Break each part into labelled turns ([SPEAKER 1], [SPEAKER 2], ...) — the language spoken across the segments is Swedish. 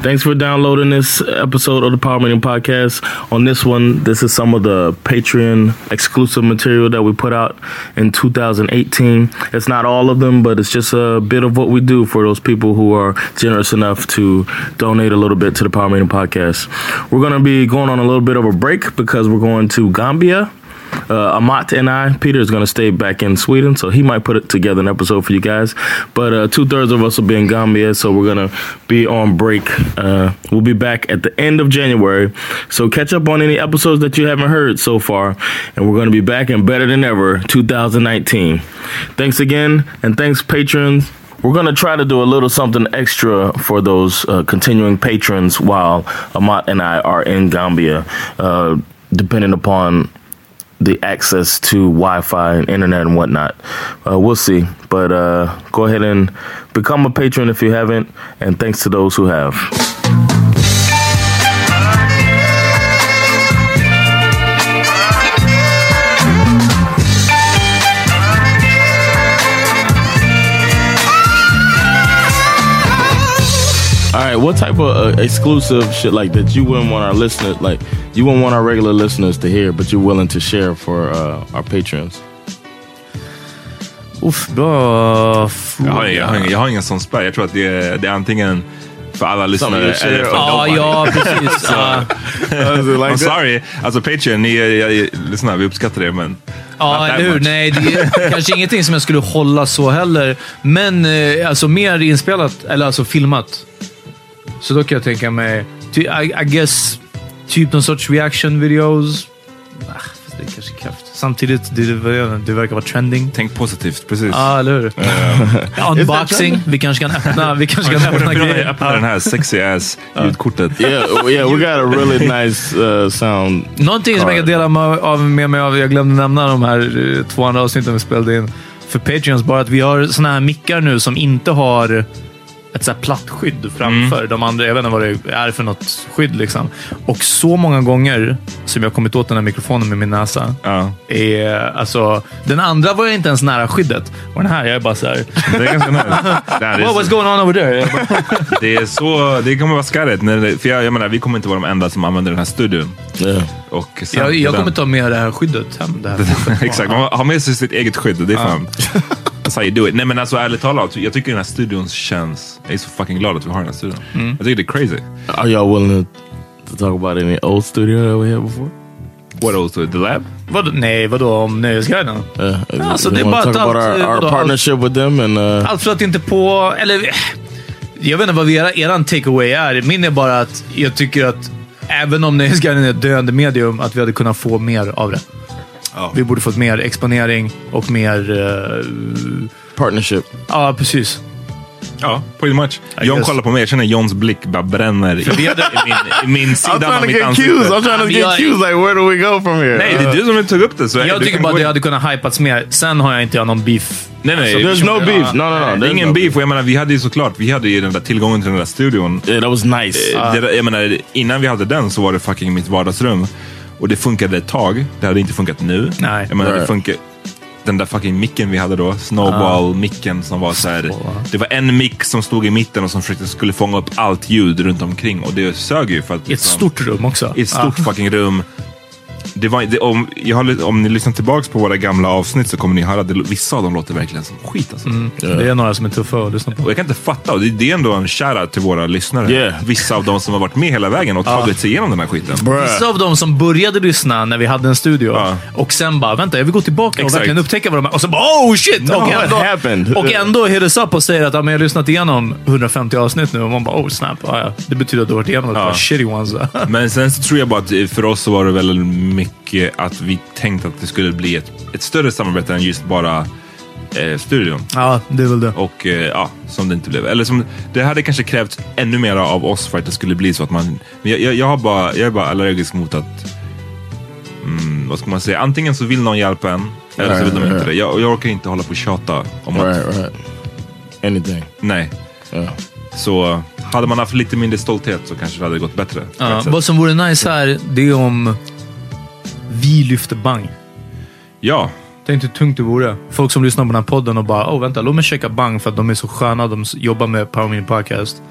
[SPEAKER 1] Thanks for downloading this episode of the Power Meeting Podcast. On this one, this is some of the Patreon exclusive material that we put out in 2018. It's not all of them, but it's just a bit of what we do for those people who are generous enough to donate a little bit to the Power Meeting Podcast. We're going to be going on a little bit of a break because we're going to Gambia. Uh, Amat and I, Peter is going to stay back in Sweden, so he might put it together an episode for you guys. But uh, two thirds of us will be in Gambia, so we're going to be on break. Uh, we'll be back at the end of January, so catch up on any episodes that you haven't heard so far, and we're going to be back and better than ever 2019. Thanks again, and thanks, patrons. We're going to try to do a little something extra for those uh, continuing patrons while Amat and I are in Gambia, uh, depending upon the access to Wi-Fi and internet and whatnot. Uh, we'll see, but uh, go ahead and become a patron if you haven't, and thanks to those who have. All right, what type of uh, exclusive shit like that you wouldn't want our listeners, like you wouldn't want our regular listeners to hear, but you're willing to share for uh, our patrons?
[SPEAKER 2] Uff, då...
[SPEAKER 3] Jag har, jag, har ingen, jag har ingen sån spärr. Jag tror att det är, det är antingen för alla lyssnare
[SPEAKER 2] du säger.
[SPEAKER 3] eller för
[SPEAKER 2] Ja,
[SPEAKER 3] nobody.
[SPEAKER 2] ja, precis. Ja,
[SPEAKER 3] I'm sorry. Alltså Patreon, ni, är- jag, jag, lyssna, vi uppskattar det, men...
[SPEAKER 2] ja
[SPEAKER 3] not that
[SPEAKER 2] eller hur?
[SPEAKER 3] much.
[SPEAKER 2] Nej, det är kanske ingenting som jag skulle hålla så heller. Men eh, alltså mer inspelat, eller alltså filmat. Så då kan jag tänka mig... Ty, I, I guess typ någon sorts reaction videos. Ah, fast det är kanske kraft. Samtidigt, det, det, det verkar vara trending.
[SPEAKER 3] Tänk positivt, precis.
[SPEAKER 2] Ja, ah, eller hur? Unboxing. Vi kanske kan öppna, vi kanske kan öppna
[SPEAKER 3] Öppna
[SPEAKER 2] grejer.
[SPEAKER 3] öppna den här sexy ass ljudkortet.
[SPEAKER 1] Yeah, w- yeah, we got a really nice uh, sound.
[SPEAKER 2] Någonting som jag kan
[SPEAKER 1] Card.
[SPEAKER 2] dela med, av, med mig av, jag glömde nämna de här eh, två andra avsnitten vi spelade in för Patreons, bara att vi har såna här mickar nu som inte har ett så här platt skydd framför de andra. Jag vet inte vad det är för något skydd. Liksom. Och så många gånger som jag har kommit åt den här mikrofonen med min näsa.
[SPEAKER 3] Ja.
[SPEAKER 2] Är, alltså, den andra var jag inte ens nära skyddet. Och den här, jag är bara så här...
[SPEAKER 3] Det är ganska nice. Det, här, det,
[SPEAKER 2] Well, what's
[SPEAKER 3] är,
[SPEAKER 2] going on over there? Jag bara,
[SPEAKER 3] det, är så, det kommer vara skarret. när det- För jag, jag menar, vi kommer inte vara de enda som använder den här studion.
[SPEAKER 1] Yeah.
[SPEAKER 3] Och sen,
[SPEAKER 2] Jag, jag kommer
[SPEAKER 3] den-
[SPEAKER 2] ta med det här skyddet hem. Det här.
[SPEAKER 3] Exakt, man har med sig sitt eget skydd. Det är fan... That's how you do it. Nej men alltså ärligt talat, jag tycker den här studion känns... Jag är så fucking glad att vi har den här studion.
[SPEAKER 2] Mm.
[SPEAKER 3] Jag tycker det är crazy.
[SPEAKER 1] Are y'all willing to, to talk about any old studio that we had before?
[SPEAKER 3] What else? The lab?
[SPEAKER 2] Vadå? Nej, vadå om Nöjesguiden?
[SPEAKER 1] Uh,
[SPEAKER 2] so
[SPEAKER 1] we
[SPEAKER 2] they
[SPEAKER 1] wanna
[SPEAKER 2] bought
[SPEAKER 1] talk about
[SPEAKER 2] out,
[SPEAKER 1] our,
[SPEAKER 2] uh,
[SPEAKER 1] our
[SPEAKER 2] the-
[SPEAKER 1] partnership with them and uh,
[SPEAKER 2] Allt flöt inte på... Eller... eh, Jag vet inte vad era, eran takeaway är. Min är bara att jag tycker att även om Nöjesguiden är ett döende medium, att vi hade kunnat få mer av det.
[SPEAKER 3] Ja.
[SPEAKER 2] Vi borde fått mer exponering och mer... eh,
[SPEAKER 1] partnership.
[SPEAKER 2] ja, precis.
[SPEAKER 3] Ja, pretty much. John
[SPEAKER 2] guess.
[SPEAKER 3] kollar på mig. Jag känner Johns blick bara bränner i, i min, i min
[SPEAKER 1] I'm
[SPEAKER 3] sida
[SPEAKER 1] trying
[SPEAKER 3] av
[SPEAKER 1] to
[SPEAKER 3] mitt
[SPEAKER 1] get cues. I'm
[SPEAKER 3] ansikte.
[SPEAKER 1] trying to
[SPEAKER 2] Vi har-
[SPEAKER 1] get cues. Like, where do we go from here? Uh,
[SPEAKER 3] Nej, det är du som tog upp det. Så
[SPEAKER 2] Jag
[SPEAKER 3] du
[SPEAKER 2] tycker
[SPEAKER 3] kan
[SPEAKER 2] bara
[SPEAKER 3] gå
[SPEAKER 2] att det
[SPEAKER 3] in.
[SPEAKER 2] hade kunnat hypats mer. Sen har jag inte jag någon beef
[SPEAKER 3] Nej, nej.
[SPEAKER 4] So there's no beef. No, no, no.
[SPEAKER 3] Det är
[SPEAKER 4] there's
[SPEAKER 3] ingen
[SPEAKER 4] no
[SPEAKER 3] beef. Och jag menar, vi hade ju såklart vi hade ju den där tillgången till den där studion.
[SPEAKER 4] Yeah, that was nice.
[SPEAKER 3] Eh, Det, där- jag menar, innan vi hade den så var det fucking mitt vardagsrum. Och det funkade ett tag. Det hade inte funkat nu.
[SPEAKER 2] Nej.
[SPEAKER 3] Jag menar, det
[SPEAKER 4] Right.
[SPEAKER 3] funkar, den där fucking micken vi hade då, snowball-micken som var så här. Det var en mick som stod i mitten och som försökte skulle fånga upp allt ljud runt omkring. Och det sög ju för att...
[SPEAKER 2] I ett
[SPEAKER 3] liksom-
[SPEAKER 2] stort rum också.
[SPEAKER 3] i ett stort fucking rum. Det var, det, om, jag har, li- om ni lyssnar tillbaka på våra gamla avsnitt så kommer ni höra att det- vissa av dem låter verkligen som skit. Alltså.
[SPEAKER 2] Det är några som är tuffa att lyssna på.
[SPEAKER 3] Och jag kan inte fatta. Och det, det är ändå en shoutout till våra lyssnare.
[SPEAKER 4] Yeah.
[SPEAKER 3] Vissa av dem som har varit med hela vägen och tagit sig igenom den här skiten.
[SPEAKER 2] Vissa av dem som började lyssna när vi hade en studio
[SPEAKER 3] Äh. Ja.
[SPEAKER 2] och sen bara “vänta, jag vill gå tillbaka
[SPEAKER 3] Exakt.
[SPEAKER 2] och verkligen upptäcka vad de är” och så bara “oh shit!” och,
[SPEAKER 4] what happened?
[SPEAKER 2] och ändå hit us up och säger att ja, men “jag har lyssnat igenom 150 avsnitt nu” och man bara “oh snap”. Ja, ja. Det betyder att du har varit igenom ett par shitty ones.
[SPEAKER 3] Men sen så tror jag bara att eh, för oss så var det väl mycket att vi tänkte att det skulle bli ett, ett större samarbete än just bara eh, studion.
[SPEAKER 2] ja, det är väl det.
[SPEAKER 3] Och eh, ja, som det inte blev. Eller som, det hade kanske krävt ännu mer av oss för att det skulle bli så att man... Men jag, jag, jag, har bara, jag är bara allergisk mot att... Mm, vad ska man säga? Antingen så vill någon hjälpa en, eller så vill de
[SPEAKER 4] Right,
[SPEAKER 3] inte det. Jag, jag orkar inte hålla på och tjata om att...
[SPEAKER 4] Right, right. Anything.
[SPEAKER 3] Nej.
[SPEAKER 4] Yeah.
[SPEAKER 3] Så hade man haft lite mindre stolthet så kanske det hade gått bättre. på
[SPEAKER 2] Ja,
[SPEAKER 3] ett sätt.
[SPEAKER 2] vad som vore nice här, det är om vi lyfter bang.
[SPEAKER 3] ja.
[SPEAKER 2] Tänk hur tungt det vore. Folk som lyssnar på den här podden och bara “oh vänta, låt mig checka Bang för att de är så sköna, de s- jobbar med Power Mini Podcast”.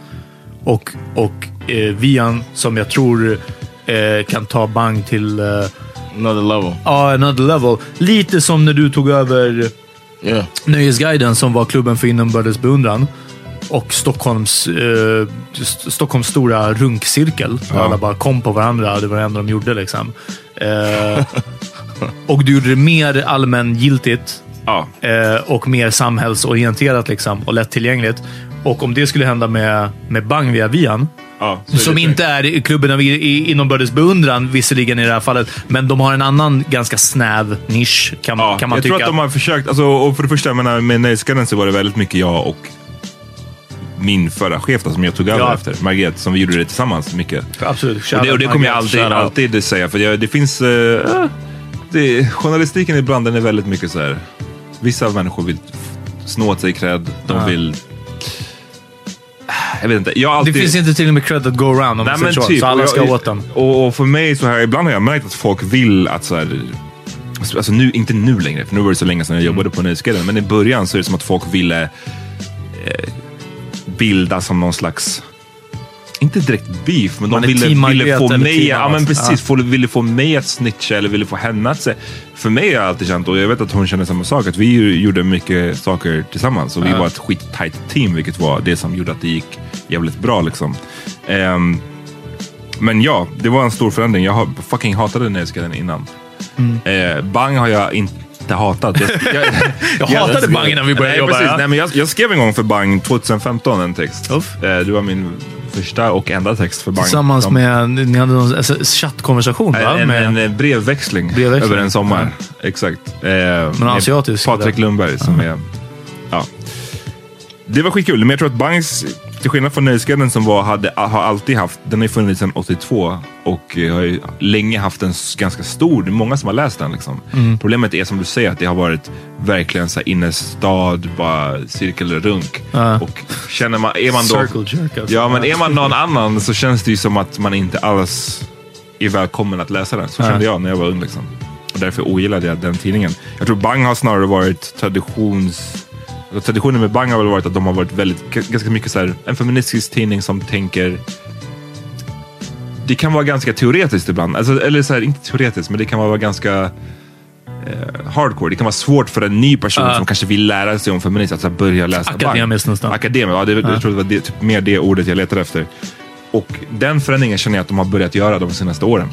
[SPEAKER 2] Och, och eh, Vian, som jag tror eh, kan ta Bang till eh,
[SPEAKER 4] Another level.
[SPEAKER 2] ah, another level. Lite som när du tog över
[SPEAKER 4] Yeah.
[SPEAKER 2] Nöjesguiden som var klubben för inombördes beundran. Och Stockholms, eh, St- Stockholms stora runkcirkel. där Alla bara kom på varandra. Det var det enda de gjorde liksom. Eh, och du gjorde det mer allmängiltigt
[SPEAKER 3] ja.
[SPEAKER 2] eh, och mer samhällsorienterat liksom, och lättillgängligt. Och om det skulle hända med, med Bang via Vian,
[SPEAKER 3] ja så är
[SPEAKER 2] som
[SPEAKER 3] det.
[SPEAKER 2] inte är i klubben av i, i, inbördes beundran visserligen i det här fallet, men de har en annan ganska snäv nisch kan,
[SPEAKER 3] Ja,
[SPEAKER 2] kan man
[SPEAKER 3] jag
[SPEAKER 2] tycka.
[SPEAKER 3] tror att de har försökt. Alltså, och för det första, jag menar, med Nöjesguiden så var det väldigt mycket jag och min förra chef då, som jag tog över
[SPEAKER 2] Ja.
[SPEAKER 3] efter, Margret, som vi gjorde det tillsammans mycket.
[SPEAKER 2] Absolut.
[SPEAKER 3] Och det, och det kommer jag alltid,
[SPEAKER 2] Shoutout.
[SPEAKER 3] alltid säga, för jag, det finns... eh, det, journalistiken ibland, den är väldigt mycket så här. Vissa människor vill f- snå åt sig cred, de vill... Jag vet inte. Jag har
[SPEAKER 2] Det
[SPEAKER 3] alltid,
[SPEAKER 2] finns inte till och med cred att go around om man säger så. Så alla
[SPEAKER 3] typ, och
[SPEAKER 2] ska
[SPEAKER 3] jag-
[SPEAKER 2] åt den.
[SPEAKER 3] Och, och för mig så här, ibland har jag märkt att folk vill att så här, alltså nu, inte nu längre, för nu var det så länge sedan jag jobbade på Nöjesguiden, men i början så är det som att folk ville eh, bilda som någon slags inte direkt beef, men
[SPEAKER 2] Man
[SPEAKER 3] de
[SPEAKER 2] är
[SPEAKER 3] ville,
[SPEAKER 2] team
[SPEAKER 3] ville
[SPEAKER 2] Margrethe
[SPEAKER 3] få
[SPEAKER 2] eller
[SPEAKER 3] mig
[SPEAKER 2] team alltså.
[SPEAKER 3] ja,
[SPEAKER 2] annat.
[SPEAKER 3] men precis, få, ville få mig att snitcha eller ville få henne att se. För mig har jag alltid känt, och jag vet att hon känner samma sak, att vi ju gjorde mycket saker tillsammans och vi var ett skittajt team, vilket var det som gjorde att det gick jävligt bra. Liksom. Ehm, men ja, det var en stor förändring. Jag har- fucking hatade Nöjesguiden innan.
[SPEAKER 2] Mm.
[SPEAKER 3] Eh, bang har jag inte hatat. Jag, jag,
[SPEAKER 2] Jag hatade Bang innan vi började
[SPEAKER 3] nej,
[SPEAKER 2] jobba,
[SPEAKER 3] Precis.
[SPEAKER 2] ja.
[SPEAKER 3] Nej, men jag, jag skrev en gång för Bang 2015 en text.
[SPEAKER 2] Uff.
[SPEAKER 3] Eh, det var min första och enda text för Bang.
[SPEAKER 2] Tillsammans
[SPEAKER 3] De-
[SPEAKER 2] med... Ni hade någon alltså, chattkonversation va?
[SPEAKER 3] en,
[SPEAKER 2] med,
[SPEAKER 3] en, en brevväxling,
[SPEAKER 2] Brevväxling.
[SPEAKER 3] över en sommar. Exakt. Eh, med
[SPEAKER 2] asiatisk,
[SPEAKER 3] Patrik
[SPEAKER 2] eller?
[SPEAKER 3] Lundberg som är... Ja. Det var skitkul, men jag tror att Bangs, till skillnad från Nöjesguiden som var, hade, har alltid haft, den har ju funnits sedan 82 och eh, har ju länge haft en s- ganska stor, det är många som har läst den. Liksom.
[SPEAKER 2] Mm.
[SPEAKER 3] Problemet är som du säger att det har varit verkligen så här innerstad, bara cirkelrunk. Och känner man, är man då...
[SPEAKER 2] Circle jerk alltså.
[SPEAKER 3] Ja, men är man någon annan så känns det ju som att man inte alls är välkommen att läsa den. Så kände jag när jag var ung. Liksom. Och därför ogillade jag den tidningen. Jag tror Bang har snarare varit traditions... alltså, Traditionen med Bang har väl varit att de har varit väldigt, g- ganska mycket så här, en feministisk tidning som tänker... Det kan vara ganska teoretiskt ibland. Alltså, eller så här, inte teoretiskt, men det kan vara ganska eh, hardcore. Det kan vara svårt för en ny person som kanske vill lära sig om feminism att så här, börja läsa Bang.
[SPEAKER 2] Akademiskt nästan.
[SPEAKER 3] Akademiskt, ja. Det, Jag tror det var det, typ, mer det ordet jag letade efter. Och den förändringen känner jag att de har börjat göra de senaste åren.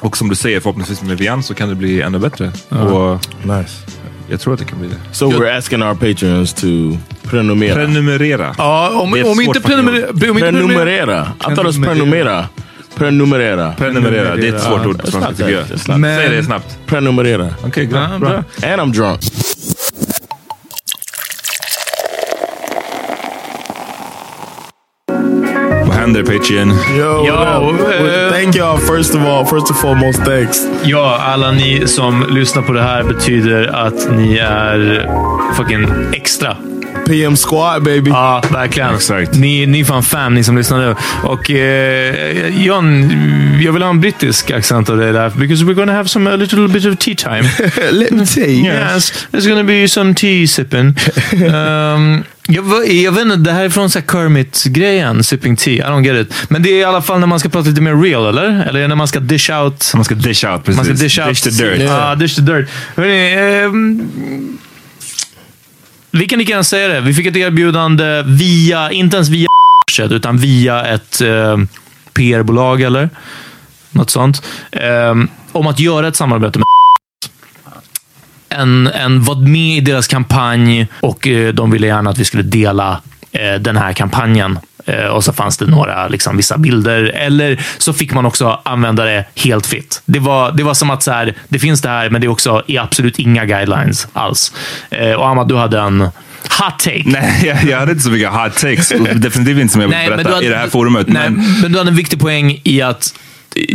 [SPEAKER 3] Och som du säger, förhoppningsvis med Vian så kan det bli ännu bättre. Och
[SPEAKER 4] Nice.
[SPEAKER 3] jag tror att det kan bli det.
[SPEAKER 4] So we're asking our patrons to prenumerate.
[SPEAKER 3] Prenumerera.
[SPEAKER 2] ja, om,
[SPEAKER 3] Det är ett
[SPEAKER 2] om
[SPEAKER 3] svårt
[SPEAKER 2] inte
[SPEAKER 3] fucking
[SPEAKER 2] prenumerera...
[SPEAKER 3] ord.
[SPEAKER 2] om inte
[SPEAKER 4] Prenumerera. I thought it
[SPEAKER 2] prenumerera-
[SPEAKER 4] was prenumerera. Prenumerera.
[SPEAKER 3] Prenumerera. Det är ett svårt
[SPEAKER 4] Ja,
[SPEAKER 3] ord på
[SPEAKER 4] it's
[SPEAKER 3] svenska
[SPEAKER 4] not
[SPEAKER 3] tycker
[SPEAKER 4] that-
[SPEAKER 3] jag.
[SPEAKER 4] it's not-
[SPEAKER 2] Men-
[SPEAKER 3] Säg det snabbt.
[SPEAKER 4] Prenumerera.
[SPEAKER 3] Okej,
[SPEAKER 2] Ja,
[SPEAKER 3] bra.
[SPEAKER 2] bra.
[SPEAKER 3] bra.
[SPEAKER 4] And I'm drunk.
[SPEAKER 3] Vad händer Patreon?
[SPEAKER 1] Yo,
[SPEAKER 2] Yo,
[SPEAKER 1] what up?
[SPEAKER 2] eh.
[SPEAKER 1] Well, thank y'all first of all, first and foremost, thanks.
[SPEAKER 2] Ja, alla ni som lyssnar på det här betyder att ni är fucking extra.
[SPEAKER 1] PM Squad baby.
[SPEAKER 4] Uh,
[SPEAKER 2] Ja, verkligen.
[SPEAKER 3] Exakt.
[SPEAKER 2] Ni, ni är fan fan, ni som lyssnar nu. Och eh, John, jag vill ha en brittisk accent av dig där. Because we're gonna have some a little bit of tea time.
[SPEAKER 1] Let me tell you.
[SPEAKER 2] Yes, there's gonna be some tea sipping. Um, jag, va- jag vet inte, det här är från så här Kermit-grejen, sipping tea. I don't get it. Men det är i alla fall när man ska prata lite mer real, eller? Eller när man ska dish out.
[SPEAKER 3] Man ska dish out, precis.
[SPEAKER 2] Man ska dish out.
[SPEAKER 3] the dirt.
[SPEAKER 2] Ja, dish the dirt. Hörrni, ehm, vi kan lika gärna säga det. Vi fick ett erbjudande via, inte ens via utan via ett eh, PR-bolag eller något sånt. ehm, om att göra ett samarbete med en, en var med i deras kampanj och eh, de ville gärna att vi skulle dela eh, den här kampanjen. Eh, och så fanns det några, liksom, vissa bilder. Eller så fick man också använda det helt fritt. Det var, det var som att så här, det finns det här, men det är också i absolut inga guidelines alls. Eh, och Ahmad, du hade en hot take.
[SPEAKER 3] Nej, jag, jag hade inte så mycket hot takes. Definitivt inte som jag vill
[SPEAKER 2] men
[SPEAKER 3] berätta
[SPEAKER 2] du hade-
[SPEAKER 3] i det här forumet.
[SPEAKER 2] Nej,
[SPEAKER 3] men-
[SPEAKER 2] men... du hade en viktig poäng i att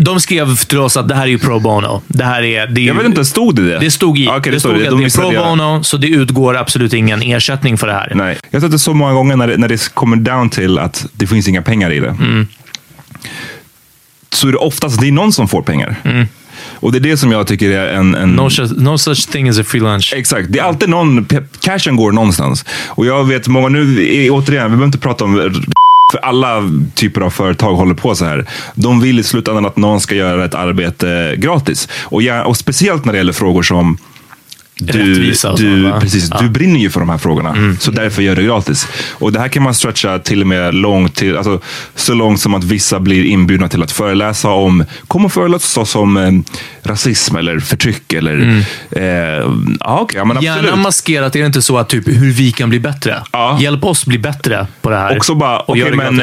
[SPEAKER 2] de skrev till oss att det här är ju pro bono. Det här är... Det är
[SPEAKER 3] Jag
[SPEAKER 2] ju-
[SPEAKER 3] vet inte, stod det det?
[SPEAKER 2] Det stod i.
[SPEAKER 3] Ja, okej,
[SPEAKER 2] det stod att det är
[SPEAKER 3] missade
[SPEAKER 2] pro
[SPEAKER 3] jag.
[SPEAKER 2] bono, så det utgår absolut ingen ersättning för det här.
[SPEAKER 3] Nej. Jag har sett det så många gånger när det, när det kommer down till att det finns inga pengar i det.
[SPEAKER 2] Mm.
[SPEAKER 3] Så är det oftast det är någon som får pengar.
[SPEAKER 2] Mm.
[SPEAKER 3] Och det är det som jag tycker är en... en
[SPEAKER 2] No, such, no such thing as a free lunch.
[SPEAKER 3] Exakt, det är alltid någon, pe- cashen går någonstans. Och jag vet många, nu är- återigen, vi behöver inte prata om r- för alla typer av företag håller på så här. De vill i slutändan att någon ska göra ett arbete gratis. Och, gär- och speciellt när det gäller frågor som du,
[SPEAKER 2] Rättvisa och sånt,
[SPEAKER 3] du,
[SPEAKER 2] va?
[SPEAKER 3] precis, du brinner ju för de här frågorna, så därför gör du gratis. Och Det här kan man stretcha till och med långt till, alltså, så långt som att vissa blir inbjudna till att föreläsa om, kom och föreläsa oss om eh, rasism eller förtryck. Eller, eh, ja, okej, ja, men
[SPEAKER 2] Gärna
[SPEAKER 3] absolut.
[SPEAKER 2] maskerat, är det inte så att typ hur vi kan bli bättre?
[SPEAKER 3] Ja.
[SPEAKER 2] Hjälp oss bli bättre på det här.
[SPEAKER 3] Också bara,
[SPEAKER 2] gör
[SPEAKER 3] okej
[SPEAKER 2] det
[SPEAKER 3] men
[SPEAKER 2] gratis.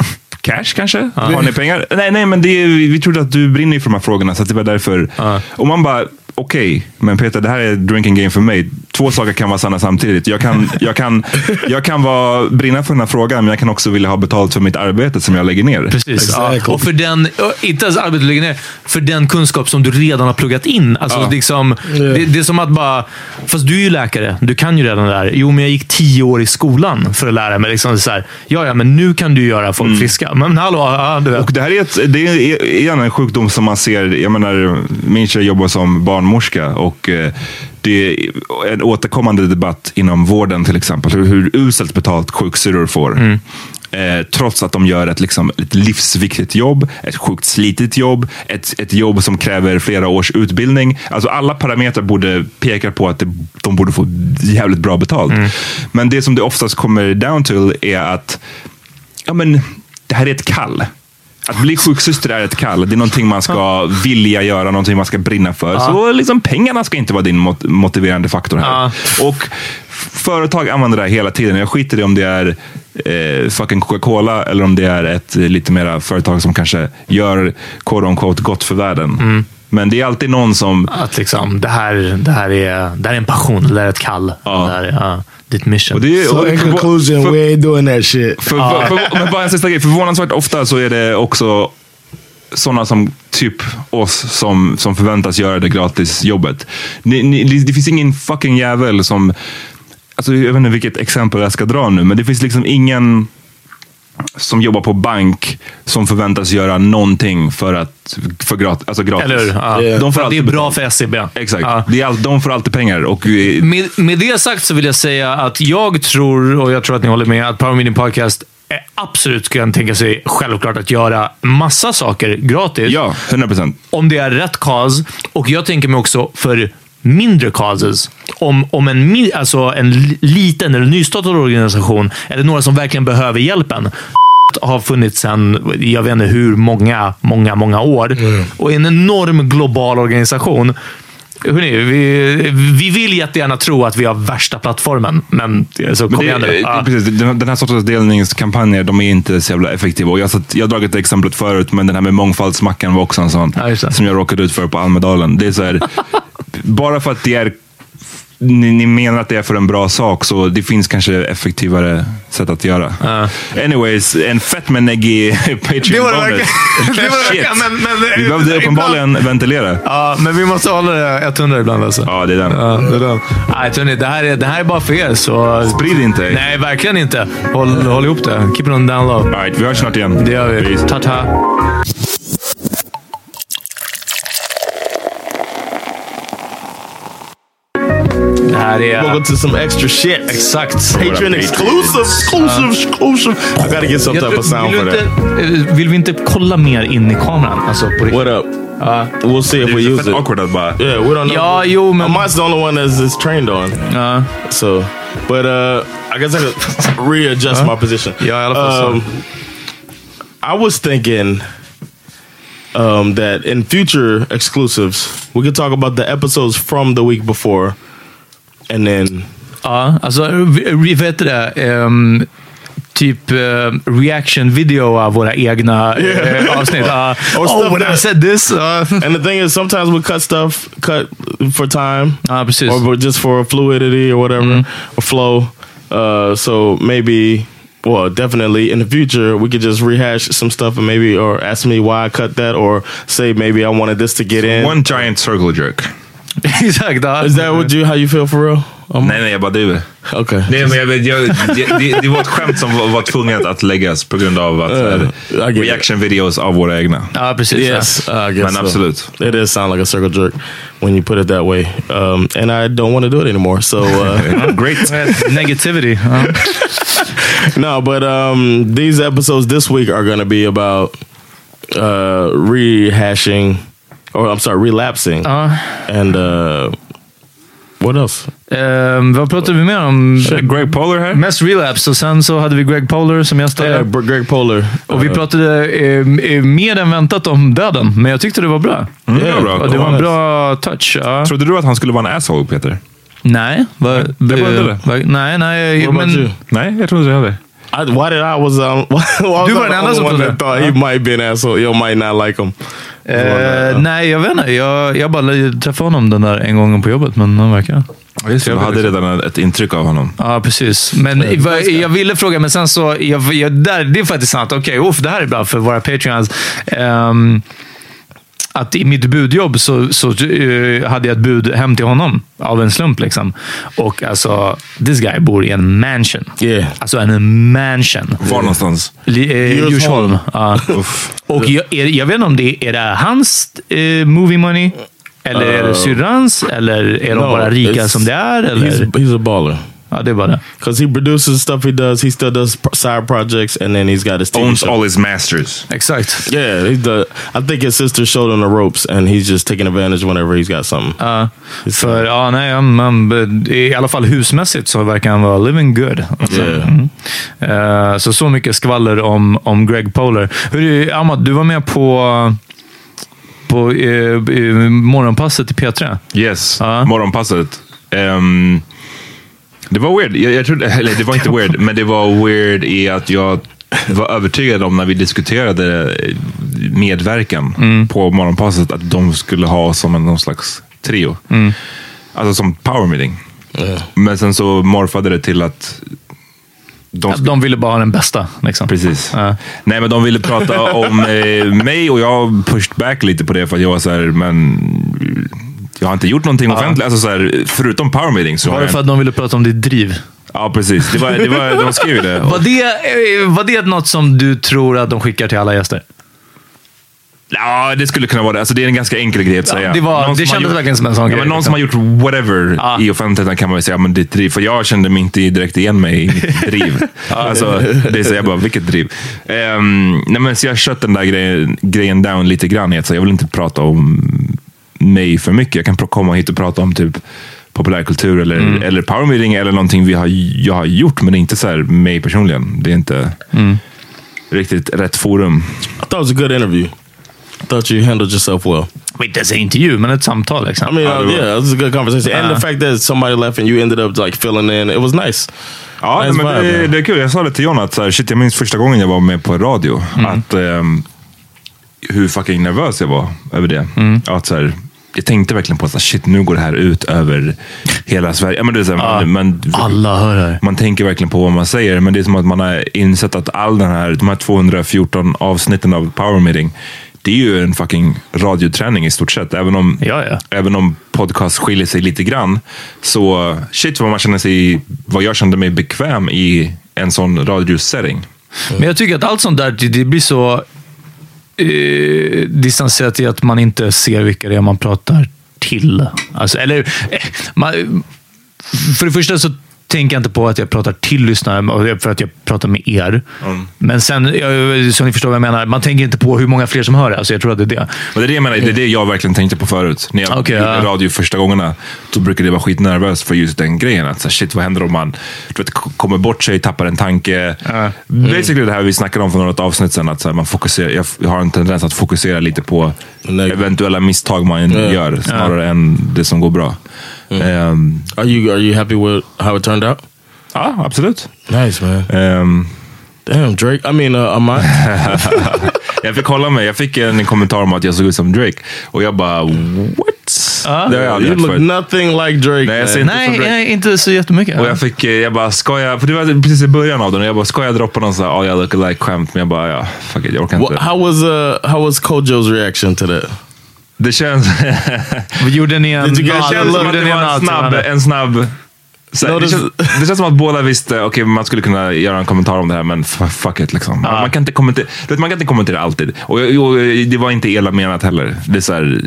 [SPEAKER 3] eh, cash kanske? Har ni pengar? Nej, nej men det är, vi trodde att du brinner ju för de här frågorna, så att det var därför.
[SPEAKER 2] Ja.
[SPEAKER 3] Och man bara, okej, men Peter, det här är drinking game för mig. Två saker kan vara sanna samtidigt. Jag kan, jag kan, jag kan vara, brinna för den här frågan, men jag kan också vilja ha betalt för mitt arbete som jag lägger ner.
[SPEAKER 2] Precis. Ja.
[SPEAKER 1] Exactly.
[SPEAKER 2] Och för den, ö, inte ens arbetet ligger ner, för den kunskap som du redan har pluggat in. Alltså, liksom, det, det är som att bara, fast du är ju läkare, du kan ju redan det där. Jo, men jag gick tio år i skolan för att lära mig. Liksom, så här, ja, ja, men nu kan du göra folk friska. Men hallå, ja, du vet.
[SPEAKER 3] Mm. Och det här är, ett, det är igen en sjukdom som man ser. Jag menar, min tjej jobbar som barnmorska och eh, det är en återkommande debatt inom vården till exempel. Hur, hur uselt betalt sjuksyrror får. Eh, trots att de gör ett, liksom, ett livsviktigt jobb, ett sjukt slitigt jobb, ett, ett jobb som kräver flera års utbildning. Alltså alla parametrar borde peka på att det, de borde få jävligt bra betalt. Men det som det oftast kommer down till är att ja, men, det här är ett kall. Att bli sjuksyster är ett kall. Det är någonting man ska vilja göra, någonting man ska brinna för. Så liksom, pengarna ska inte vara din mot- motiverande faktor här. Och f- företag använder det här hela tiden. Jag skiter i om det är eh, fucking Coca-Cola eller om det är ett eh, lite mera företag som kanske gör quote on quote gott för världen. Men det är alltid någon som...
[SPEAKER 2] Att liksom, det här, det, här är, det här är en passion, det här är ett kall.
[SPEAKER 3] Ja.
[SPEAKER 2] Det här är ja, ditt mission.
[SPEAKER 3] Och det är,
[SPEAKER 1] So
[SPEAKER 3] och
[SPEAKER 1] in
[SPEAKER 3] för-
[SPEAKER 1] conclusion,
[SPEAKER 3] för-
[SPEAKER 1] we ain't doing that shit.
[SPEAKER 3] För, för, men bara en sista grej. Förvånansvärt ofta så är det också sådana som typ oss som, som förväntas göra det gratisjobbet. Ni, ni, det finns ingen fucking jävel som... Alltså, jag vet inte vilket exempel jag ska dra nu, men det finns liksom ingen som jobbar på bank som förväntas göra någonting för att för grat, alltså gratis.
[SPEAKER 2] Eller hur? Ja.
[SPEAKER 3] De får
[SPEAKER 2] För att det är
[SPEAKER 3] alltid
[SPEAKER 2] bra för SCB.
[SPEAKER 3] Exakt.
[SPEAKER 2] Ja.
[SPEAKER 3] Det är all, de får alltid pengar. Och, eh,
[SPEAKER 2] med, med det sagt så vill jag säga att jag tror, och jag tror att ni håller med, att Power Meeting Podcast är absolut kan tänka sig självklart att göra massa saker gratis.
[SPEAKER 3] ja, 100 procent.
[SPEAKER 2] Om det är rätt cause. Och jag tänker mig också för mindre causes. Om, om en, mi- alltså en li- liten eller nystartad organisation, eller några som verkligen behöver hjälpen, har funnits sedan jag vet inte hur många, många, många år. Och är en enorm global organisation. Hörrni, vi, vi vill jättegärna tro att vi har värsta plattformen, men så kom
[SPEAKER 3] Men
[SPEAKER 2] igen
[SPEAKER 3] det,
[SPEAKER 2] nu. Ah.
[SPEAKER 3] eh,
[SPEAKER 2] Ja.
[SPEAKER 3] precis, den, den här sortens delningskampanjer, de är inte så jävla effektiva. Och jag, har satt, jag har dragit det exemplet förut, men den här med mångfaldsmackan var också en sån
[SPEAKER 2] Ja, just det.
[SPEAKER 3] som jag råkade ut för på Almedalen. Det är så här, bara för att det är ni, ni menar att det är för en bra sak, så det finns kanske effektivare sätt att göra. Anyways, en fett med neggy
[SPEAKER 2] Det
[SPEAKER 3] Patreon
[SPEAKER 2] var det
[SPEAKER 3] bonus.
[SPEAKER 2] verkligen. Det var det
[SPEAKER 3] Shit.
[SPEAKER 2] verkligen. Men, men,
[SPEAKER 3] Vi behövde uppenbarligen ventilera.
[SPEAKER 2] Ja, men vi måste hålla det 100 ibland alltså.
[SPEAKER 3] Ja, det är den.
[SPEAKER 2] Ja, det är den. Nej, Tony, det här är, det här är bara för er, så...
[SPEAKER 3] Sprid inte.
[SPEAKER 2] Nej, verkligen inte. Håll, håll ihop det. Keep it on down low.
[SPEAKER 3] All right, vi hörs snart igen.
[SPEAKER 2] Det gör vi.
[SPEAKER 3] Peace.
[SPEAKER 2] Ta-ta. Det här är...
[SPEAKER 1] Welcome to some extra shit.
[SPEAKER 2] Exakt.
[SPEAKER 1] Patreon exclusive, exclusive, exclusive. I gotta get some
[SPEAKER 2] Jag
[SPEAKER 1] type
[SPEAKER 2] tror-
[SPEAKER 1] of sound
[SPEAKER 2] vill
[SPEAKER 1] for
[SPEAKER 2] du
[SPEAKER 1] that.
[SPEAKER 2] inte- eh, Vill vi inte kolla mer in i kameran? Alltså, på riktigt.
[SPEAKER 1] What up? we'll see if
[SPEAKER 3] Det
[SPEAKER 1] we
[SPEAKER 3] är
[SPEAKER 1] use
[SPEAKER 3] fett
[SPEAKER 1] it.
[SPEAKER 3] awkward att bara...
[SPEAKER 1] Yeah, we don't know.
[SPEAKER 2] Ja, jo, men...
[SPEAKER 1] Ahmad's the only one that's, that's trained on.
[SPEAKER 2] Ja.
[SPEAKER 1] So, but uh, I guess I could readjust my position. Um,
[SPEAKER 2] Yeah, I love that
[SPEAKER 1] I was thinking um, that in future exclusives, we could talk about the episodes from the week before, and then
[SPEAKER 2] Ja, alltså, vi- vi- vet du det? Ehm, typ ehm, reaction video av våra egna eh, avsnitt. Ja.
[SPEAKER 1] Or
[SPEAKER 2] oh,
[SPEAKER 1] stuff
[SPEAKER 2] when I
[SPEAKER 1] that-
[SPEAKER 2] said this! ah. Ja,
[SPEAKER 1] and the thing is, sometimes we cut stuff cut for time,
[SPEAKER 2] Ja, precis.
[SPEAKER 1] or but just for fluidity or whatever, or flow. Uh, so maybe, well, definitely in the future, we could just rehash some stuff and maybe, or ask me why I cut that, or say maybe I wanted this to get in.
[SPEAKER 3] One giant circle jerk.
[SPEAKER 2] Exakt. ja.
[SPEAKER 1] Is that what you how you feel for real? Um,
[SPEAKER 3] Nej, nej, jag bara driver.
[SPEAKER 1] okay.
[SPEAKER 3] Nej, men jag, vet, jag, det, det, det var ett skämt som var, var tvunget att läggas på grund av att
[SPEAKER 1] Uh,
[SPEAKER 3] så här,
[SPEAKER 1] I get it.
[SPEAKER 3] reaction videos av våra egna.
[SPEAKER 2] Ja, precis.
[SPEAKER 1] Yes, I guess
[SPEAKER 3] Man,
[SPEAKER 1] so.
[SPEAKER 3] absolute.
[SPEAKER 1] It does sound like a circle jerk when you put it that way, um, and I don't want to do it anymore. So uh,
[SPEAKER 3] Great.
[SPEAKER 2] Negativity. Ja.
[SPEAKER 1] no, but um, these episodes this week are going to be about uh, rehashing, or I'm sorry, relapsing,
[SPEAKER 2] Ja.
[SPEAKER 1] and uh, what else?
[SPEAKER 2] Ehm, vad pratade vi mer om?
[SPEAKER 3] Greg Polar här.
[SPEAKER 2] Mest relapse och sen så hade vi Greg Polar som gästade.
[SPEAKER 1] Yeah, Br- Greg uh, Polar.
[SPEAKER 2] och vi pratade ehm, eh, mer än väntat om döden, men jag tyckte det var bra.
[SPEAKER 3] Mm, det var
[SPEAKER 2] Och
[SPEAKER 3] bra.
[SPEAKER 2] det var en bra touch. Ja.
[SPEAKER 3] Trodde du att han skulle vara en asshole, Peter?
[SPEAKER 2] Nej. Va,
[SPEAKER 3] det var
[SPEAKER 2] eh,
[SPEAKER 3] det.
[SPEAKER 2] va- nej, nej.
[SPEAKER 1] What about
[SPEAKER 2] men,
[SPEAKER 1] you?
[SPEAKER 3] Nej, jag trodde inte heller.
[SPEAKER 1] I, why did I was um? why was
[SPEAKER 2] You
[SPEAKER 1] I
[SPEAKER 2] were an
[SPEAKER 1] the only
[SPEAKER 2] asshole Uh-huh.
[SPEAKER 1] one
[SPEAKER 2] today.
[SPEAKER 1] that thought he might be an asshole. You might not like him.
[SPEAKER 2] Eh, nej, jag vet inte. Jag, jag bara träffade honom den där en gången på jobbet, men han verkar...
[SPEAKER 3] Jag hade redan ett intryck av honom.
[SPEAKER 2] Ja, precis. Men vad- jag ville fråga, men sen så... Jag, jag, där, det är faktiskt sant. Okej, uff, det här är bra för våra patreons. Ehm, att i mitt budjobb så, så eh, hade jag ett bud hem till honom av en slump. liksom. Och alltså, this guy bor i en mansion.
[SPEAKER 1] Yeah.
[SPEAKER 2] Alltså en mansion.
[SPEAKER 3] Var någonstans?
[SPEAKER 2] Li- eh,
[SPEAKER 1] Djursholm.
[SPEAKER 2] Djursholm. Ja. Och jag, är, jag vet inte om det är det hans eh, movie money, eller är det syrrans, eller är de
[SPEAKER 1] Eh, No,
[SPEAKER 2] bara rika
[SPEAKER 1] it's-
[SPEAKER 2] som det är?
[SPEAKER 1] He's
[SPEAKER 2] Eller?
[SPEAKER 1] he's a baller.
[SPEAKER 2] Ja, det är bara det.
[SPEAKER 1] Because he produces stuff he does. He still does pro- side projects, and then he's got his TV
[SPEAKER 3] Owns
[SPEAKER 1] show.
[SPEAKER 3] all his masters.
[SPEAKER 2] Exakt.
[SPEAKER 1] Yeah, he does. I think his sister showed him the ropes, and he's just taking advantage whenever he's got something.
[SPEAKER 2] Ja. för, ja, nej, han- han- I alla fall husmässigt så verkar han vara living good. Alltså.
[SPEAKER 1] Yeah.
[SPEAKER 2] Mm. Eh, så så mycket skvaller om, om Greg Polar. Hur, är- Ahmad, du var med på, på eh, eh, morgonpasset i P3.
[SPEAKER 3] Yes,
[SPEAKER 2] Ja.
[SPEAKER 3] morgonpasset. Ehm, det var weird. Jag, jag trodde, eller det var inte weird, men det var weird i att jag var övertygad om när vi diskuterade eh, medverkan på morgonpasset att de skulle ha som en, någon slags trio. Alltså som power meeting. Men sen så morfade det till att de
[SPEAKER 2] Att De ville bara ha den bästa. Liksom.
[SPEAKER 3] Precis.
[SPEAKER 2] Ja.
[SPEAKER 3] Nej, men de ville prata om eh, mig och jag pushed back lite på det för att jag var så här, men jag har inte gjort någonting offentligt. Alltså så här, förutom power meetings. Så har
[SPEAKER 2] Var det
[SPEAKER 3] jag,
[SPEAKER 2] för att de ville prata om ditt driv?
[SPEAKER 3] Ja, precis. Det var, det var, de skrev ju det.
[SPEAKER 2] Var det, eh, var det något som du tror att de skickar till alla gäster?
[SPEAKER 3] Ja, det skulle kunna vara det. Alltså, det är en ganska enkel grej att säga.
[SPEAKER 2] det var-
[SPEAKER 3] Någon
[SPEAKER 2] det
[SPEAKER 3] som har
[SPEAKER 2] kändes
[SPEAKER 3] gjort-
[SPEAKER 2] verkligen som en sån
[SPEAKER 3] ja,
[SPEAKER 2] grej,
[SPEAKER 3] Men någon
[SPEAKER 2] liksom.
[SPEAKER 3] som har gjort whatever
[SPEAKER 2] Ja.
[SPEAKER 3] i offentligheten kan man ju säga, men ditt driv. För jag kände mig inte direkt igen mig i mitt driv. alltså, det är så jag bara, vilket driv? Ehm, nej, men så jag kött den där grejen, grejen down lite grann. i att säga, jag vill inte prata om mig för mycket. Jag kan pro- komma hit och prata om typ populärkultur eller,
[SPEAKER 2] Mm.
[SPEAKER 3] eller power meeting eller någonting vi har, jag har gjort, men inte så här mig personligen. Det är inte
[SPEAKER 2] Mm.
[SPEAKER 3] riktigt rätt forum.
[SPEAKER 1] I thought it was a good interview. I thought you handled yourself well.
[SPEAKER 2] Inte ens en intervju, men ett samtal. Liksom.
[SPEAKER 1] I mean, uh, yeah, it was a good conversation, and
[SPEAKER 2] Uh.
[SPEAKER 1] the fact that somebody left and you ended up like filling in, it was nice.
[SPEAKER 3] Ja,
[SPEAKER 1] Nice
[SPEAKER 3] men
[SPEAKER 1] vibe,
[SPEAKER 3] det,
[SPEAKER 1] man.
[SPEAKER 3] det är kul. Jag sa det till John att så här, shit, jag minns första gången jag var med på radio. Att, ehm, hur fucking nervös jag var över det. Att, så här, jag tänkte verkligen på att shit, nu går det här ut över hela Sverige. Ja, men det är så här, man, man,
[SPEAKER 2] Alla hör det.
[SPEAKER 3] man tänker verkligen på vad man säger, men det är som att man har insett att all den här, de här 214 avsnitten av Power Meeting, det är ju en fucking radioträning i stort sett. Även om,
[SPEAKER 2] Ja, ja.
[SPEAKER 3] även om podcast skiljer sig lite grann, så shit vad man känner sig, vad jag kände mig bekväm i en sån radiosetting.
[SPEAKER 2] Men jag tycker att allt sånt där, det- det blir så eh, distanserat i att man inte ser vilka det är man pratar till. Alltså, eller, eh, man, för det första så tänker jag inte på att jag pratar till lyssnare och för att jag pratar med er.
[SPEAKER 3] Mm.
[SPEAKER 2] Men sen, eh, så ni förstår vad jag menar, man tänker inte på hur många fler som hör det. Alltså, jag tror att det är det.
[SPEAKER 3] Men det är det jag menar, det är det jag verkligen tänkte på förut. När jag
[SPEAKER 2] Okej,
[SPEAKER 3] gjorde
[SPEAKER 2] ja.
[SPEAKER 3] radio första gångerna, då brukade jag vara skitnervös för just den grejen. Att så här, shit, vad händer om man du vet, k- kommer bort sig, tappar en tanke? Mm.
[SPEAKER 2] Mm.
[SPEAKER 3] Basically det här vi snackade om för något avsnitt sedan, att så här, man fokuserar, jag f- jag har en tendens att fokusera lite på
[SPEAKER 1] Lägg.
[SPEAKER 3] eventuella misstag man gör, snarare än det som går bra. Ehm,
[SPEAKER 1] Are you are you happy with how it turned out?
[SPEAKER 3] ja, absolut.
[SPEAKER 1] Nice man.
[SPEAKER 3] Ehm,
[SPEAKER 1] Damn Drake. I mean uh, Amat.
[SPEAKER 3] Jag fick kolla mig. Jag fick en kommentar om att jag såg ut som Drake. Och jag bara, what? det har jag aldrig
[SPEAKER 1] you
[SPEAKER 3] hört
[SPEAKER 1] look
[SPEAKER 3] förut.
[SPEAKER 1] nothing like Drake.
[SPEAKER 3] Nej,
[SPEAKER 1] man.
[SPEAKER 3] jag ser inte så
[SPEAKER 2] Nej,
[SPEAKER 3] bra.
[SPEAKER 2] nej, inte så jättemycket.
[SPEAKER 3] Och jag fick, eh, jag bara, ska jag, för det var typ precis i början av den, och jag bara, ska jag droppa någon sån här, oh, jag look like skämt, men jag bara, ja, fuck it, jag orkar
[SPEAKER 1] Wha-
[SPEAKER 3] inte.
[SPEAKER 1] how was uh how was Kojo's reaction to that?
[SPEAKER 3] Det känns,
[SPEAKER 2] Gjorde ni en...
[SPEAKER 1] Det tycker jag
[SPEAKER 2] Ja,
[SPEAKER 3] det känns som att
[SPEAKER 2] gjorde
[SPEAKER 3] det
[SPEAKER 2] ni
[SPEAKER 3] var en
[SPEAKER 2] allt
[SPEAKER 3] snabb,
[SPEAKER 2] varandra?
[SPEAKER 3] en snabb så här,
[SPEAKER 1] No,
[SPEAKER 3] det,
[SPEAKER 1] det-
[SPEAKER 3] känns, det känns som att båda visste, okej man skulle kunna göra en kommentar om det här, men f- fuck it liksom. Man- Man, kan inte kommentera, du vet, man kan inte kommentera alltid. Och, jag- och eh, det var inte illa menat heller. Det, är så här,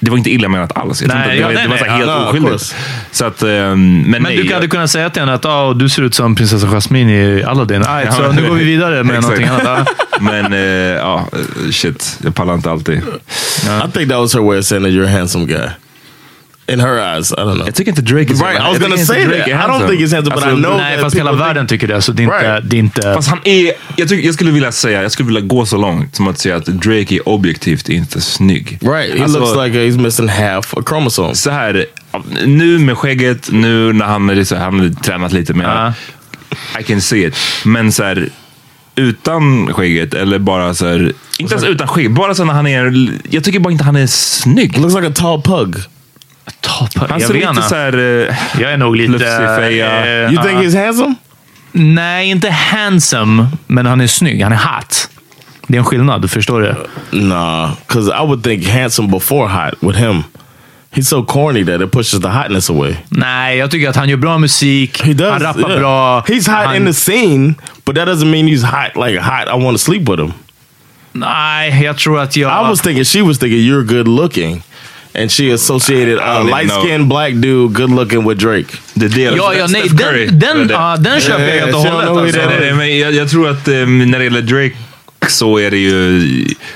[SPEAKER 3] det var inte illa menat alls. Jag tror
[SPEAKER 2] Nej,
[SPEAKER 3] inte, det,
[SPEAKER 2] ja,
[SPEAKER 3] var,
[SPEAKER 2] nej,
[SPEAKER 3] det var så här
[SPEAKER 2] nej,
[SPEAKER 3] helt
[SPEAKER 1] ja, of
[SPEAKER 3] oskyldigt.
[SPEAKER 1] course.
[SPEAKER 3] Så att, eh, men,
[SPEAKER 2] Men
[SPEAKER 3] nej,
[SPEAKER 2] du hade kunnat säga till henne att ah, du ser ut som prinsessa Jasmine i Aladdin. Right, så
[SPEAKER 3] men-
[SPEAKER 2] nu går vi vidare med
[SPEAKER 3] Exakt.
[SPEAKER 2] någonting annat. Ah.
[SPEAKER 3] Men eh, ja, shit. Jag pallar inte alltid.
[SPEAKER 1] I think that was her way of saying that you're a handsome guy. In her eyes, I don't know.
[SPEAKER 3] Jag tycker inte Drake är så-
[SPEAKER 1] Right, I was
[SPEAKER 3] jag tycker
[SPEAKER 1] gonna
[SPEAKER 3] inte
[SPEAKER 1] say
[SPEAKER 3] Drake
[SPEAKER 1] that.
[SPEAKER 3] är
[SPEAKER 1] I don't
[SPEAKER 3] handsome. Alltså,
[SPEAKER 1] think he's handsome, but I know-
[SPEAKER 2] Nej, fast hela världen tycker det. Så det är inte...
[SPEAKER 1] Right.
[SPEAKER 2] Det är inte
[SPEAKER 3] Fast han är, jag, tycker, jag skulle vilja säga, jag skulle vilja gå så långt som att säga att Drake är objektivt inte snygg.
[SPEAKER 1] Right, he
[SPEAKER 3] Alltså,
[SPEAKER 1] looks like he's missing half a chromosome.
[SPEAKER 3] Så här, nu med skägget, nu när han är så här, han har tränat lite mer.
[SPEAKER 2] Ja.
[SPEAKER 3] I can see it. Men så här, utan skägget eller bara så här, inte ens utan skägg, bara så när han är, jag tycker bara inte han är snygg.
[SPEAKER 1] Looks like a tall pug.
[SPEAKER 2] toppar.
[SPEAKER 3] Han
[SPEAKER 2] jag
[SPEAKER 3] ser
[SPEAKER 2] vet
[SPEAKER 3] lite
[SPEAKER 2] inte.
[SPEAKER 3] så här, eh,
[SPEAKER 2] Jag är nog lite...
[SPEAKER 3] Lufsig feja.
[SPEAKER 1] You
[SPEAKER 2] eh, ja.
[SPEAKER 1] think he's handsome?
[SPEAKER 2] Nej, inte handsome, men han är snygg. Han är hot. Det är en skillnad, förstår du?
[SPEAKER 1] Nah, because I would think handsome before hot with him. He's so corny that it pushes the hotness away.
[SPEAKER 2] Nej, jag tycker att han gör bra musik.
[SPEAKER 1] He does.
[SPEAKER 2] han rappar
[SPEAKER 1] yeah.
[SPEAKER 2] bra.
[SPEAKER 1] He's hot
[SPEAKER 2] han,
[SPEAKER 1] in the scene, but that doesn't mean he's hot like hot. I want to sleep with him.
[SPEAKER 2] Nej, jag tror att jag...
[SPEAKER 1] I was thinking she was thinking you're good looking, and she associated
[SPEAKER 3] I
[SPEAKER 1] a
[SPEAKER 3] don't even
[SPEAKER 1] light skinned black dude good looking with Drake.
[SPEAKER 3] det är det.
[SPEAKER 2] ja, ja,
[SPEAKER 3] Steph
[SPEAKER 2] nej,
[SPEAKER 3] Curry.
[SPEAKER 2] den, den,
[SPEAKER 3] Det är det.
[SPEAKER 2] ja, den köper jag
[SPEAKER 1] Yeah,
[SPEAKER 2] helt och
[SPEAKER 1] she don't
[SPEAKER 2] hållet.
[SPEAKER 1] know who
[SPEAKER 2] Alltså.
[SPEAKER 1] that
[SPEAKER 3] Nej, nej, men jag, jag tror att eh, när det gäller Drake så är det ju...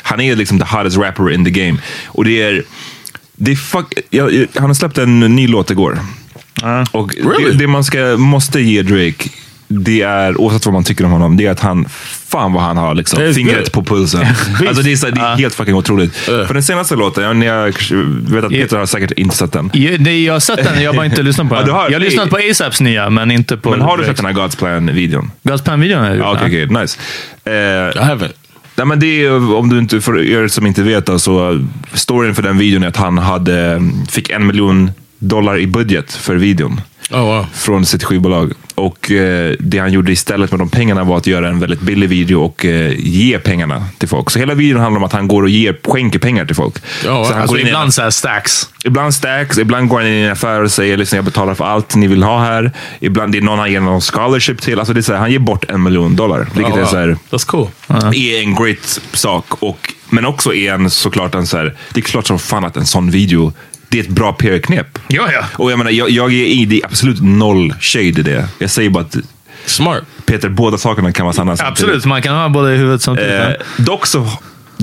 [SPEAKER 3] Han är liksom the hottest rapper in the game. Och det är... Det är fuck, jag, jag, han har släppt en ny låt igår.
[SPEAKER 1] Ah.
[SPEAKER 3] Och
[SPEAKER 1] Really?
[SPEAKER 3] det, det man ska, måste ge Drake, det är, oavsett vad man tycker om honom, det är att han, fan vad han har
[SPEAKER 1] Det är
[SPEAKER 3] liksom, fingret
[SPEAKER 1] good. Ah.
[SPEAKER 3] på pulsen. alltså det är, så, det är helt fucking otroligt.
[SPEAKER 1] Uh.
[SPEAKER 3] För den senaste låten, jag, jag vet att
[SPEAKER 2] Yeah.
[SPEAKER 3] Peter har säkert inte sett den.
[SPEAKER 2] Ja, nej, jag har sett den, jag har bara inte lyssnat på
[SPEAKER 3] Ja,
[SPEAKER 2] den.
[SPEAKER 3] du har-
[SPEAKER 2] jag har
[SPEAKER 3] det-
[SPEAKER 2] lyssnat på ASAPs nya, men inte på...
[SPEAKER 3] Men har du sett den här God's Plan-videon?
[SPEAKER 2] Gazpan-videon? har jag gjort,
[SPEAKER 3] Ja, Okej,
[SPEAKER 2] ja.
[SPEAKER 3] okej, nice. Eh,
[SPEAKER 1] I haven't.
[SPEAKER 3] Nej, men det är, om du inte, för er som inte vet, alltså, storyn för den videon är att han hade, fick en miljon dollar i budget för videon
[SPEAKER 1] Oh wow.
[SPEAKER 3] från sitt skivbolag. Och eh, det han gjorde istället med de pengarna var att göra en väldigt billig video och eh, ge pengarna till folk. Så hela videon handlar om att han går och ger, skänker pengar till folk. så han
[SPEAKER 2] Alltså,
[SPEAKER 3] går in i en
[SPEAKER 2] ibland såhär stacks.
[SPEAKER 3] Ibland stacks, ibland går han in i en affär och säger liksom, jag betalar för allt ni vill ha här. Ibland det är någon han ger någon scholarship till. Alltså, det är så här, han ger bort en miljon dollar. Vilket
[SPEAKER 1] Oh,
[SPEAKER 3] är
[SPEAKER 1] wow.
[SPEAKER 3] så här,
[SPEAKER 1] That's cool.
[SPEAKER 3] är en great sak. Och, men också är en såklart en så här, det är klart som fan att en sån video, det är ett bra PR-knep.
[SPEAKER 2] Ja, ja.
[SPEAKER 3] Och jag menar, jag, jag är i det är absolut noll shade i det. Jag säger bara att
[SPEAKER 1] Smart.
[SPEAKER 3] Peter, båda sakerna kan vara sanna. samtidigt.
[SPEAKER 2] Absolut, man kan ha båda i huvudet samtidigt.
[SPEAKER 3] Eh, dock så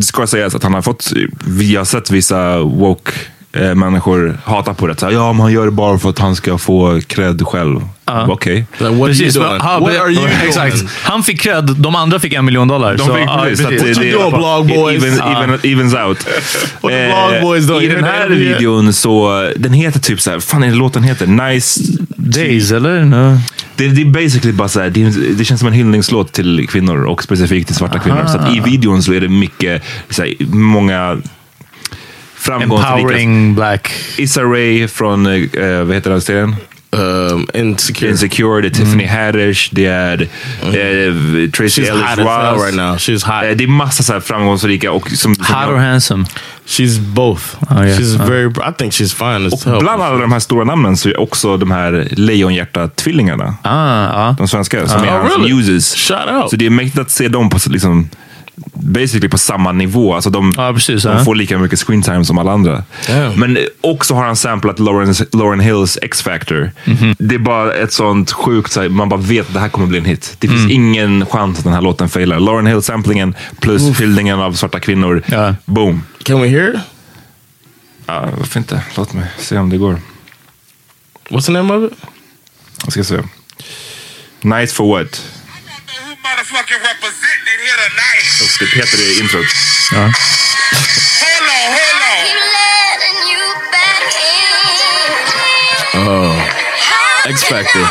[SPEAKER 3] ska jag säga att han har fått, vi har sett vissa woke eh, människor hata på det. Så här, ja, men han gör det bara för att han ska få cred själv. Okej.
[SPEAKER 1] Like, what
[SPEAKER 2] Precis,
[SPEAKER 1] are you
[SPEAKER 2] men-
[SPEAKER 1] doing?
[SPEAKER 2] ha,
[SPEAKER 1] what
[SPEAKER 2] be-
[SPEAKER 1] are you
[SPEAKER 2] Exakt.
[SPEAKER 1] doing?
[SPEAKER 2] Han fick cred, de andra fick en miljon dollar.
[SPEAKER 3] De
[SPEAKER 2] så,
[SPEAKER 3] fick
[SPEAKER 2] ja,
[SPEAKER 3] precis. så att det-
[SPEAKER 1] What you
[SPEAKER 3] det-
[SPEAKER 1] doing, blog
[SPEAKER 3] it
[SPEAKER 1] boys?
[SPEAKER 3] Even,
[SPEAKER 1] Ah.
[SPEAKER 3] even, evens out.
[SPEAKER 1] What the
[SPEAKER 3] Eh,
[SPEAKER 1] blog boys doing?
[SPEAKER 3] I den här
[SPEAKER 1] Yeah.
[SPEAKER 3] videon så, den heter typ så här, fan är det låten heter? Nice...
[SPEAKER 2] Days, eller? No.
[SPEAKER 3] Det, det är basically bara så här, det, är- det känns som en hyllningslåt till kvinnor och specifikt till svarta kvinnor. Så att i videon så är det mycket, så här, många framgångsrikaste.
[SPEAKER 2] Empowering black.
[SPEAKER 3] Issa Rae från, eh, vad heter den serien?
[SPEAKER 1] Um, insecure.
[SPEAKER 3] Insecure, det är Tiffany Haddish, det är eh, Tracy
[SPEAKER 1] Mm. She's hot
[SPEAKER 3] Ellis
[SPEAKER 1] as hell
[SPEAKER 3] Ross.
[SPEAKER 1] right now. She's hot.
[SPEAKER 3] Eh, det är massa så här framgångsrika och som, som
[SPEAKER 2] Hot or handsome?
[SPEAKER 1] She's both.
[SPEAKER 2] Oh, yeah.
[SPEAKER 1] She's
[SPEAKER 2] Oh.
[SPEAKER 1] very. I think she's fine as hell.
[SPEAKER 3] Och bland alla de här stora namnen så är också de här Lejonhjärta-tvillingarna.
[SPEAKER 2] Ah, ja.
[SPEAKER 3] De svenska som
[SPEAKER 1] Oh,
[SPEAKER 3] är hans
[SPEAKER 1] really?
[SPEAKER 3] muses.
[SPEAKER 1] Shout out.
[SPEAKER 3] Så det är mäktigt att se dem på liksom, basically på samma nivå. Alltså de,
[SPEAKER 2] Ja, precis,
[SPEAKER 3] de
[SPEAKER 2] ja.
[SPEAKER 3] får lika mycket screen time som alla andra.
[SPEAKER 1] Damn.
[SPEAKER 3] Men eh, också har han samplat Lauren, Lauren Hills X-Factor.
[SPEAKER 2] Mhm.
[SPEAKER 3] Det är bara ett sånt sjukt, så här, man bara vet att det här kommer bli en hit. Det
[SPEAKER 2] Mm.
[SPEAKER 3] finns ingen chans att den här låten failar. Lauren Hill-samplingen plus hyllningen av svarta kvinnor.
[SPEAKER 2] Ja.
[SPEAKER 3] Boom!
[SPEAKER 1] Can we hear? it?
[SPEAKER 3] Ja, varför inte? Låt mig se om det går.
[SPEAKER 1] What's the name of it?
[SPEAKER 3] Jag ska se. Nice for what?
[SPEAKER 5] Who motherfucking representing it here tonight?
[SPEAKER 3] Det heter det i introt.
[SPEAKER 5] Hold on, hold on.
[SPEAKER 1] Oh. X Factor.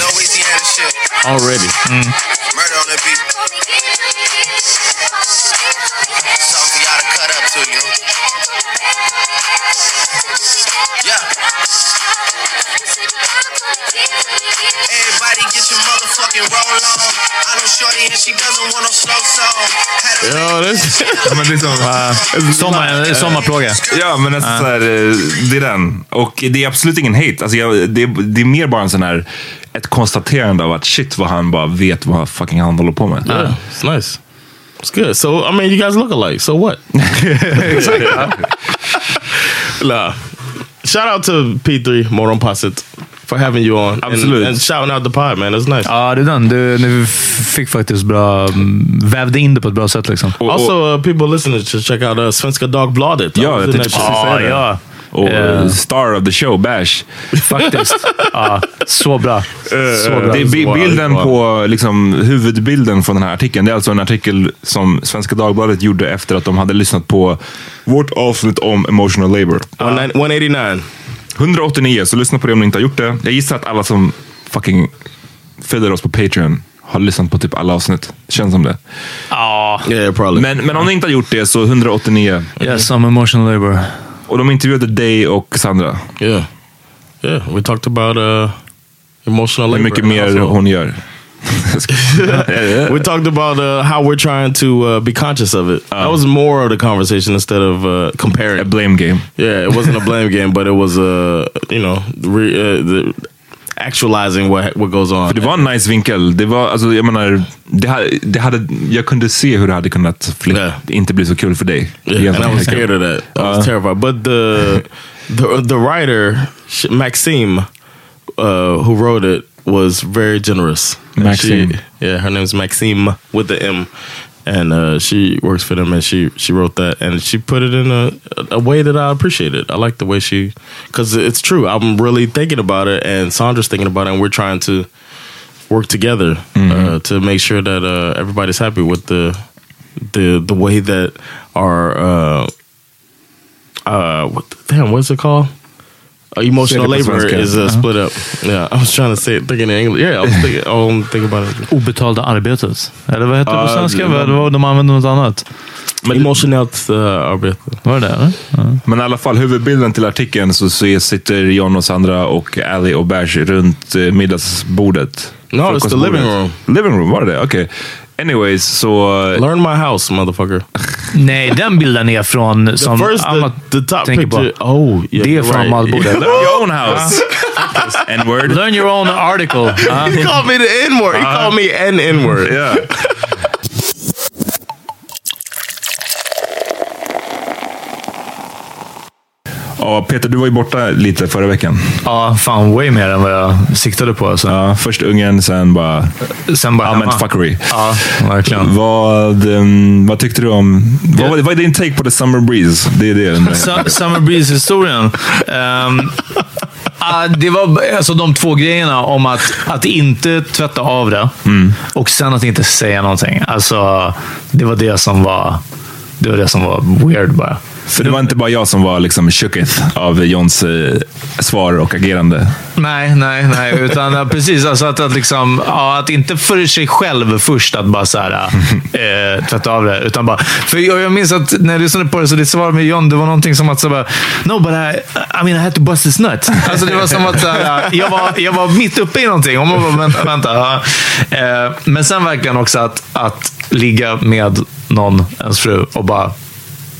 [SPEAKER 5] Louisiana shit.
[SPEAKER 1] Already.
[SPEAKER 2] Mm.
[SPEAKER 5] Murder on the beat. Something for y'all to cut up to, you. Yeah. Everybody get your motherfucking roll on. I know Shorty and she doesn't want no slow song. Had a
[SPEAKER 1] Yo, this.
[SPEAKER 3] Men liksom, eh,
[SPEAKER 2] Sommar, sommarplåga.
[SPEAKER 3] Ja, men alltså, så här, eh, det är den. Och det är absolut ingen hate. Alltså, jag, det, är, det är mer bara en sån här, ett konstaterande av att shit vad han bara vet vad fucking han håller på med.
[SPEAKER 1] Yeah, it's nice. It's good. So I mean, you guys look alike. So what? nah. Shout out to P3 Moron Posset for having you on. and-
[SPEAKER 3] Absolute.
[SPEAKER 1] And, shouting out the pod, man. That's nice.
[SPEAKER 2] Ja, det är den. Du, du fick faktiskt bra... mm, Vävde in det på ett bra sätt liksom.
[SPEAKER 3] Och-
[SPEAKER 1] also, uh, people listening to check out uh, Svenska Oh, Dog Bladet.
[SPEAKER 3] Ja, jag tänkte precis säga
[SPEAKER 2] Ja,
[SPEAKER 3] det.
[SPEAKER 2] ja.
[SPEAKER 3] Och
[SPEAKER 2] Eh.
[SPEAKER 3] star of the show, Bash.
[SPEAKER 2] Faktiskt. Ja, så bra. Så bra.
[SPEAKER 3] Eh, Det är bi- bilden på, liksom, huvudbilden från den här artikeln. Det är alltså en artikel som Svenska Dagbladet gjorde efter att de hade lyssnat på vårt avsnitt om emotional labor.
[SPEAKER 1] 189.
[SPEAKER 3] 189, så lyssna på det om ni inte har gjort det. Jag gissar att alla som fucking följer oss på Patreon har lyssnat på typ alla avsnitt. Känns som det.
[SPEAKER 2] Ja.
[SPEAKER 1] Yeah, probably.
[SPEAKER 3] Men, men om ni inte har gjort det så 189.
[SPEAKER 2] Yes, I'm emotional labor.
[SPEAKER 3] Och de intervjuade dig och Sandra.
[SPEAKER 1] Yeah. Yeah, we talked about uh, emotional
[SPEAKER 3] Hur
[SPEAKER 1] labor.
[SPEAKER 3] mycket
[SPEAKER 1] and
[SPEAKER 3] mer
[SPEAKER 1] also-
[SPEAKER 3] hon gör.
[SPEAKER 1] we talked about uh, how we're trying to uh, be conscious of it. that was more of the conversation instead of uh,
[SPEAKER 3] A
[SPEAKER 1] comparing.
[SPEAKER 3] blame game.
[SPEAKER 1] Yeah, it wasn't a blame game, but it was uh, you know re, uh, the, actualizing what what goes on.
[SPEAKER 3] För det var en nice vinkel. Det var, alltså, jag menar, det, ha- det hade, jag kunde se hur det hade kunnat fly-
[SPEAKER 1] Ja.
[SPEAKER 3] inte bli så kul för dig.
[SPEAKER 1] Yeah, and I was scared of that. I was terrified. But the the the writer Sh- Maxime, uh, who wrote it, was very generous. And
[SPEAKER 3] Maxime.
[SPEAKER 1] she, yeah, her name's Maxime with the M, and uh, she works for them. And she she wrote that, and she put it in a a way that I appreciated. I like the way she, because it's true. I'm really thinking about it, and Sandra's thinking about it, and we're trying to work together uh, to make sure that uh, everybody's happy with the the the way that our uh, uh, what the, damn what's it called? Uh, emotional
[SPEAKER 3] Say it in
[SPEAKER 1] labor
[SPEAKER 3] Svenska.
[SPEAKER 1] is uh, split up. Yeah, I was trying to say it, thinking in English. Yeah, I was thinking. oh, I'm thinking about it.
[SPEAKER 2] Obetalda arbetet. Eller vad heter det på
[SPEAKER 3] Ja,
[SPEAKER 2] svenska?
[SPEAKER 3] det-
[SPEAKER 2] Vad- det var- De använde något annat.
[SPEAKER 1] Emotionellt uh, arbete.
[SPEAKER 2] Var det det? eller? Ja.
[SPEAKER 3] Men i alla fall, huvudbilden till artikeln så, så sitter John och Sandra och Ali och Bash runt eh, middagsbordet.
[SPEAKER 1] No, it's the
[SPEAKER 3] Frukostbordet.
[SPEAKER 1] living room.
[SPEAKER 3] Living room, var det det? Okej. Anyways, så...
[SPEAKER 1] Learn my house, motherfucker.
[SPEAKER 2] Nej, den bilden är från...
[SPEAKER 1] The
[SPEAKER 2] Som
[SPEAKER 1] first, the,
[SPEAKER 2] Amat
[SPEAKER 1] the top
[SPEAKER 2] tänker på.
[SPEAKER 1] picture. Oh, yeah,
[SPEAKER 2] Det är
[SPEAKER 1] you're
[SPEAKER 2] från matbordet.
[SPEAKER 3] Learn your own house! N-word.
[SPEAKER 2] Learn your own article. Ja.
[SPEAKER 1] He called me the N word. He called me an N word.
[SPEAKER 3] Yeah. Ja, Peter, du var ju borta lite förra veckan.
[SPEAKER 2] Ja, fan way mer än vad jag siktade på. Alltså.
[SPEAKER 3] Ja, först Ungern, sen bara
[SPEAKER 2] Sen bara
[SPEAKER 3] allmänt
[SPEAKER 2] hemma.
[SPEAKER 3] fuckery.
[SPEAKER 2] Ja, verkligen.
[SPEAKER 3] Vad, ehm, vad tyckte du om... Vad, var- vad är din take på the summer breeze? Det är det jag undrar.
[SPEAKER 2] Su- Summer Breeze-historien. Ehm, ah, det var alltså de två grejerna om att, att inte tvätta av det och sen att inte säga någonting. Alltså, det var det som var det var det som var weird bara.
[SPEAKER 3] Så det var inte bara jag som var liksom shooketh av Johns eh, svar och agerande. Eh,
[SPEAKER 2] Nej, nej, nej. Utan ja, precis, alltså att, att, liksom, ja, att inte för sig själv först att bara så här, eh, tvätta av det. Utan bara, för jag, jag minns att när jag lyssnade på det, så det svar med John, det var någonting som att så bara, no, but I, I mean, I had to bust his nut. Alltså det var som att så här, jag, var, jag var mitt uppe i någonting. Och man bara, vänta, vänta. ja. Eh, men sen verkligen också att, att ligga med någon, ens fru, och bara,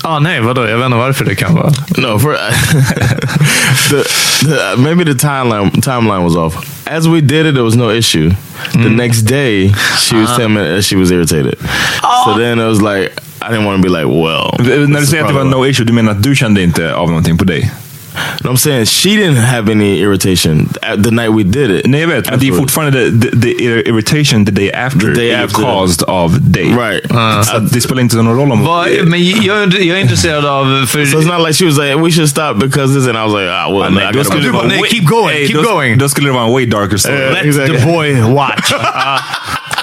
[SPEAKER 2] ah, nej, vadå? Jag vet inte varför det kan vara.
[SPEAKER 1] No, for the, the, maybe the timeline timeline was off. As we did it, there was no issue.
[SPEAKER 3] Mm.
[SPEAKER 1] The next day, she
[SPEAKER 3] Uh-huh.
[SPEAKER 1] was telling me that she was irritated.
[SPEAKER 3] Oh.
[SPEAKER 1] So then it was like I didn't want to be like, well.
[SPEAKER 3] När du
[SPEAKER 1] that's the
[SPEAKER 3] säger att det var
[SPEAKER 1] problem.
[SPEAKER 3] no issue, du menar att du kände inte av någonting på dig?
[SPEAKER 1] No, I'm saying she didn't have any irritation at the night we did it.
[SPEAKER 3] Nej, jag vet. Men det är
[SPEAKER 1] Absolutely.
[SPEAKER 3] fortfarande the, the, the irritation the day after.
[SPEAKER 1] The day
[SPEAKER 3] är ju
[SPEAKER 1] after.
[SPEAKER 3] caused av dig.
[SPEAKER 1] Right.
[SPEAKER 3] Så
[SPEAKER 2] Ah.
[SPEAKER 3] att det spelar inte någon roll om... Eh,
[SPEAKER 2] Vad- Men jag, jag är intresserad av... För,
[SPEAKER 1] So it's not like she was like, we should stop because this. And I was like, ah, well,
[SPEAKER 3] Nej,
[SPEAKER 1] I
[SPEAKER 3] då
[SPEAKER 1] gotta-
[SPEAKER 3] skulle det vara
[SPEAKER 2] nej,
[SPEAKER 3] way-
[SPEAKER 2] keep going,
[SPEAKER 3] Hey,
[SPEAKER 2] keep
[SPEAKER 3] då-
[SPEAKER 2] going.
[SPEAKER 3] Då skulle det vara en way darker story.
[SPEAKER 1] Eh, exactly.
[SPEAKER 2] boy watch.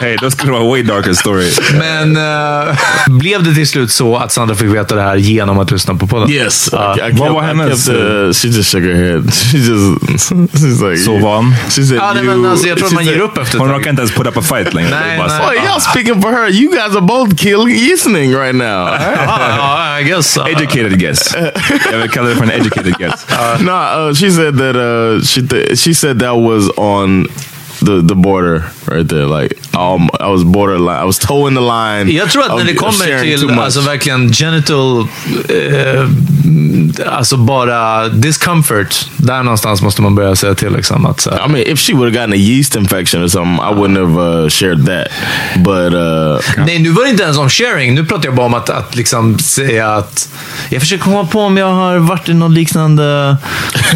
[SPEAKER 3] Hey, då skulle det vara en way darker story.
[SPEAKER 2] Men eh, blev det till slut så att Sandra fick veta det här genom att lyssna på podden?
[SPEAKER 1] Yes. I, I kept,
[SPEAKER 3] Uh, what
[SPEAKER 1] I
[SPEAKER 3] happened?
[SPEAKER 1] kept, uh, she just shook her head. She just, she's like,
[SPEAKER 3] So
[SPEAKER 1] you-
[SPEAKER 3] one.
[SPEAKER 1] She said,
[SPEAKER 2] Ja, nej,
[SPEAKER 1] you.
[SPEAKER 2] men alltså, jag tror
[SPEAKER 1] she
[SPEAKER 2] att man
[SPEAKER 1] said,
[SPEAKER 2] ger upp efter
[SPEAKER 3] Hon
[SPEAKER 2] ett
[SPEAKER 3] råkar
[SPEAKER 2] tag.
[SPEAKER 3] inte ens put up a fight längre.
[SPEAKER 2] Nej,
[SPEAKER 3] Det är bara
[SPEAKER 2] nej.
[SPEAKER 3] så-
[SPEAKER 1] Oh, y'all speaking for her. You guys are both killing listening right now.
[SPEAKER 2] Ja, ja, I guess. eh,
[SPEAKER 3] Educated guess. Jag vill kalla det för en educated guess.
[SPEAKER 1] no, uh, she said that. Uh, she th- she said that was on the the border right there. Like, um, I was borderline. I was toeing the line.
[SPEAKER 2] Jag tror att
[SPEAKER 1] of-
[SPEAKER 2] när det
[SPEAKER 1] of
[SPEAKER 2] kommer
[SPEAKER 1] sharing too
[SPEAKER 2] till
[SPEAKER 1] much.
[SPEAKER 2] alltså verkligen genital, eh, alltså bara discomfort. Där någonstans måste man börja säga till. Liksom, att, så här,
[SPEAKER 1] I mean, if she would have gotten a yeast infection or something, I wouldn't have uh, shared that. But uh,
[SPEAKER 2] Nej, nu var det inte ens om sharing. Nu pratar jag bara om att, att liksom säga att... Jag försöker komma på om jag har varit i någon liknande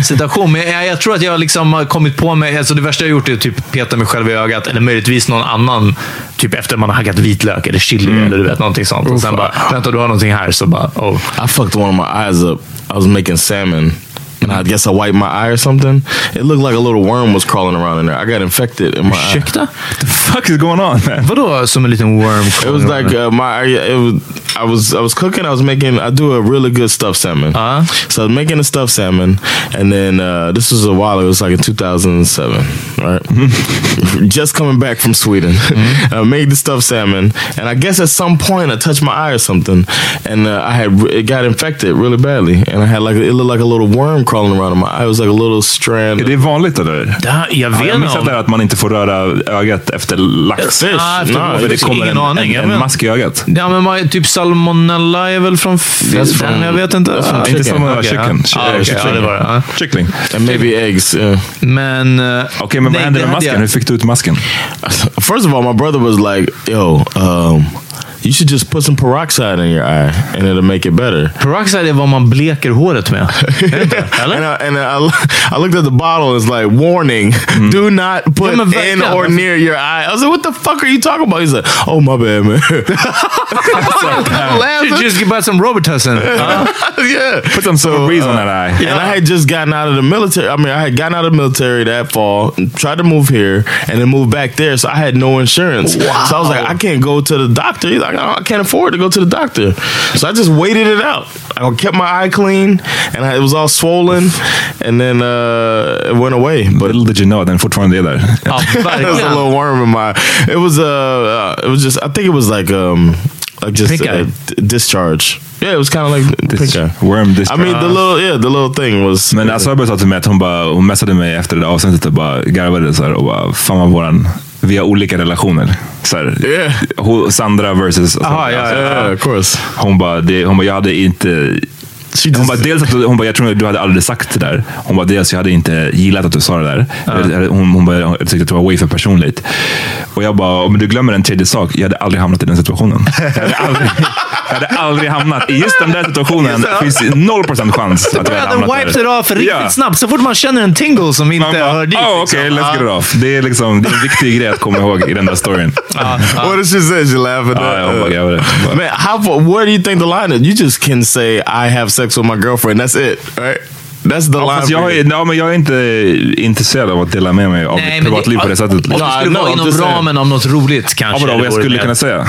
[SPEAKER 2] situation. Men jag, jag tror att jag liksom har kommit på mig... Alltså det värsta jag gjort är att typ peta mig själv i ögat. Eller möjligtvis någon annan. Typ efter man har hackat vitlök eller chili
[SPEAKER 1] Mm.
[SPEAKER 2] eller du vet, någonting sånt. Och sen bara, vänta du har någonting här. Så bara, oh.
[SPEAKER 1] I fucked one of my eyes up. I was making salmon, and I guess I wiped my eye or something. It looked like a little worm was crawling around in there. I got infected in my eye.
[SPEAKER 2] Ursäkta?
[SPEAKER 3] What the fuck is going on? man?
[SPEAKER 2] Vadå som en liten worm?
[SPEAKER 1] It was like uh, my it was, I was I was cooking. I was making. I do a really good stuffed salmon.
[SPEAKER 2] Uh-huh.
[SPEAKER 1] So I was making a stuffed salmon, and then uh, this was a while. It was like in 2007, right? Just coming back from Sweden, I made the stuffed salmon, and I guess at some point I touched my eye or something, and uh, I had it got infected really badly, and I had like it looked like a little worm crawling around in my eye. It was like a little strand.
[SPEAKER 3] Är det vanligt eller?
[SPEAKER 2] Ja, jag
[SPEAKER 3] Ja,
[SPEAKER 2] vet
[SPEAKER 3] Jag
[SPEAKER 2] inte.
[SPEAKER 3] missade det här att man inte får röra ögat efter lax.
[SPEAKER 1] Fish.
[SPEAKER 2] Ah, efter
[SPEAKER 1] no,
[SPEAKER 2] vårfisk.
[SPEAKER 3] För det kommer
[SPEAKER 2] Ingen
[SPEAKER 3] en,
[SPEAKER 2] aning, jag
[SPEAKER 3] en, en
[SPEAKER 2] vet.
[SPEAKER 3] mask i ögat.
[SPEAKER 2] Ja, men man, typ salmonella är väl från
[SPEAKER 1] That's
[SPEAKER 2] fisk?
[SPEAKER 1] from-
[SPEAKER 2] Jag vet inte.
[SPEAKER 1] that's from uh,
[SPEAKER 2] Ah,
[SPEAKER 1] chicken.
[SPEAKER 3] Inte som okay.
[SPEAKER 2] Okej, ja.
[SPEAKER 3] kyckling.
[SPEAKER 2] Ah, okej, ja, det var det. ja.
[SPEAKER 3] Kyckling.
[SPEAKER 1] and maybe eggs. Yeah.
[SPEAKER 2] Men... eh,
[SPEAKER 3] Okej, men vad
[SPEAKER 2] nej,
[SPEAKER 3] hände
[SPEAKER 2] det
[SPEAKER 3] med
[SPEAKER 2] hade jag-
[SPEAKER 3] masken? Hur fick du ut masken?
[SPEAKER 1] First of all, my brother was like, "Yo, um, you should just put some peroxide in your eye, and it'll make it better."
[SPEAKER 2] Peroxide är vad man bleker håret med. Är det inte?
[SPEAKER 1] And
[SPEAKER 2] Eller?
[SPEAKER 1] I, and I, I looked at the bottle. It's like warning: do not put
[SPEAKER 2] Yeah, man,
[SPEAKER 1] in
[SPEAKER 2] yeah,
[SPEAKER 1] or
[SPEAKER 2] man.
[SPEAKER 1] near your eye. I was like, "What the fuck are you talking about?" He's like, "Oh my bad, man."
[SPEAKER 2] Should just get by some Robitussin. Ja.
[SPEAKER 1] yeah.
[SPEAKER 3] Put some sort of breeze
[SPEAKER 1] uh,
[SPEAKER 3] on that eye.
[SPEAKER 1] And I had just gotten out of the military. I mean, I had gotten out of the military that fall, tried to move here, and then moved back there. So I had no insurance. So I was like, I can't go to the doctor. He's like, I can't afford to go to the doctor. So I just waited it out. I kept my eye clean, and I, it was all swollen, and then uh, it went away. But
[SPEAKER 3] Little did you know att den fortfarande är där.
[SPEAKER 2] Ja,
[SPEAKER 1] it was a
[SPEAKER 2] verkligen.
[SPEAKER 1] little worm in my. It was uh, uh, it was just. I think it was like um, like just
[SPEAKER 2] Pink eye.
[SPEAKER 1] uh, d- discharge. Yeah, it was kind of like pink eye.
[SPEAKER 3] Worm uh,
[SPEAKER 1] I
[SPEAKER 3] discharge.
[SPEAKER 1] mean, the little yeah, the little thing was.
[SPEAKER 3] Men Asabel sa till mig att hon, bara, hon messade mig efter det där avsnittet och bara garvade så här och bara, fan vad våran, vi har olika relationer. Så här,
[SPEAKER 1] Yeah.
[SPEAKER 3] hon- Sandra versus...
[SPEAKER 1] Aha, ja, ja, ja, of course.
[SPEAKER 3] Hon bara, det, hon bara, jag hade inte... Hon bara, dels att du- hon bara, jag tror att du hade aldrig sagt det där. Hon bara, dels jag hade inte gillat att du sa det där. Eller, Hon, hon bara, jag tyckte att det var way för personligt. Och jag bara, men du glömmer en tredje sak. Jag hade aldrig hamnat i den situationen. Jag hade aldrig, jag hade aldrig hamnat i just den där situationen. Det finns 0% chans att jag hade
[SPEAKER 2] Började
[SPEAKER 3] hamnat
[SPEAKER 2] wiped
[SPEAKER 3] där.
[SPEAKER 2] it off riktigt
[SPEAKER 3] Ja.
[SPEAKER 2] snabbt. Så fort man känner en tingle som inte
[SPEAKER 3] Man bara,
[SPEAKER 2] hör dit.
[SPEAKER 3] "Ah, okej,
[SPEAKER 2] liksom.
[SPEAKER 3] let's get it
[SPEAKER 2] Ja.
[SPEAKER 3] off. Det är, liksom, det är en viktig grej att komma ihåg i den där storyn.
[SPEAKER 1] What did she say? She laughing.
[SPEAKER 3] Ja,
[SPEAKER 1] at Uh,
[SPEAKER 3] jag bara, jag bara,
[SPEAKER 1] Man, how? far- Where do you think the line is? You just can say I have sex with my girlfriend. That's it, right? That's the
[SPEAKER 3] Ja,
[SPEAKER 1] line.
[SPEAKER 3] fast
[SPEAKER 1] for
[SPEAKER 3] jag,
[SPEAKER 1] you.
[SPEAKER 3] är, ja, men jag är inte intresserad av att dela med mig av
[SPEAKER 2] Nej,
[SPEAKER 3] mitt
[SPEAKER 2] men
[SPEAKER 3] privatliv
[SPEAKER 2] det-
[SPEAKER 3] på det sättet. liksom.
[SPEAKER 2] Om det
[SPEAKER 3] Ja,
[SPEAKER 2] skulle
[SPEAKER 1] no,
[SPEAKER 2] vara
[SPEAKER 1] I'm
[SPEAKER 2] inom
[SPEAKER 1] just saying.
[SPEAKER 2] ramen av något roligt kanske.
[SPEAKER 3] vadå,
[SPEAKER 2] det
[SPEAKER 3] vad jag
[SPEAKER 2] vore
[SPEAKER 3] skulle
[SPEAKER 2] mer-
[SPEAKER 3] kunna säga?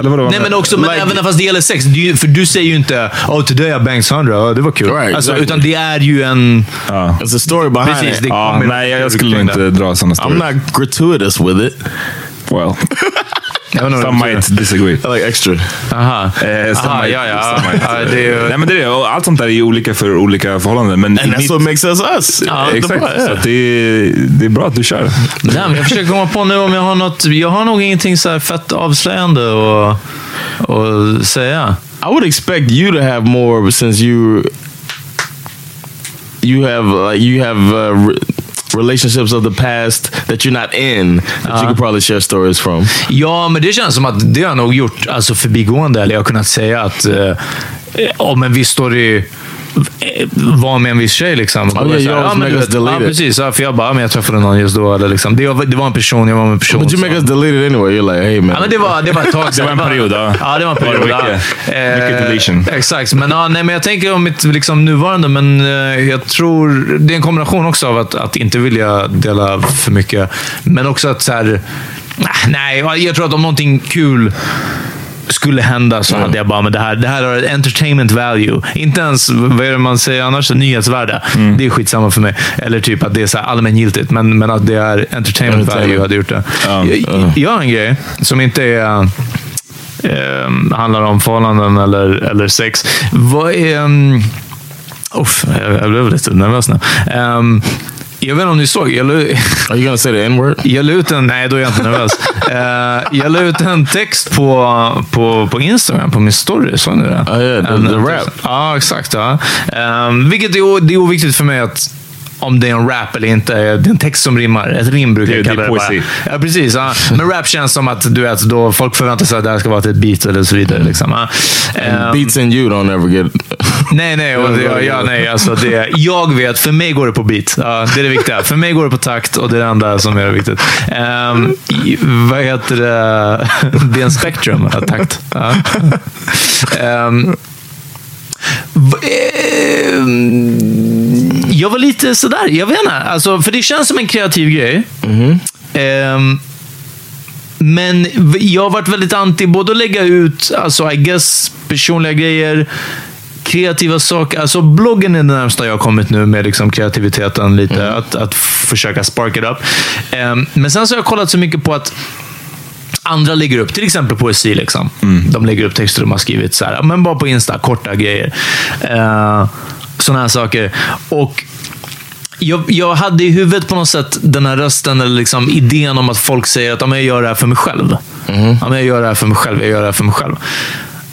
[SPEAKER 3] Eller vadå?
[SPEAKER 2] Nej, men också, men
[SPEAKER 1] Like-
[SPEAKER 2] även fast det gäller sex. Det är ju, för du säger ju inte oh, “Today I banged Sandra, oh, det var kul”.
[SPEAKER 1] Right,
[SPEAKER 2] alltså,
[SPEAKER 1] exactly.
[SPEAKER 2] Utan det är ju en...
[SPEAKER 1] There's a story behind
[SPEAKER 2] Precis,
[SPEAKER 1] it.
[SPEAKER 2] det
[SPEAKER 3] Ja,
[SPEAKER 2] kommer-
[SPEAKER 3] nej, jag skulle inte dra sådana
[SPEAKER 1] I'm
[SPEAKER 3] stories.
[SPEAKER 1] not gratuitous with it.
[SPEAKER 3] Well,
[SPEAKER 2] Jag vet inte vad
[SPEAKER 3] some
[SPEAKER 2] du säger.
[SPEAKER 3] might disagree.
[SPEAKER 1] I like extra.
[SPEAKER 2] Aha.
[SPEAKER 3] Eh, some
[SPEAKER 2] Aha,
[SPEAKER 3] might-
[SPEAKER 2] ja, ja.
[SPEAKER 3] some might-
[SPEAKER 2] Ja, det är ju-
[SPEAKER 3] Nej, men det är det. Och Allt sånt där är ju olika för olika förhållanden. Men alltså- i
[SPEAKER 1] And that's
[SPEAKER 3] mitt-
[SPEAKER 1] what makes us us.
[SPEAKER 2] Ja,
[SPEAKER 1] The
[SPEAKER 3] Exakt.
[SPEAKER 1] part,
[SPEAKER 3] Så
[SPEAKER 1] yeah.
[SPEAKER 3] att det, är, det är bra att du kör.
[SPEAKER 2] Nej, men jag försöker komma på nu om jag har något. Jag har nog ingenting så här fett avslöjande att att säga.
[SPEAKER 1] I would expect you to have more since you you have like you have uh, re- relationships of the past that you're not in that you could probably share stories from.
[SPEAKER 2] Ja, men det känns som att det har jag nog gjort alltså förbigående. Eller jag har kunnat säga att eh, om en viss story eh, var med en viss tjej. Liksom.
[SPEAKER 1] yeah,
[SPEAKER 2] Bara så
[SPEAKER 1] you
[SPEAKER 2] här,
[SPEAKER 1] always
[SPEAKER 2] men
[SPEAKER 1] make
[SPEAKER 2] du
[SPEAKER 1] us
[SPEAKER 2] vet,
[SPEAKER 1] delete
[SPEAKER 2] ja,
[SPEAKER 1] it.
[SPEAKER 2] precis. Ja, för jag bara, ja, men jag träffade någon just då. Eller liksom. det, var, det var en person, jag var med en person.
[SPEAKER 1] But you make
[SPEAKER 2] så.
[SPEAKER 1] us delete it anyway. You're like, hey man,
[SPEAKER 2] Ja, men det var, det var ett tag
[SPEAKER 3] Det
[SPEAKER 2] sedan.
[SPEAKER 3] var en period, ja.
[SPEAKER 2] Ja, det var en period. Eh,
[SPEAKER 3] Var det mycket- mycket deletion?
[SPEAKER 2] Exakt, men, ja, nej, men jag tänker om mitt liksom, nuvarande, men eh, jag tror det är en kombination också av att, att inte vilja dela för mycket, men också att så här, ah, nej, jag tror att om någonting kul skulle hända så hade jag bara, men det här, det här har ett entertainment value. Inte ens, vad är det man säger annars, nyhetsvärde. Det är skitsamma för mig. Eller typ att det är så här allmängiltigt, men, men att det är entertainment value hade gjort det. Jag, jag har en grej som inte är eh, handlar om förhållanden eller, eller sex. Vad är... Um, uff, jag, jag blev lite nervös nu. Ehm, jag vet inte om ni såg, jag, la-
[SPEAKER 1] are you gonna say the n word?
[SPEAKER 2] jag la ut en... Nej, då är jag inte nervös. Eh, jag la ut en text på, på, på Instagram, på min story. Såg ni det?
[SPEAKER 1] Ah, ja, the-
[SPEAKER 2] En-
[SPEAKER 1] the rap.
[SPEAKER 2] Ja, exakt. Ja. Ehm, vilket är, o- det är oviktigt för mig att om det är en rap eller inte. Det är en text som rimmar. Ett rim brukar
[SPEAKER 3] Det-
[SPEAKER 2] jag
[SPEAKER 3] det är
[SPEAKER 2] kalla det,
[SPEAKER 3] poesi.
[SPEAKER 2] bara. Ja, precis. Ja. Men rap känns som att du vet, då folk förväntar sig att det här ska vara till ett beat eller så vidare. Liksom. Ja. Ehm,
[SPEAKER 1] Beats and you don't ever get.
[SPEAKER 2] Nej, nej. Och det, ja, nej alltså det, jag vet, för mig går det på beat. Ja, det är det viktiga. För mig går det på takt och det är det enda som är det viktigt. Ehm, i- vad heter det? Det är en spektrum av takt. Ja. Ehm, v- ehm, jag var lite sådär, jag vet inte. Alltså, för det känns som en kreativ grej. Ehm, men v- jag har varit väldigt anti både att lägga ut, alltså I guess, personliga grejer, kreativa saker. Alltså bloggen är det närmsta jag har kommit nu med liksom kreativiteten lite. Att, att försöka spark it up. Ehm, men sen så har jag kollat så mycket på att andra lägger upp, till exempel poesi. Liksom. De lägger upp texter de har skrivit, så här, men bara på Insta, korta grejer. Uh, Sådana här saker. Och jag, jag hade i huvudet på något sätt den här rösten, eller liksom idén om att folk säger att "Ja, men jag gör det här för mig själv. Mm. Jag gör det här för mig själv, jag gör det här för mig själv.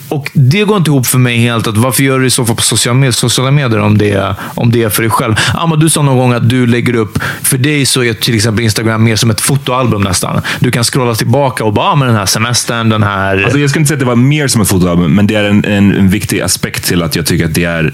[SPEAKER 2] Och Det går inte ihop för mig helt. att Varför gör du det i så fall på sociala medier, sociala medier om, det är, om det är för dig själv? Amma, du sa någon gång att du lägger upp... För dig så är till exempel Instagram mer som ett fotoalbum nästan. Du kan scrolla tillbaka och bara, ah, men den här semestern, den här...
[SPEAKER 3] Alltså, jag skulle inte säga att det var mer som ett fotoalbum, men det är en, en, en viktig aspekt till att jag tycker att det är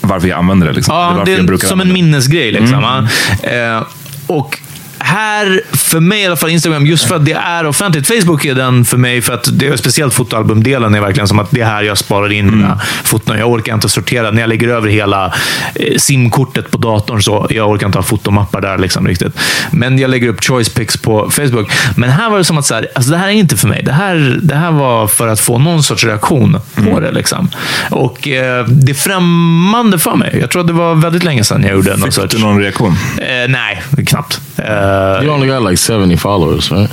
[SPEAKER 3] varför jag använder det. Liksom.
[SPEAKER 2] Ja,
[SPEAKER 3] varför
[SPEAKER 2] det
[SPEAKER 3] jag
[SPEAKER 2] är som en
[SPEAKER 3] använda Mm.
[SPEAKER 2] minnesgrej. Liksom, va? eh, och här, för mig i alla fall, Instagram, just för att det är offentligt. Facebook är den för mig, för att det är speciellt fotoalbumdelen är verkligen som att det är här jag sparar in
[SPEAKER 3] Mm.
[SPEAKER 2] mina foton. Jag orkar inte sortera. När jag lägger över hela eh, simkortet på datorn, så jag orkar inte ha fotomappar där liksom, riktigt. Men jag lägger upp choice pics på Facebook. Men här var det som att, så här, alltså, det här är inte för mig. Det här, det här var för att få någon sorts reaktion på
[SPEAKER 3] Mm.
[SPEAKER 2] det. Liksom. Och eh, det är främmande för mig. Jag tror att det var väldigt länge sedan jag gjorde någon
[SPEAKER 3] Fick
[SPEAKER 2] sorts...
[SPEAKER 3] du någon reaktion?
[SPEAKER 2] Eh, nej, knappt. Eh,
[SPEAKER 1] You only got like 70 followers, right?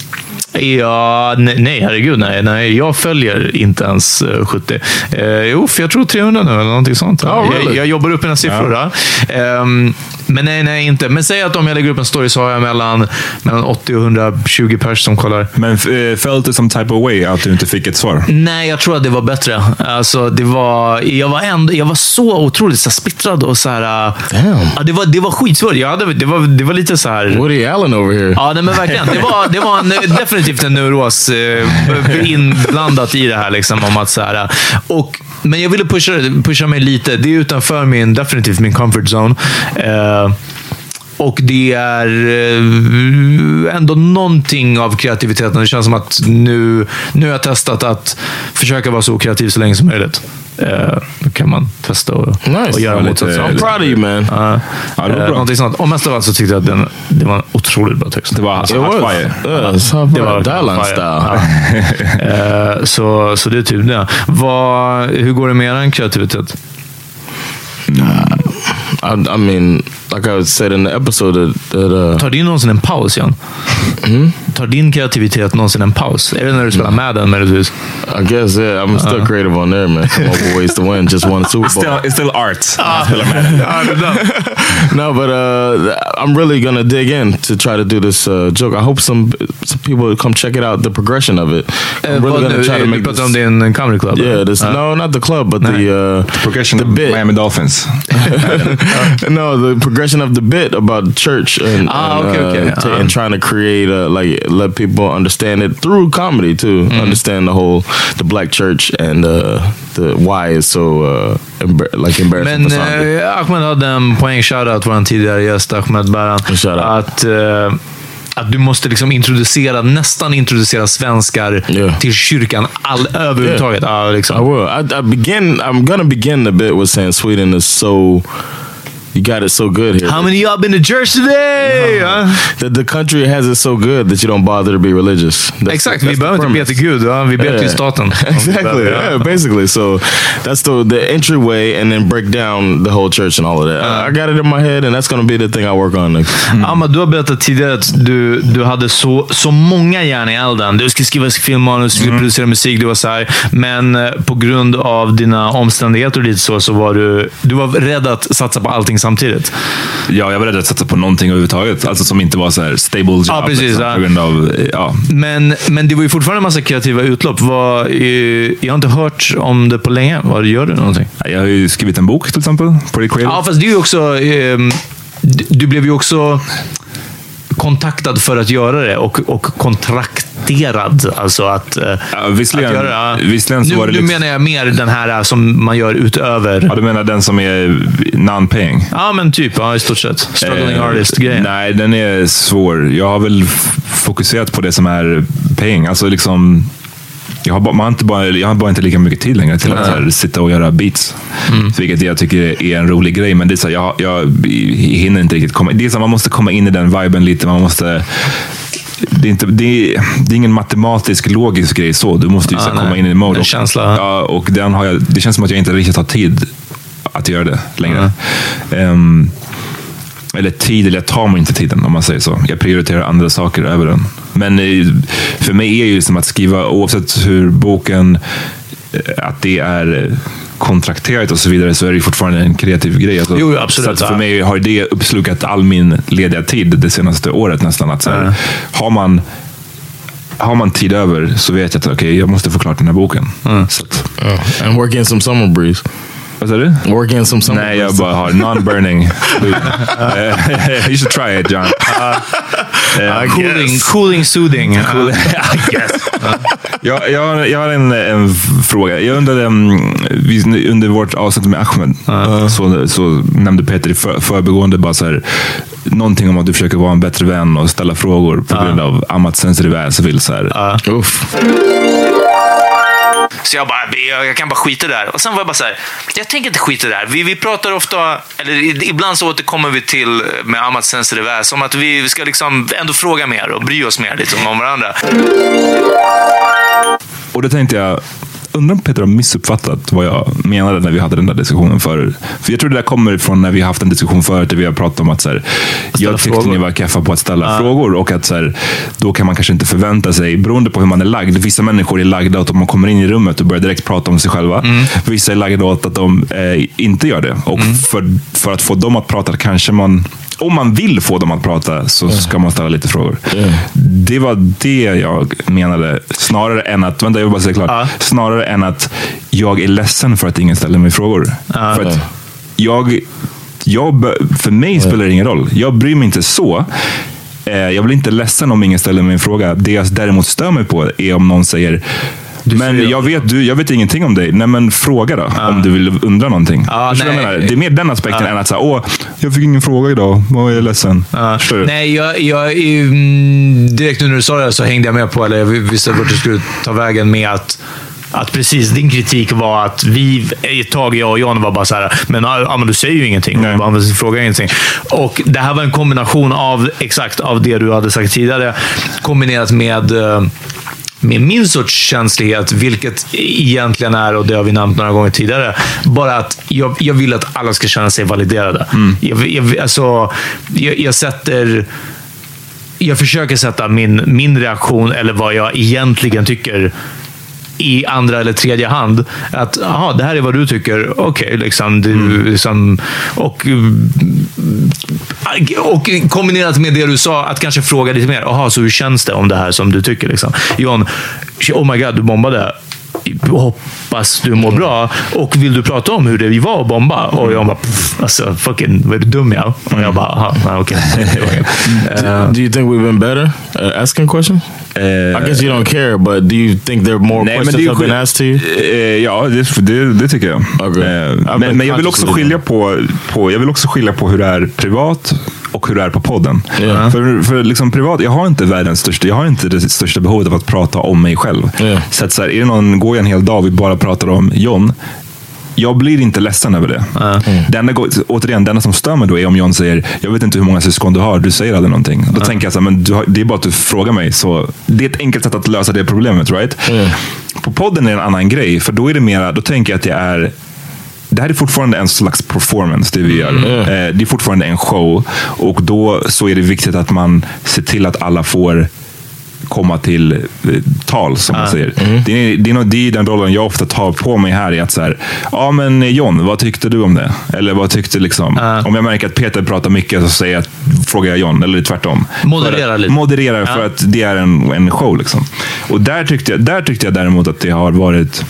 [SPEAKER 2] ja, ne- nej, herregud. Nej, nej, jag följer inte ens eh, 70. Eh, jo, för jag tror 300 nu eller någonting sånt. jag,
[SPEAKER 1] really?
[SPEAKER 2] jag jobbar upp mina siffror. ja. Ehm, men nej, nej, inte. Men säg att om jag lägger upp en story så har jag mellan, mellan 80 och 120 pers som kollar.
[SPEAKER 3] Men eh, felt det som type of way att du inte fick ett svar?
[SPEAKER 2] Nej, jag tror att det var bättre. Alltså, det var, jag, var ändå, jag var så otroligt så här, splittrad och så här... äh,
[SPEAKER 1] Damn.
[SPEAKER 2] Ja, det, var, det var skitsvårt. Jag hade, det, var, det var lite så här...
[SPEAKER 1] Woody Allen over here.
[SPEAKER 2] Ja, nej, men verkligen. Det var, det var en, eh, definitivt en neuros eh, inblandat i det här. Liksom, om att, så här och, men jag ville pusha, pusha mig lite. Det är utanför min, definitivt min comfort zone. Eh, och det är eh, ändå någonting av kreativiteten. Det känns som att nu, nu har jag testat att försöka vara så kreativ så länge som möjligt. Eh, då kan man testa och,
[SPEAKER 1] Nice.
[SPEAKER 2] och göra
[SPEAKER 1] Ja,
[SPEAKER 2] motsatsen.
[SPEAKER 1] lite- I'm proud of you, man.
[SPEAKER 2] Ja,
[SPEAKER 3] Ja, det var
[SPEAKER 2] eh,
[SPEAKER 3] bra.
[SPEAKER 2] någonting sånt. Och mest av allt så tyckte jag att den, det var en otroligt bra text.
[SPEAKER 3] Det var alltså,
[SPEAKER 1] It
[SPEAKER 3] hot
[SPEAKER 1] was.
[SPEAKER 3] fire.
[SPEAKER 1] Yeah, it's hot
[SPEAKER 2] Det
[SPEAKER 1] fire.
[SPEAKER 2] var
[SPEAKER 1] Dylan
[SPEAKER 2] fire.
[SPEAKER 1] style.
[SPEAKER 2] Ja. Eh, så, så det är typ det. Vad, hur går det med den kreativitet?
[SPEAKER 1] I, I mean, like I said in the episode that, that uh,
[SPEAKER 2] Tar din någonsin en paus, Jan? Tar din kreativitet någonsin en paus? Är det när du spelar med den möjligtvis?
[SPEAKER 1] I guess yeah, I'm still creative on there, man. Come up with ways to win. Just won the Super Bowl.
[SPEAKER 3] Still, it's still art.
[SPEAKER 1] no, but uh, I'm really gonna dig in to try to do this uh, joke. I hope some some people would come check it out. The progression of it. I'm
[SPEAKER 2] Eh,
[SPEAKER 1] really
[SPEAKER 2] vad
[SPEAKER 1] gonna
[SPEAKER 2] nu?
[SPEAKER 1] try to
[SPEAKER 2] Eh,
[SPEAKER 1] make
[SPEAKER 2] Du pratar om
[SPEAKER 1] this.
[SPEAKER 2] din comedy club?
[SPEAKER 1] Yeah,
[SPEAKER 2] eller?
[SPEAKER 1] this
[SPEAKER 2] Ja.
[SPEAKER 1] no, not the club, but the uh,
[SPEAKER 3] Progression
[SPEAKER 1] the
[SPEAKER 3] of
[SPEAKER 1] bit.
[SPEAKER 3] Miami Dolphins.
[SPEAKER 1] no, the progression of the bit about church and
[SPEAKER 2] Ah,
[SPEAKER 1] and,
[SPEAKER 2] okay, okay.
[SPEAKER 1] ta-
[SPEAKER 2] Uh-huh.
[SPEAKER 1] and trying to create a, like let people understand it through comedy too.
[SPEAKER 2] Mm-hmm.
[SPEAKER 1] Understand the whole the black church and uh, the why is so uh, embar- like embarrassing.
[SPEAKER 2] Men
[SPEAKER 1] for some.
[SPEAKER 2] eh, Ahmed hade en poäng, shoutout, vår tidigare gäst Ahmed Baran.
[SPEAKER 1] Shoutout.
[SPEAKER 2] Att, eh, att du måste liksom introducera, nästan introducera svenskar
[SPEAKER 1] Yeah.
[SPEAKER 2] till kyrkan all, överhuvudtaget. Ja, liksom.
[SPEAKER 1] I will. I, I begin. I'm gonna begin the bit with saying Sweden is so. You got it so good here.
[SPEAKER 2] How many of y'all been to church today? Ja.
[SPEAKER 1] The, the country has it so good that you don't bother to be religious. That's-
[SPEAKER 2] Exakt,
[SPEAKER 1] that's
[SPEAKER 2] vi
[SPEAKER 1] the
[SPEAKER 2] behöver inte be
[SPEAKER 1] premise.
[SPEAKER 2] till Gud. Ja? Vi ber till
[SPEAKER 1] Yeah.
[SPEAKER 2] staten.
[SPEAKER 1] Exactly. Yeah, basically. So that's the the entryway, and then break down the whole church and all of that. I, I got it in my head, and that's gonna be the thing I work on next.
[SPEAKER 2] Amma, du har berättat tidigare att du, du hade så, så många järn i elden. Du skulle skriva filmmanus, du skulle producera musik, du var så här. Men eh, på grund av dina omständigheter och lite så, så var du, du var rädd att satsa på allting samtidigt.
[SPEAKER 3] Ja, jag var rädd att satsa på någonting överhuvudtaget. Alltså som inte var så här stable job.
[SPEAKER 2] Ja, precis,
[SPEAKER 3] liksom,
[SPEAKER 2] ja.
[SPEAKER 3] På grund av, eh, ja.
[SPEAKER 2] Men, men det var ju fortfarande en massa kreativa utlopp. Vad, eh, jag har inte hört om det på länge. Vad Gör du någonting?
[SPEAKER 3] Jag har ju skrivit en bok till exempel. Pretty creative.
[SPEAKER 2] Ja, fast det är ju också... ehm, d- du blev ju också kontaktad för att göra det och, och kontrakterad. Alltså att, eh,
[SPEAKER 3] Ja, visserligen-
[SPEAKER 2] att göra det.
[SPEAKER 3] visserligen så
[SPEAKER 2] nu,
[SPEAKER 3] var det
[SPEAKER 2] nu
[SPEAKER 3] liksom-
[SPEAKER 2] menar jag mer den här eh, som man gör utöver...
[SPEAKER 3] Ja, du menar den som är non-paying?
[SPEAKER 2] Ja, men typ. Ja, I stort sett. Struggling
[SPEAKER 3] Eh,
[SPEAKER 2] artist-grejen.
[SPEAKER 3] Nej, den är svår. Jag har väl f- fokuserat på det som är paying. Alltså liksom, jag, har bara, man har inte bara, jag har bara inte lika mycket tid längre till att så här, sitta och göra beats.
[SPEAKER 2] Mm.
[SPEAKER 3] Vilket jag tycker är en rolig grej, men det är så här, jag, jag hinner inte riktigt komma... Det är så här, man måste komma in i den viben lite. Man måste... Det är, inte, det, är, det är ingen matematisk, logisk grej så. Du måste ju så här,
[SPEAKER 2] nej.
[SPEAKER 3] komma in i mode.
[SPEAKER 2] En
[SPEAKER 3] och-
[SPEAKER 2] känsla.
[SPEAKER 3] Ja, och den har jag, det känns som att jag inte riktigt har tid att göra det längre. Ehm, eller tid, eller jag tar mig inte tiden om man säger så. Jag prioriterar andra saker över den. Men eh, för mig är ju som att skriva, oavsett hur boken, eh, att det är eh, kontrakterat och så vidare, så är det ju fortfarande en kreativ grej. Alltså,
[SPEAKER 2] Jo, jo, absolut,
[SPEAKER 3] så att för
[SPEAKER 2] ja.
[SPEAKER 3] mig har det uppslukat all min lediga tid det senaste året nästan. Att så här, har man har man tid över så vet jag att okej, jag måste få klart den här boken.
[SPEAKER 2] Mm.
[SPEAKER 3] Så att,
[SPEAKER 1] and work in some summer breeze.
[SPEAKER 3] vad sa du?
[SPEAKER 1] Work in some summer.
[SPEAKER 3] Nej,
[SPEAKER 1] breeze.
[SPEAKER 3] jag bara har non-burning. Eh, you should try it John. Eh,
[SPEAKER 2] Cooling, cooling soothing. Ja.
[SPEAKER 3] jag, jag, har- jag har en, en fråga. Jag undrade, mm, vi, under vårt avsnitt med Ahmed så, så nämnde Peter i för, förbigående bara så här, någonting om att du försöker vara en bättre vän och ställa frågor på grund av Amats sensitiva vill så här.
[SPEAKER 1] Oof.
[SPEAKER 2] Så jag bara, jag, jag kan bara skita där. Och sen var jag bara så här, jag tänker inte skita där. Vi, vi pratar ofta, eller i- ibland så återkommer vi till med Amat Senserivä, som att vi ska liksom ändå fråga mer och bry oss mer liksom, om varandra.
[SPEAKER 3] Och då tänkte jag, undrar om Peter har missuppfattat vad jag menade när vi hade den där diskussionen förut. För jag tror det där kommer ifrån när vi har haft en diskussion förut där vi har pratat om att så här, jag tyckte
[SPEAKER 2] frågor.
[SPEAKER 3] ni var keffa på att ställa frågor och att så här, då kan man kanske inte förvänta sig, beroende på hur man är lagd. Vissa människor är lagda åt att man kommer in i rummet och börjar direkt prata om sig själva. Vissa är lagda åt att de eh, inte gör det. Och för, för att få dem att prata kanske man om man vill få dem att prata så ska man ställa lite frågor. Det var det jag menade. Snarare än att, vänta jag vill bara säga klart. Snarare än att jag är ledsen för att ingen ställer mig frågor. För att jag, jag, bö- för mig spelar det ingen roll. Jag bryr mig inte så. Eh, Jag blir inte ledsen om ingen ställer mig en fråga. Det jag däremot stör mig på är om någon säger men jag vet, du, jag vet ingenting om dig. Nej, men fråga då. Om du vill undra någonting.
[SPEAKER 2] Ja,
[SPEAKER 3] Förstår du vad jag
[SPEAKER 2] nej.
[SPEAKER 3] menar? Det är mer den aspekten än att säga, åh, jag fick ingen fråga idag. Vad är jag ledsen? Förstår du?
[SPEAKER 2] Nej, jag, jag, mm, direkt nu när du sa det här så hängde jag med på, eller jag visste vart du skulle ta vägen med att Att precis din kritik var att vi, ett tag jag och John var bara så här, men, ja, men du säger ju ingenting.
[SPEAKER 3] Nej.
[SPEAKER 2] Du bara, "Men frågar ingenting. Och det här var en kombination av exakt av det du hade sagt tidigare, kombinerat med eh, med min sorts känslighet, vilket egentligen är, och det har vi nämnt några gånger tidigare, bara att jag, jag vill att alla ska känna sig validerade. Jag, jag, alltså, jag, jag sätter jag försöker sätta min, min reaktion, eller vad jag egentligen tycker, i andra eller tredje hand. Att aha, det här är vad du tycker. Okej, liksom, du, liksom, och, och kombinerat med det du sa, att kanske fråga lite mer. Aha, så hur känns det om det här som du tycker? Liksom? John, oh my god, du bombade. Hoppas du mår bra. Och vill du prata om hur det var att bomba? Och jag bara, pff, alltså fucking, vad är du dum jag? Och jag bara, aha, nej, okej. Eh,
[SPEAKER 1] do you think we've been better at asking questions? I guess you don't care, but do you think there are more
[SPEAKER 3] Nej, men
[SPEAKER 1] questions
[SPEAKER 3] det är ju
[SPEAKER 1] have been
[SPEAKER 3] skil-
[SPEAKER 1] asked to you?
[SPEAKER 3] Eh, ja, det, det, det tycker jag.
[SPEAKER 1] Okej.
[SPEAKER 3] Eh,
[SPEAKER 1] Ja, men
[SPEAKER 3] men, men jag vill också
[SPEAKER 1] kanske så.
[SPEAKER 3] skilja på, på, jag vill också skilja på hur det är privat och hur det är på podden.
[SPEAKER 1] Ja.
[SPEAKER 3] För, för liksom privat, jag har inte världens största, jag har inte det största behovet av att prata om mig själv.
[SPEAKER 1] Ja.
[SPEAKER 3] Så att så här, är det någon, går jag en hel dag och vi bara pratar om John, jag blir inte ledsen över det. Mm. Det enda, gå- återigen, det enda som stör mig då är om John säger jag vet inte hur många syskon du har, du säger aldrig någonting. Då tänker jag så här, men du har, det är bara att du frågar mig. Så det är ett enkelt sätt att lösa det problemet. right? På podden är det en annan grej, för då är det mera, då tänker jag att jag är det här är fortfarande en slags performance, det vi gör.
[SPEAKER 2] Mm.
[SPEAKER 3] Eh, Det är fortfarande en show. Och då så är det viktigt att man ser till att alla får komma till eh, tal, som
[SPEAKER 2] Ah.
[SPEAKER 3] man säger.
[SPEAKER 2] Mm.
[SPEAKER 3] Det, är, det, är nog, det är den rollen jag ofta tar på mig här. Är att så här, ja men eh, John, vad tyckte du om det? Eller vad tyckte liksom...
[SPEAKER 2] Ah.
[SPEAKER 3] Om jag märker att Peter pratar mycket så säger jag, att- frågar jag John, eller tvärtom.
[SPEAKER 2] Moderera
[SPEAKER 3] För att-
[SPEAKER 2] lite. Ah.
[SPEAKER 3] Moderera, för
[SPEAKER 2] Ja.
[SPEAKER 3] att det är en, en show. Liksom. Och där tyckte, jag, där tyckte jag däremot att det har varit...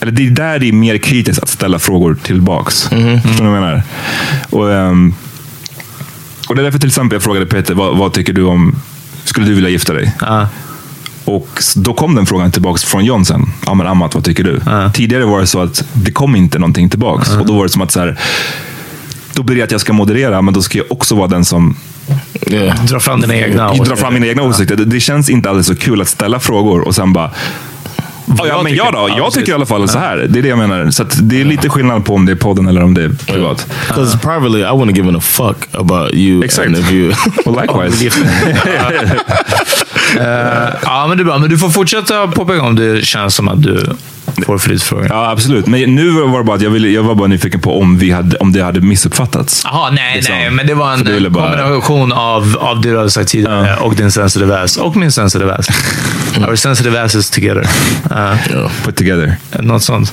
[SPEAKER 3] Eller det är där det är mer kritiskt att ställa frågor tillbaks. Förstår ni vad jag menar? Och, ehm, och det är därför till exempel jag frågade Peter, vad, vad tycker du om, skulle du vilja gifta dig?
[SPEAKER 2] Ja.
[SPEAKER 3] Och s- då kom den frågan tillbaks från John sen. Ja men Amat, vad tycker du? Tidigare var det så att det kom inte någonting tillbaks. Och då var det som att så här, då blir det att jag ska moderera, men då ska jag också vara den som
[SPEAKER 1] Yeah.
[SPEAKER 2] Dra fram dina egna.
[SPEAKER 3] jag drar fram mina egna åsikter. Det, det känns inte alls så kul att ställa frågor och sen bara Ja, ja,
[SPEAKER 2] jag
[SPEAKER 3] men
[SPEAKER 2] tycker-
[SPEAKER 3] jag då?
[SPEAKER 2] ja,
[SPEAKER 3] jag
[SPEAKER 2] precis.
[SPEAKER 3] tycker i alla fall så här. Det är det jag menar. Så att det är lite skillnad på om det är podden eller om det är privat.
[SPEAKER 1] Because privately, I wouldn't give a fuck about you.
[SPEAKER 3] Exact.
[SPEAKER 1] And if you
[SPEAKER 3] Och likewise.
[SPEAKER 2] Ja, men det är bra. Men du får fortsätta påpeka om det känns som att du får fritfrågor.
[SPEAKER 3] Ja, absolut. Men nu var det bara att jag, ville, jag var bara nyfiken på om, vi hade, om det hade missuppfattats.
[SPEAKER 2] Jaha, nej,
[SPEAKER 3] Liksom.
[SPEAKER 2] nej, men det var
[SPEAKER 3] För du ville
[SPEAKER 2] en
[SPEAKER 3] bara-
[SPEAKER 2] kombination av, av det du hade sagt tidigare och din sensitive ass. Och min sensitive ass. Our sensitive asses together. Uh,
[SPEAKER 3] Put together.
[SPEAKER 2] något sånt.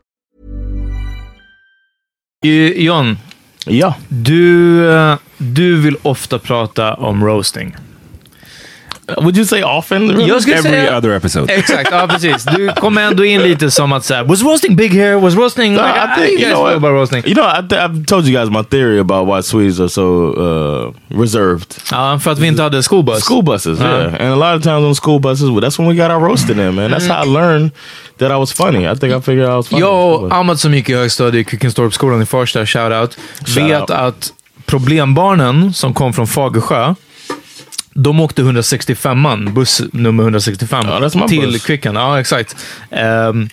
[SPEAKER 2] Eh, John,
[SPEAKER 1] yeah.
[SPEAKER 2] du, eh, du vill ofta prata om roasting.
[SPEAKER 1] Would you say often? Really?
[SPEAKER 2] Jag skulle
[SPEAKER 3] Every
[SPEAKER 2] säga...
[SPEAKER 3] other episode.
[SPEAKER 2] Exakt, ja precis. Du kom ändå in lite som att säga was roasting big here? Was roasting...
[SPEAKER 1] No,
[SPEAKER 2] like,
[SPEAKER 1] I
[SPEAKER 2] ah,
[SPEAKER 1] think-
[SPEAKER 2] you
[SPEAKER 1] you
[SPEAKER 2] guys
[SPEAKER 1] know
[SPEAKER 2] know
[SPEAKER 1] what?
[SPEAKER 2] about roasting.
[SPEAKER 1] You know, I th- I've told you guys my theory about why Swedes are so uh, reserved.
[SPEAKER 2] Ja, för att vi inte hade school bus.
[SPEAKER 1] School buses, yeah. And a lot of times on school buses, well, that's when we got our roasting in, man. That's how I learned that I was funny. I think I figured I was funny.
[SPEAKER 2] Jag
[SPEAKER 1] on
[SPEAKER 2] och
[SPEAKER 1] school
[SPEAKER 2] Ahmad som gick i högstadiet i Kvickenstorpsskolan i Farsta, shoutout,
[SPEAKER 1] Shout
[SPEAKER 2] vet
[SPEAKER 1] out.
[SPEAKER 2] att problembarnen som kom från Fagersjö, de åkte 165an, buss nummer 165,
[SPEAKER 1] Ja, that's my
[SPEAKER 2] till
[SPEAKER 1] bus.
[SPEAKER 2] Kvicken. Ja, exakt. Ehm,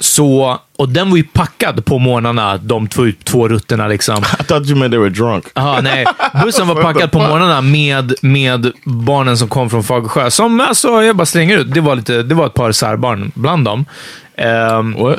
[SPEAKER 2] så, och den var ju packad på morgnarna, de två, två rutterna liksom.
[SPEAKER 1] I thought you meant they were drunk.
[SPEAKER 2] Aha, nej. Bussen var packad på morgnarna med, med barnen som kom från Fagersjö. Som alltså, jag bara slänger ut, det var, lite, det var ett par särbarn bland dem. Ehm,
[SPEAKER 1] What?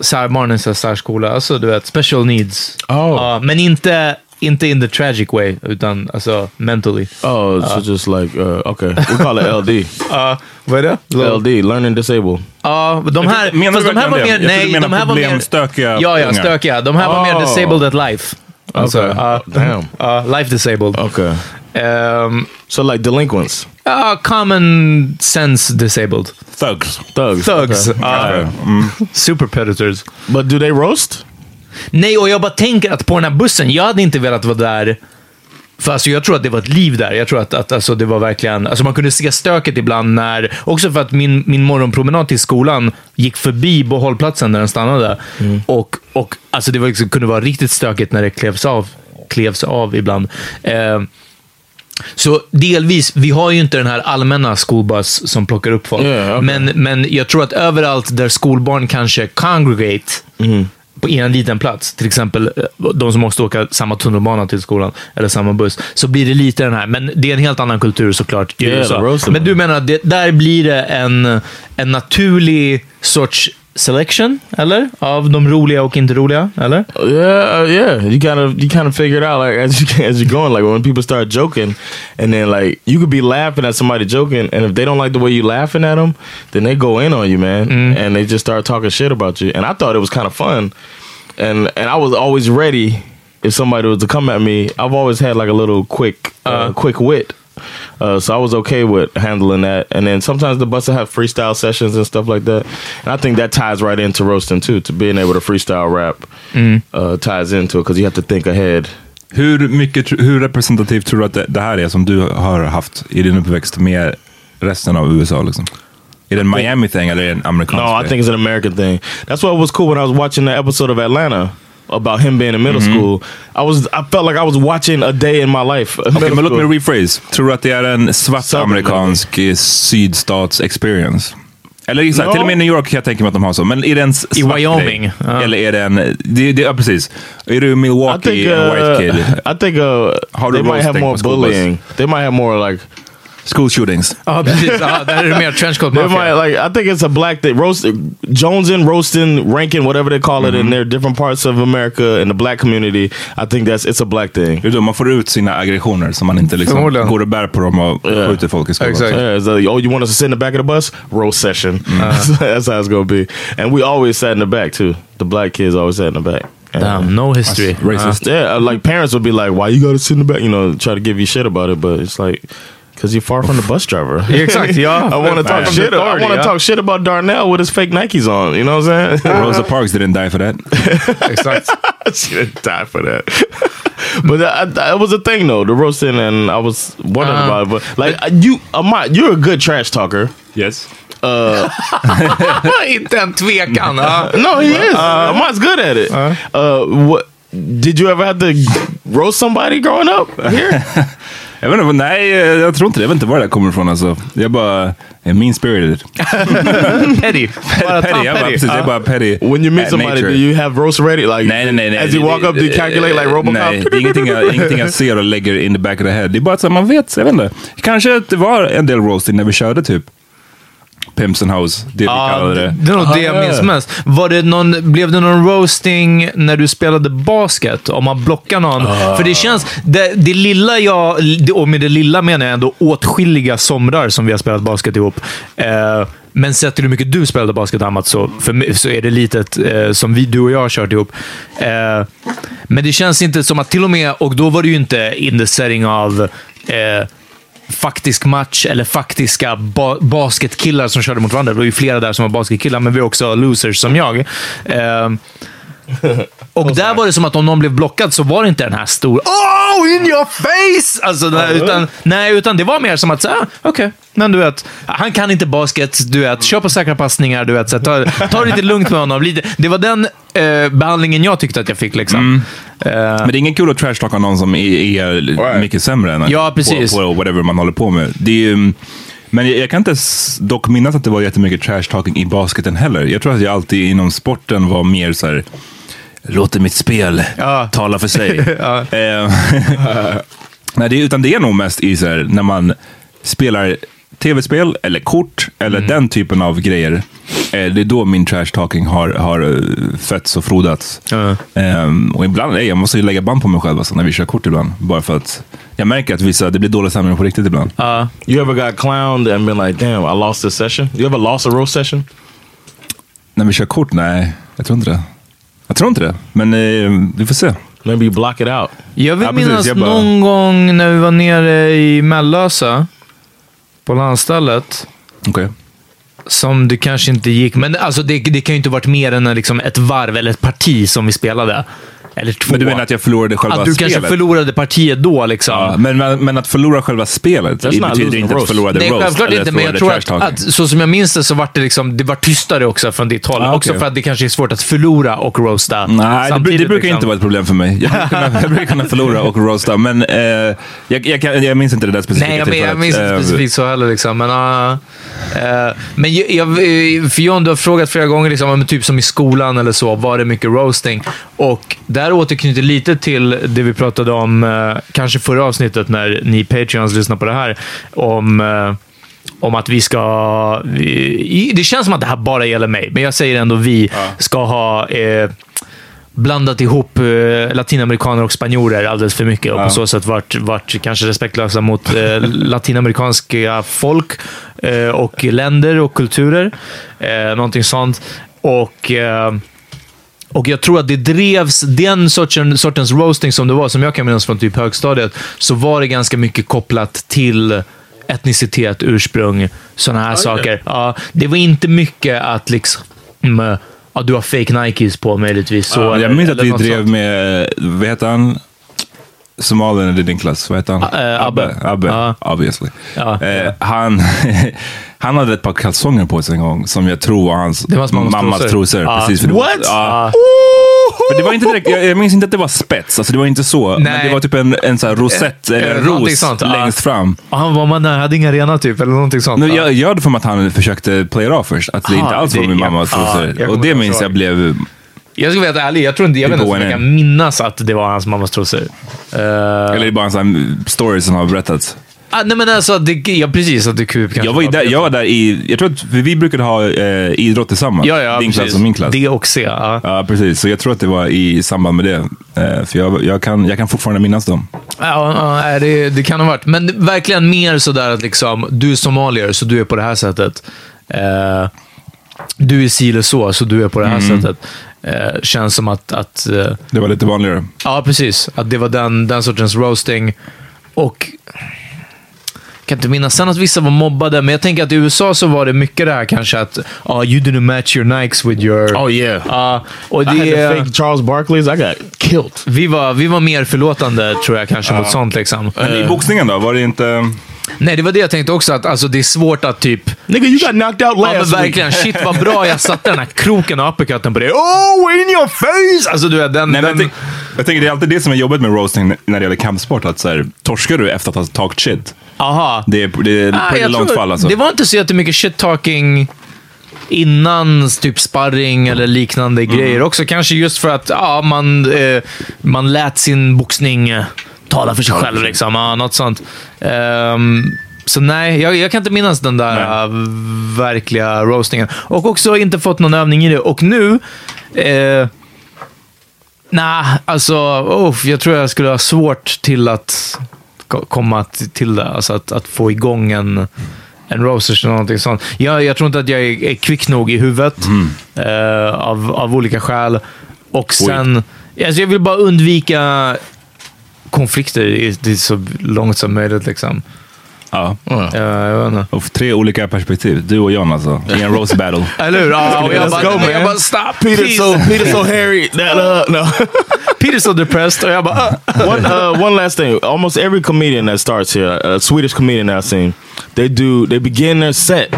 [SPEAKER 2] särbarnens särskola. Alltså du vet, special needs.
[SPEAKER 1] Oh.
[SPEAKER 2] Ja, men inte, inte in the tragic way, utan alltså mentally.
[SPEAKER 1] Oh, so just like, uh, okay. We call it LD.
[SPEAKER 2] Uh, vad är det?
[SPEAKER 1] LD, learning disabled.
[SPEAKER 2] Ja, de här,
[SPEAKER 3] Menar du
[SPEAKER 2] fast de här
[SPEAKER 3] verkligen det?
[SPEAKER 2] var mer...
[SPEAKER 3] Jag trodde
[SPEAKER 2] Nej,
[SPEAKER 3] du menar
[SPEAKER 2] de här var mer...
[SPEAKER 3] problemstökiga
[SPEAKER 2] Ja, ja,
[SPEAKER 3] ungar.
[SPEAKER 2] stökiga. De här var
[SPEAKER 1] Oh.
[SPEAKER 2] mer disabled at life.
[SPEAKER 1] Okay.
[SPEAKER 2] Uh,
[SPEAKER 1] Damn.
[SPEAKER 2] Uh, life disabled.
[SPEAKER 3] eh,
[SPEAKER 1] Okay.
[SPEAKER 2] Um,
[SPEAKER 1] So like delinquents,
[SPEAKER 2] uh, common sense disabled.
[SPEAKER 1] thugs, thugs,
[SPEAKER 2] Thugs.
[SPEAKER 1] Okay.
[SPEAKER 2] Uh,
[SPEAKER 1] Okay. Mm.
[SPEAKER 2] Super predators.
[SPEAKER 1] But do they roast?
[SPEAKER 2] Nej, och jag bara tänker att på den här bussen, jag hade inte velat vara där. För alltså, jag tror att det var ett liv där. Jag tror att, att alltså, det var verkligen... Alltså, man kunde se stöket ibland när... Också för att min, min morgonpromenad till skolan gick förbi på hållplatsen där den stannade. Och, och alltså, det var, liksom, kunde vara riktigt stökigt när det klevs av, klevs av ibland. Eh, så delvis, vi har ju inte den här allmänna skolbuss som plockar upp folk.
[SPEAKER 1] Ja, okej.
[SPEAKER 2] men, men jag tror att överallt där skolbarn kanske congregate på en liten plats, till exempel eh, de som måste åka samma tunnelbana till skolan eller samma buss, så blir det lite den här. Men det är en helt annan kultur såklart i
[SPEAKER 1] Ja, det
[SPEAKER 2] USA.
[SPEAKER 1] roastar
[SPEAKER 2] Men
[SPEAKER 1] man.
[SPEAKER 2] du menar att det, där blir det en, en naturlig sorts selection, eller? Av de roliga och inte roliga, eller?
[SPEAKER 1] Yeah, uh, yeah. You kind of you kind of figure it out like as you as you're going. Like when people start joking, and then like you could be laughing at somebody joking, and if they don't like the way you laughing at them, then they go in on you, man, and they just start talking shit about you. And I thought it was kind of fun, and and I was always ready if somebody was to come at me. I've always had like a little quick uh, quick wit. Uh, so I was okay with handling that, and then sometimes the bus will have freestyle sessions and stuff like that, and I think that ties right into roasting too. To being able to freestyle rap uh, ties into it because you have to think ahead.
[SPEAKER 3] Hur, mycket, tr- hur representativt tror du att det, det här är som du har haft i din uppväxt med resten av USA? Liksom? Är det en Miami-thing eller är det en amerikansk
[SPEAKER 1] No, I
[SPEAKER 3] grej?
[SPEAKER 1] think it's an American thing. That's what was cool when I was watching the episode of Atlanta about him being in middle school. I was I felt like I was watching a day in my life. in
[SPEAKER 3] Okej,
[SPEAKER 1] middle
[SPEAKER 3] men låt mig
[SPEAKER 1] school.
[SPEAKER 3] rephrase. Tror du att det är en svart
[SPEAKER 1] Southern
[SPEAKER 3] amerikansk eh, sydstats-experience? Eller exakt,
[SPEAKER 1] Ja.
[SPEAKER 3] till och med i New York kan jag tänka mig att de har så. Men är det en s-
[SPEAKER 2] I
[SPEAKER 3] svart
[SPEAKER 2] Wyoming,
[SPEAKER 3] Grej?
[SPEAKER 2] ja.
[SPEAKER 3] Eller är det en... Det, det, ja, precis. Är du
[SPEAKER 1] I
[SPEAKER 3] Milwaukee,
[SPEAKER 1] think
[SPEAKER 3] en
[SPEAKER 1] uh,
[SPEAKER 3] white kid?
[SPEAKER 1] I think uh,
[SPEAKER 3] How do
[SPEAKER 1] they might
[SPEAKER 3] roast
[SPEAKER 1] have
[SPEAKER 3] thing
[SPEAKER 1] more
[SPEAKER 3] for school bus?
[SPEAKER 1] bullying. They might have more like
[SPEAKER 3] School shootings.
[SPEAKER 2] Ja, precis. Ja, där är det mer trenchcoat
[SPEAKER 1] They
[SPEAKER 2] mafia.
[SPEAKER 1] might like. I think it's a black thing. Roast Jones and roasting, ranking, whatever they call
[SPEAKER 3] Mm-hmm.
[SPEAKER 1] it, in their different parts of America in the black community. I think that's it's a black thing.
[SPEAKER 3] Det är då man får ut sina aggressioner så man inte liksom
[SPEAKER 2] Förmodligen.
[SPEAKER 3] går och bär på dem och
[SPEAKER 1] Ja.
[SPEAKER 3] skjuter folk i skolan.
[SPEAKER 2] Exakt.
[SPEAKER 1] Yeah, it's like, oh, you want us to sit in the back of the bus? Roast session.
[SPEAKER 3] Mm-hmm.
[SPEAKER 1] that's how it's gonna be. And we always sat in the back too. The black kids always sat in the back. And-
[SPEAKER 2] Damn, no history.
[SPEAKER 3] Racist.
[SPEAKER 1] Yeah, uh, like parents would be like, "Why you gotta sit in the back?" You know, try to give you shit about it, but it's like, because you're far from the bus driver.
[SPEAKER 2] Ja, exakt, ja.
[SPEAKER 1] I want to
[SPEAKER 2] From
[SPEAKER 1] talk
[SPEAKER 2] the
[SPEAKER 1] shit. I
[SPEAKER 2] authority,
[SPEAKER 1] want to
[SPEAKER 2] ja.
[SPEAKER 1] talk shit about Darnell with his fake Nikes on. You know what I'm saying?
[SPEAKER 3] Rosa Parks didn't die for that.
[SPEAKER 2] Exakt.
[SPEAKER 1] she didn't die for that. but that, that was a thing though, the roasting, and I was wondering
[SPEAKER 2] Uh,
[SPEAKER 1] about it. But like you, Amat, you're a good trash talker.
[SPEAKER 3] Yes.
[SPEAKER 2] inte en tvekan. ja.
[SPEAKER 1] No, he is. Uh, Amat's good at it. Uh, what? Did you ever have to roast somebody growing up here?
[SPEAKER 3] Jag vet inte, nej, jag tror inte det. Jag vet inte var det där kommer ifrån alltså. Jag bara... Jag mean spirited.
[SPEAKER 2] Petty. Mm. Bara
[SPEAKER 3] Petty, jag
[SPEAKER 2] ta
[SPEAKER 3] bara,
[SPEAKER 2] petty.
[SPEAKER 3] precis, jag bara petty.
[SPEAKER 1] When you meet
[SPEAKER 3] at
[SPEAKER 1] somebody,
[SPEAKER 3] nature.
[SPEAKER 1] do you have roast ready? Like,
[SPEAKER 3] Nej, nej, nej. nej.
[SPEAKER 1] as you
[SPEAKER 3] Det-
[SPEAKER 1] walk
[SPEAKER 3] det-
[SPEAKER 1] up, do you calculate like
[SPEAKER 3] eh,
[SPEAKER 1] RoboCop?
[SPEAKER 3] Nej, det är ingenting jag, ingenting jag ser och lägger in the back of the head. Det är bara att så här, man vet, jag vet inte. Kanske att det var en del roasting när vi körde typ Pimps and House, det vi
[SPEAKER 2] Ja,
[SPEAKER 1] Ah,
[SPEAKER 3] kallade
[SPEAKER 2] det
[SPEAKER 3] det.
[SPEAKER 2] det är nog det jag minns mest. Var det någon, blev det någon roasting när du spelade basket? Om man blockar någon? För det känns... Det, det lilla jag... det- Och med det lilla menar jag ändå åtskilliga somrar som vi har spelat basket ihop. Eh, men sett till hur mycket du spelade basket, Amat, så, för mig, så är det litet eh, som vi, du och jag har kört ihop. Eh, men det känns inte som att till och med... Och då var det ju inte in the setting av... Eh, faktisk match eller faktiska ba basketkillar som körde mot varandra. Det var ju flera där som var basketkillar, men vi var också losers som jag. Ehm, och där var det som att om någon blev blockad så var det inte den här stora “Oh, in your face!” alltså, den här, utan, Nej, utan det var mer som att så, ah, okej, men du vet, han kan inte basket, du vet, kör på säkra passningar, du vet, så här, ta, ta det lite lugnt med honom. Lite, det var den eh, behandlingen jag tyckte att jag fick. Liksom.
[SPEAKER 1] Mm.
[SPEAKER 2] Eh,
[SPEAKER 3] Men det är ingen kul att trashtalka någon som är, är mycket sämre än en
[SPEAKER 2] Ja, precis.
[SPEAKER 3] På, på whatever man håller på med. Det är, ju- men jag, jag kan inte s- dock minnas att det var jättemycket trashtalking i basketen heller. Jag tror att jag alltid inom sporten var mer så här. Låter mitt spel tala för sig. Eh, Nej, det, utan det är nog mest i så här, när man spelar tv-spel eller kort eller
[SPEAKER 1] Mm.
[SPEAKER 3] den typen av grejer. Eh, det är då min trash talking har, har eh, fötts och frodats. Ehm, och ibland, nej, jag måste ju lägga band på mig själv alltså, när vi kör kort ibland. Bara för att jag märker att vissa, det blir dålig stämning på riktigt ibland.
[SPEAKER 1] Ah, You ever got clowned and been like, damn, I lost this session? You ever lost a alltså roast session?
[SPEAKER 3] När vi kör kort? Nej, jag tror inte det. Jag tror inte det, men eh, vi får se.
[SPEAKER 1] Maybe block it out.
[SPEAKER 2] Jag vill
[SPEAKER 3] Ja, precis.
[SPEAKER 2] minnas
[SPEAKER 3] Jag bara-
[SPEAKER 2] någon gång när vi var nere i Mellösa på landstället
[SPEAKER 3] Okej.
[SPEAKER 2] som det kanske inte gick. Men alltså det, det kan ju inte varit mer än liksom ett varv eller ett parti som vi spelade. Eller två.
[SPEAKER 3] Men du menar att jag förlorade själva
[SPEAKER 2] Att du
[SPEAKER 3] spelet?
[SPEAKER 2] kanske förlorade partiet då liksom.
[SPEAKER 3] Ja, men, men, men att förlora själva spelet
[SPEAKER 1] That's
[SPEAKER 3] det
[SPEAKER 1] not
[SPEAKER 3] betyder
[SPEAKER 1] losing
[SPEAKER 3] inte att
[SPEAKER 1] roast.
[SPEAKER 3] förlora the
[SPEAKER 2] Nej,
[SPEAKER 3] roast.
[SPEAKER 2] självklart
[SPEAKER 3] eller
[SPEAKER 2] inte, men jag tror
[SPEAKER 3] förlora the
[SPEAKER 2] att,
[SPEAKER 3] trash
[SPEAKER 2] att
[SPEAKER 3] talking.
[SPEAKER 2] så som jag minns det så var det, liksom, det var tystare också från ditt håll.
[SPEAKER 3] Ah,
[SPEAKER 2] Också
[SPEAKER 3] okej.
[SPEAKER 2] för att det kanske är svårt att förlora och roasta
[SPEAKER 3] Nej, det, bru-
[SPEAKER 2] samtidigt,
[SPEAKER 3] det brukar
[SPEAKER 2] liksom.
[SPEAKER 3] inte vara ett problem för mig. Jag brukar kunna, jag brukar kunna förlora och roasta, men eh, jag, jag, kan, jag minns inte det där specifika
[SPEAKER 2] Nej, jag, men,
[SPEAKER 3] tillfället.
[SPEAKER 2] jag minns inte
[SPEAKER 3] Eh,
[SPEAKER 2] specifikt så heller. Liksom. Men, ah, eh, men jag, jag, eh, för John, du har frågat flera gånger, liksom, om typ som i skolan eller så, var det mycket roasting? Och där återknyter lite till det vi pratade om, eh, kanske förra avsnittet när ni Patreons lyssnar på det här, om eh, om att vi ska... Vi, det känns som att det här bara gäller mig, men jag säger ändå vi ska ha eh, blandat ihop eh, latinamerikaner och spanjorer alldeles för mycket och på så sätt varit, varit kanske respektlösa mot eh, latinamerikanska folk eh, och länder och kulturer. Eh, någonting sånt. Och... Eh, och jag tror att det drevs, den sortens, sortens roasting som det var, som jag kan minnas från typ högstadiet, så var det ganska mycket kopplat till etnicitet, ursprung, sådana här saker. Ja, det var inte mycket att liksom... mm, Ja, du har fake Nikes på möjligtvis. Så,
[SPEAKER 3] Ja, jag minns att
[SPEAKER 2] eller
[SPEAKER 3] vi
[SPEAKER 2] något
[SPEAKER 3] drev
[SPEAKER 2] sånt.
[SPEAKER 3] med, eh, vad heter han? Somalien i din klass, vad heter han?
[SPEAKER 2] eh, Abbe.
[SPEAKER 3] Abbe,
[SPEAKER 2] Ja.
[SPEAKER 3] obviously.
[SPEAKER 2] Ja.
[SPEAKER 3] Eh, han, han hade ett par kalsonger på sig en gång som jag tror var hans
[SPEAKER 2] Det var hans mammas trosor. Ja.
[SPEAKER 3] Precis, för det
[SPEAKER 2] What?
[SPEAKER 3] Var, ja.
[SPEAKER 2] Ja.
[SPEAKER 3] Men det var inte direkt, jag, jag minns inte att det var spets, alltså det var inte så. Men
[SPEAKER 2] Nej.
[SPEAKER 3] det var typ en, en sån här rosett, eller en
[SPEAKER 2] någonting
[SPEAKER 3] ros
[SPEAKER 2] sånt, ja.
[SPEAKER 3] längst fram.
[SPEAKER 2] Ja, Han var man hade ingen arena typ, eller någonting sånt.
[SPEAKER 3] Nu,
[SPEAKER 2] ja.
[SPEAKER 3] jag, jag hade för mig att han försökte play it off först, att det
[SPEAKER 2] Aha,
[SPEAKER 3] inte alls var
[SPEAKER 2] det-
[SPEAKER 3] min
[SPEAKER 2] ja.
[SPEAKER 3] mammas
[SPEAKER 2] Ja,
[SPEAKER 3] trosor.
[SPEAKER 2] jag kommer
[SPEAKER 3] Och det
[SPEAKER 2] inte
[SPEAKER 3] minns
[SPEAKER 2] ihåg.
[SPEAKER 3] jag blev...
[SPEAKER 2] jag ska vara helt ärlig, jag tror inte, jag
[SPEAKER 3] Det
[SPEAKER 2] vet inte
[SPEAKER 3] går
[SPEAKER 2] om jag
[SPEAKER 3] ner.
[SPEAKER 2] kan minnas att det var hans mammas trosor. Eh,
[SPEAKER 3] Eller det är bara en sån här story som har berättats.
[SPEAKER 2] ah, nej men alltså, det, ja, precis. Att det kup kanske
[SPEAKER 3] Jag var, ju där, jag var där i... Jag tror att vi, vi brukade ha eh, idrott tillsammans.
[SPEAKER 2] ja, ja,
[SPEAKER 3] din
[SPEAKER 2] precis.
[SPEAKER 3] klass och min klass.
[SPEAKER 2] D och C, ja.
[SPEAKER 3] Ja, precis. Så jag tror att det var i samband med det. Eh, för jag, jag, kan, jag kan fortfarande minnas dem.
[SPEAKER 2] Ja, ja, nej, det, det kan ha varit. Men verkligen mer sådär att liksom, du är somalier, så du är på det här sättet. Eh, du är si eller så, så du är på det här
[SPEAKER 1] Mm.
[SPEAKER 2] sättet. Eh, känns som att... att eh,
[SPEAKER 3] Det var lite vanligare.
[SPEAKER 2] ja, precis. Att det var den, den sortens roasting. Och... Jag kan inte minnas. Sen att vissa var mobbade, men jag tänker att i USA så var det mycket det här kanske att oh, you didn't match your Nikes with your...
[SPEAKER 1] Oh yeah.
[SPEAKER 2] Ja, och
[SPEAKER 1] I had
[SPEAKER 2] det,
[SPEAKER 1] to fake Charles Barkley's. I got killed.
[SPEAKER 2] vi, var, vi var mer förlåtande tror jag kanske mot sånt. Liksom.
[SPEAKER 3] Men i boxningen då? Var det inte...
[SPEAKER 2] Nej, det var det jag tänkte också. Att alltså, det är svårt att typ...
[SPEAKER 1] Nigga, you got knocked out
[SPEAKER 2] Ja, men
[SPEAKER 1] last week.
[SPEAKER 2] verkligen. Shit vad bra jag satte den här kroken och uppercutten på det. Oh, in your face! Alltså du vet, den...
[SPEAKER 3] Nej, men
[SPEAKER 2] den...
[SPEAKER 3] jag, tänk, jag tänker det är alltid det som är jobbigt med roasting när det gäller kampsport. Att så här, torskar du efter att ha talked shit?
[SPEAKER 2] Aha.
[SPEAKER 3] Det är, det är
[SPEAKER 2] Ah,
[SPEAKER 3] pretty
[SPEAKER 2] jag
[SPEAKER 3] långt
[SPEAKER 2] tror-
[SPEAKER 3] fall alltså.
[SPEAKER 2] Det var inte så jättemycket shit-talking innan typ sparring eller liknande
[SPEAKER 3] Mm.
[SPEAKER 2] grejer också. Kanske just för att ja, man, eh, man lät sin boxning eh, tala för sig själv. Liksom. Ja, något sånt. Ehm, så nej, jag, jag kan inte minnas den där
[SPEAKER 3] Nej.
[SPEAKER 2] eh, verkliga roastingen. Och också inte fått någon övning i det. Och nu... Eh, Nej, alltså uff, jag tror jag skulle ha svårt till att ko- komma t- till det. Alltså att, att få igång en, en rosers eller någonting sånt. Jag, jag tror inte att jag är, är kvick nog i huvudet eh, av, av olika skäl. Och sen, alltså jag vill bara undvika konflikter i, i så långt som möjligt. Liksom.
[SPEAKER 3] Ja.
[SPEAKER 2] Eh, jag vet inte.
[SPEAKER 3] Och tre olika perspektiv. Du och John alltså. I en roast battle.
[SPEAKER 2] Eller hur? Ja, och jag
[SPEAKER 1] Let's
[SPEAKER 2] bara,
[SPEAKER 1] go, man.
[SPEAKER 2] jag bara stop
[SPEAKER 1] Peter
[SPEAKER 2] please."
[SPEAKER 1] so Peter so Harry. That, uh, no.
[SPEAKER 2] Peter's so depressed och jag bara... "Ah."
[SPEAKER 1] one, uh, one last thing. Almost every comedian that starts here, a Swedish comedian that I've seen, they do they begin their set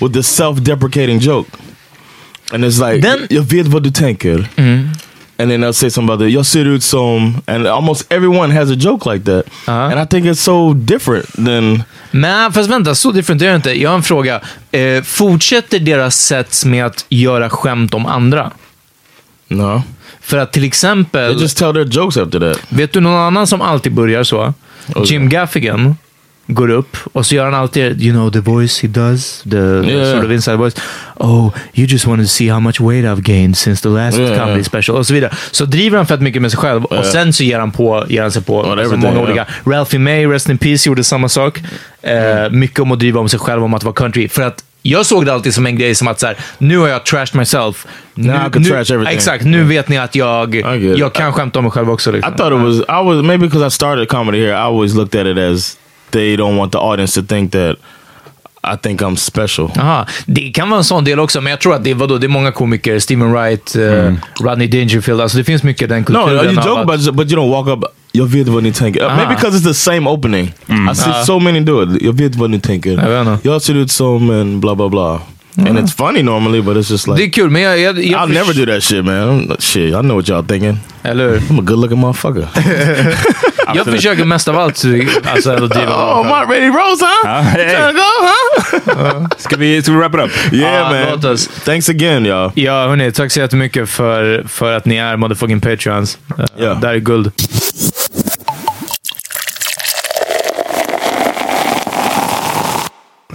[SPEAKER 1] with the self-deprecating joke, and it's like
[SPEAKER 2] Then-
[SPEAKER 1] jag vet vad du tänker, and then they'll say something about the jag ser ut som, and almost everyone has a joke like that,
[SPEAKER 2] Uh-huh.
[SPEAKER 1] and I think it's so different than
[SPEAKER 2] Nej, fast vänta. Så different är det inte. Jag har en fråga. Eh, fortsätter deras sätt med att göra skämt om andra?
[SPEAKER 1] no.
[SPEAKER 2] För att till
[SPEAKER 1] They
[SPEAKER 2] exempel,
[SPEAKER 1] just tell their jokes after that.
[SPEAKER 2] vet du någon annan som alltid börjar så? Jim Gaffigan går upp och så gör han alltid, you know the voice he does, the
[SPEAKER 1] Yeah.
[SPEAKER 2] sort of inside voice. Oh, you just wanted to see how much weight I've gained since the last
[SPEAKER 1] Yeah,
[SPEAKER 2] comedy
[SPEAKER 1] yeah.
[SPEAKER 2] special. Och så vidare. Så driver han fett mycket med sig själv och sen så ger han, på, ger han sig på alltså,
[SPEAKER 1] everything,
[SPEAKER 2] många
[SPEAKER 1] yeah.
[SPEAKER 2] olika.
[SPEAKER 1] Mm.
[SPEAKER 2] Ralphie May, Rest in Peace, gjorde samma sak. Eh, mycket om att driva om sig själv, om att vara country. För att Jag såg det alltid som en grej som att så här, nu har jag trashed myself.
[SPEAKER 1] Now I can trash everything. Mm.
[SPEAKER 2] Exakt, nu vet ni att jag,
[SPEAKER 1] get it.
[SPEAKER 2] jag kan skämta om mig själv också. Liksom.
[SPEAKER 1] I thought it was I was maybe because I started comedy here. I always looked at it as they don't want the audience to think that I think I'm special.
[SPEAKER 2] Aha, det kan vara en sån del också, men jag tror att det, vadå, det är många komiker. Steven Wright, eh,
[SPEAKER 3] Mm.
[SPEAKER 2] Rodney Dangerfield. Alltså det finns mycket den
[SPEAKER 1] No,
[SPEAKER 2] kulturen.
[SPEAKER 1] you
[SPEAKER 2] av
[SPEAKER 1] joke
[SPEAKER 2] att-
[SPEAKER 1] about it, but you don't walk up. Jag vet vad ni tänker. Uh, Maybe because it's the same opening. I see so many do it. Jag vet vad ni tänker.
[SPEAKER 2] Jag vet inte.
[SPEAKER 1] Jag ser ut som en blah blah blah. And it's funny normally, but it's just like
[SPEAKER 2] Det är kul, men jag... jag, jag
[SPEAKER 1] I'll never do that shit, man. I'm- Shit, I know what y'all thinking.
[SPEAKER 2] Eller hur?
[SPEAKER 1] I'm a good looking motherfucker.
[SPEAKER 2] Jag försöker mest av allt alltså, att driva
[SPEAKER 1] oh, my Randy Rose, huh?
[SPEAKER 3] Ah, hey.
[SPEAKER 1] You tryna go, huh?
[SPEAKER 3] Ska vi, ska vi wrap it up?
[SPEAKER 1] Yeah,
[SPEAKER 2] Ah,
[SPEAKER 1] man.
[SPEAKER 2] låt oss.
[SPEAKER 1] Thanks again, y'all.
[SPEAKER 2] Ja, hörni. Tack så jättemycket för, för att ni är motherfucking patreons. Eh,
[SPEAKER 1] Ja.
[SPEAKER 2] Det här är guld.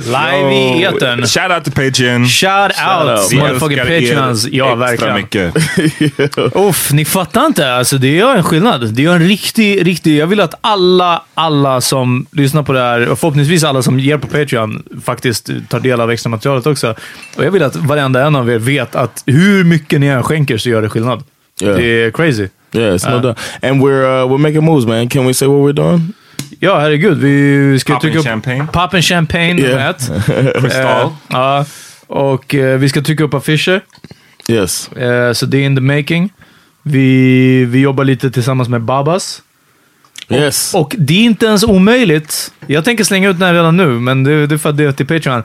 [SPEAKER 2] Live i
[SPEAKER 1] Oh,
[SPEAKER 2] etern.
[SPEAKER 3] Shout out to Patreon.
[SPEAKER 2] Shout out,
[SPEAKER 3] Vi
[SPEAKER 2] motherfucking
[SPEAKER 3] älskar er
[SPEAKER 2] patreons. Ja,
[SPEAKER 3] extra
[SPEAKER 2] verkligen.
[SPEAKER 3] mycket.
[SPEAKER 2] Uff, ni fattar inte. Alltså, det gör en skillnad. Det gör en riktig, riktig... Jag vill att alla, alla som lyssnar på det här och förhoppningsvis alla som ger på Patreon faktiskt tar del av extra materialet också. Och jag vill att varenda en av er vet att hur mycket ni än skänker så gör det skillnad.
[SPEAKER 1] Ja.
[SPEAKER 2] Det är crazy.
[SPEAKER 1] Yeah, it's no doubt. And we're uh, we're making moves, man. Can we say what we're doing?
[SPEAKER 2] Ja, herregud. Vi ska
[SPEAKER 3] Pop
[SPEAKER 2] trycka
[SPEAKER 3] and
[SPEAKER 2] upp...
[SPEAKER 3] champagne.
[SPEAKER 2] Pop and champagne.
[SPEAKER 1] Yeah.
[SPEAKER 2] Yeah. Ett. Eh, Ja. och eh, vi ska trycka upp affischer.
[SPEAKER 1] Yes.
[SPEAKER 2] Eh, så det är in the making. Vi, vi jobbar lite tillsammans med Babas.
[SPEAKER 1] Yes.
[SPEAKER 2] Och det är inte ens omöjligt. Jag tänker slänga ut den här redan nu, men det, det är för att det är till Patreon.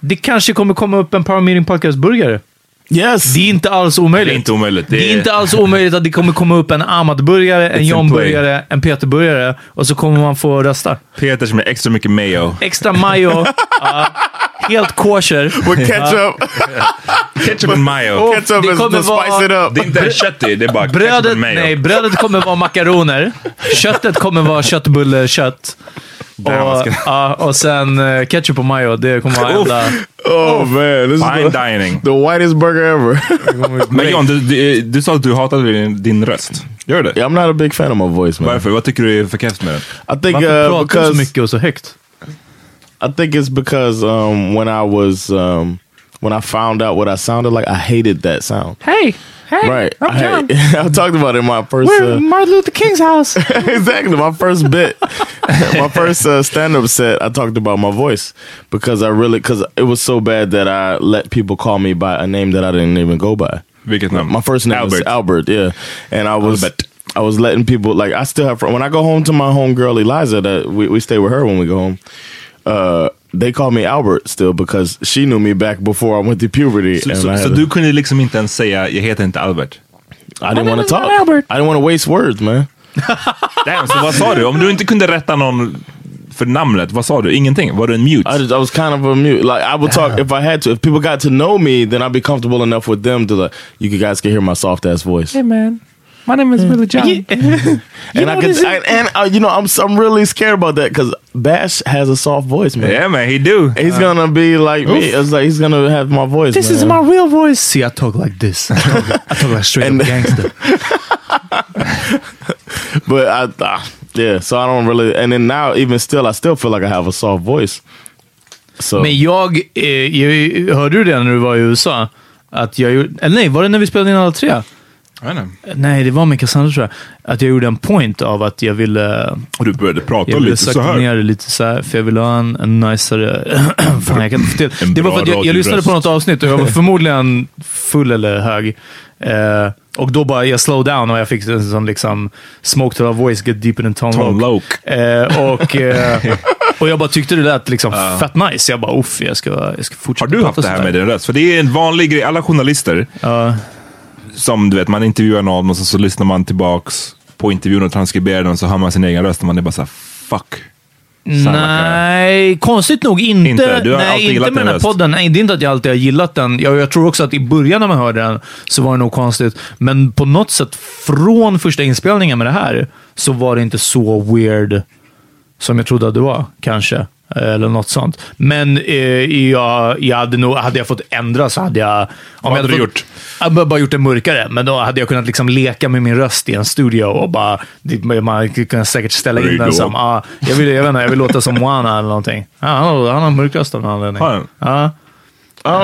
[SPEAKER 2] Det kanske kommer komma upp en Power Meeting Podcast-burgare.
[SPEAKER 1] Yes.
[SPEAKER 2] Det är inte alls omöjligt.
[SPEAKER 3] Det är inte omöjligt.
[SPEAKER 2] Det är inte alls omöjligt att det kommer komma upp en Amat-burgare, en
[SPEAKER 3] It's in play.
[SPEAKER 2] John-burgare, en Peter-burgare och så kommer man få rösta.
[SPEAKER 3] Peter som är extra mycket mayo.
[SPEAKER 2] Extra mayo. ja, helt kosher.
[SPEAKER 1] With ketchup. Oh,
[SPEAKER 3] Ketchup and mayo.
[SPEAKER 1] ketchup
[SPEAKER 2] det
[SPEAKER 1] is
[SPEAKER 2] kommer
[SPEAKER 1] to spice
[SPEAKER 2] vara-
[SPEAKER 1] it up.
[SPEAKER 3] Det är inte ens kött i, det är bara ketchup
[SPEAKER 2] Brödet,
[SPEAKER 3] and mayo.
[SPEAKER 2] nej, brödet kommer vara makaroner. Köttet kommer vara köttbullekött. Och,
[SPEAKER 3] Där man ska-
[SPEAKER 2] ja, och sen eh, ketchup och mayo. Det kommer vara enda...
[SPEAKER 1] Oh, man. This
[SPEAKER 3] Fine
[SPEAKER 1] is the,
[SPEAKER 3] dining.
[SPEAKER 1] the whitest burger ever.
[SPEAKER 3] Men John, du, du, du sa att du hatade din, din röst. Gör du det?
[SPEAKER 1] yeah, I'm not a big fan of my voice, man.
[SPEAKER 3] Varför? Vad tycker du är förkastat med den?
[SPEAKER 1] I think
[SPEAKER 2] Varför
[SPEAKER 1] uh,
[SPEAKER 2] pratar du så
[SPEAKER 1] because
[SPEAKER 2] mycket och så högt?
[SPEAKER 1] I think it's because um, when I was um, when I found out what I sounded like, I hated that sound.
[SPEAKER 2] Hej! Hej!
[SPEAKER 1] Right. I, hate- I talked about it in my first. uh,
[SPEAKER 2] Martin Luther Kings house.
[SPEAKER 1] exactly. My first bit, my first uh, stand up set, I talked about my voice because I really, because it was so bad that I let people call me by a name that I didn't even go by.
[SPEAKER 3] Vilket namn?
[SPEAKER 1] My first name Albert.
[SPEAKER 3] Albert.
[SPEAKER 1] was Albert, yeah. And I was
[SPEAKER 3] Albert.
[SPEAKER 1] I was letting people like I still have fr- when I go home to my homegirl Eliza that we, we stay with her when we go home. Uh, they call me Albert still because she knew me back before I went through puberty.
[SPEAKER 3] Så,
[SPEAKER 1] and I,
[SPEAKER 3] så, så
[SPEAKER 1] had a-
[SPEAKER 3] du kunde liksom inte ens säga, jag heter inte Albert.
[SPEAKER 1] I didn't want to
[SPEAKER 2] not
[SPEAKER 1] talk.
[SPEAKER 2] Albert.
[SPEAKER 1] I didn't want to waste words, man.
[SPEAKER 3] Damn, så vad sa du? Om du inte kunde rätta någon för namnet, vad sa du? Ingenting? Var du en mute?
[SPEAKER 1] I just I was kind of a mute. Like I would talk if I had to. If people got to know me, then I'd be comfortable enough with them to like you guys can hear my soft ass voice.
[SPEAKER 2] man. My name is Willie John.
[SPEAKER 1] and I could I, and uh, you know I'm s- I'm really scared about that because Bash has a soft voice, man.
[SPEAKER 3] yeah man, he do.
[SPEAKER 1] He's gonna be like me. It's like he's gonna have my voice.
[SPEAKER 2] Uh, This
[SPEAKER 1] man.
[SPEAKER 2] is my real voice. See, I talk like this. I talk, I talk like straight up gangster.
[SPEAKER 1] But I ah, yeah. So I don't really. And then now, even still, I still feel like I have a soft voice. So
[SPEAKER 2] Men jag, eh, jag... Hörde du det när du var i USA? Att jag gjorde... Eller nej, var det när vi spelade in alla tre?
[SPEAKER 3] Jag vet inte.
[SPEAKER 2] Nej, det var med Cassandra tror jag. Att jag gjorde en point av att jag ville...
[SPEAKER 3] Och du började prata
[SPEAKER 2] Jag ville
[SPEAKER 3] lite så
[SPEAKER 2] sakta
[SPEAKER 3] här.
[SPEAKER 2] ner det lite så här, för jag ville ha en, en niceare... Fan, jag kan inte få till.
[SPEAKER 3] En
[SPEAKER 2] Det var
[SPEAKER 3] bra
[SPEAKER 2] för att jag, jag
[SPEAKER 3] radioröst.
[SPEAKER 2] lyssnade på något avsnitt och jag var förmodligen full eller hög. Eh, och då bara jag slow down och jag fick en sån liksom... Smoke to our voice, get deeper in tone
[SPEAKER 3] Tom
[SPEAKER 2] low.
[SPEAKER 3] Loke.
[SPEAKER 2] Eh, och, eh, och jag bara tyckte det lät liksom fett nice. Jag bara uff, jag ska, jag ska
[SPEAKER 3] Har
[SPEAKER 2] fortsätta
[SPEAKER 3] du haft
[SPEAKER 2] prata
[SPEAKER 3] det här
[SPEAKER 2] sådär.
[SPEAKER 3] med din röst? För det är en vanlig grej. Alla journalister, som du vet, man intervjuar någon och så, så lyssnar man tillbaks på intervjun och transkriberar den och så hör man sin egen röst och man är bara såhär, fuck. Sanna
[SPEAKER 2] Nej, konstigt nog inte.
[SPEAKER 3] Inte? Du har
[SPEAKER 2] nej,
[SPEAKER 3] alltid
[SPEAKER 2] inte
[SPEAKER 3] gillat
[SPEAKER 2] med
[SPEAKER 3] den
[SPEAKER 2] den här
[SPEAKER 3] mest.
[SPEAKER 2] podden. Nej, det är inte att jag alltid har gillat den. Jag, jag tror också att i början när man hörde den så var det nog konstigt. Men på något sätt, från första inspelningen med det här, så var det inte så weird som jag trodde att det var. Kanske. eh, Eller något sånt. Men eh, jag, jag hade nog, hade jag fått ändra så hade jag... Om Vad jag
[SPEAKER 3] hade du
[SPEAKER 2] fått,
[SPEAKER 3] gjort?
[SPEAKER 2] Jag hade bara gjort den mörkare, men då hade jag kunnat liksom leka med min röst i en studio och bara... det- Man kunde säkert ställa in
[SPEAKER 3] Redo.
[SPEAKER 2] den som... Ja, jag vill, jag vet inte, jag vill låta som Moana eller någonting. Ja, han, har, han har mörk röst av någon anledning.
[SPEAKER 3] Har han?
[SPEAKER 2] Ja.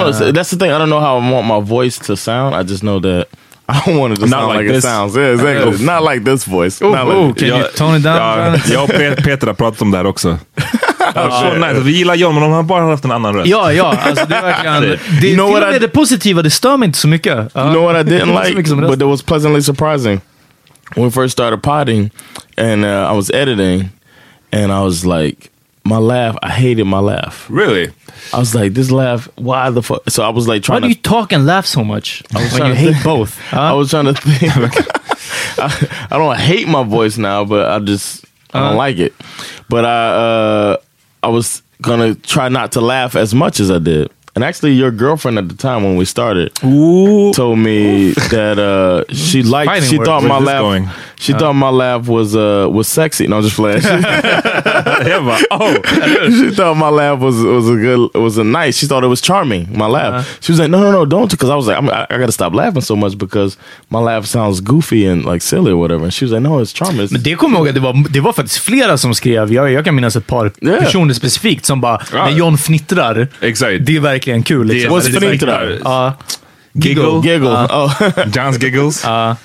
[SPEAKER 1] Oh,
[SPEAKER 3] uh,
[SPEAKER 1] so that's the thing. I don't know how I want my voice to sound. I just know that I don't want it to
[SPEAKER 3] Not
[SPEAKER 1] sound
[SPEAKER 3] like
[SPEAKER 1] like, it
[SPEAKER 3] this.
[SPEAKER 1] sounds. Yeah, exactly.
[SPEAKER 3] Oof.
[SPEAKER 1] Not like this voice.
[SPEAKER 2] Oh,
[SPEAKER 1] Not like-
[SPEAKER 2] oh, can you tone it down?
[SPEAKER 3] Ja, jag och Pe- Peter har pratat om det här också. Alltså, nice. att Vi gillar John, men om han bara hade haft en annan röst.
[SPEAKER 2] Ja, ja. Alltså det är verkligen...
[SPEAKER 3] You
[SPEAKER 2] Det, till
[SPEAKER 1] know
[SPEAKER 2] och
[SPEAKER 1] what
[SPEAKER 2] med
[SPEAKER 1] I-
[SPEAKER 2] det positiva, det stör mig inte så mycket.
[SPEAKER 1] You know what I didn't
[SPEAKER 2] Not so
[SPEAKER 1] like,
[SPEAKER 2] much of a
[SPEAKER 1] but
[SPEAKER 2] rest-
[SPEAKER 1] that was pleasantly surprising. When we first started potting, and uh, I was editing, and I was like, my laugh. I hated my laugh.
[SPEAKER 3] Really?
[SPEAKER 1] I was like, this laugh. Why the fuck? So I was like
[SPEAKER 2] Why
[SPEAKER 1] trying
[SPEAKER 2] do
[SPEAKER 1] to
[SPEAKER 2] you talk and laugh so much? When you
[SPEAKER 1] trying to
[SPEAKER 2] hate
[SPEAKER 1] think.
[SPEAKER 2] both.
[SPEAKER 1] I was trying to think. I, I don't hate my voice now, but I just I don't like it. But I uh, I was gonna try not to laugh as much as I did. And actually, your girlfriend at the time when we started told me that uh, she liked.
[SPEAKER 2] Fighting
[SPEAKER 1] she
[SPEAKER 2] words.
[SPEAKER 1] thought
[SPEAKER 3] Where's
[SPEAKER 1] my
[SPEAKER 3] this
[SPEAKER 1] laugh.
[SPEAKER 3] going?
[SPEAKER 1] She thought my laugh was uh, was sexy. No, I'm just playing.
[SPEAKER 3] Jag bara, oh,
[SPEAKER 1] she thought my laugh was was a good was a nice. She thought it was charming. My laugh. She was like, no, no, no, don't, because I was like, I'm, I, I got to stop laughing so much because my laugh sounds goofy and like silly or whatever. And she was like, no, it's charming. It's,
[SPEAKER 2] Men det kommer jag ihåg att det var, det var faktiskt flera som skrev, jag, jag kan minnas ett par
[SPEAKER 1] Ja.
[SPEAKER 2] personer specifikt som bara, när John fnittrar,
[SPEAKER 3] Exakt.
[SPEAKER 2] det är verkligen kul. Liksom.
[SPEAKER 1] What's fnittrar?
[SPEAKER 2] Ja.
[SPEAKER 3] Giggle.
[SPEAKER 1] giggle.
[SPEAKER 2] Uh,
[SPEAKER 1] oh,
[SPEAKER 3] Johns giggles. Ja,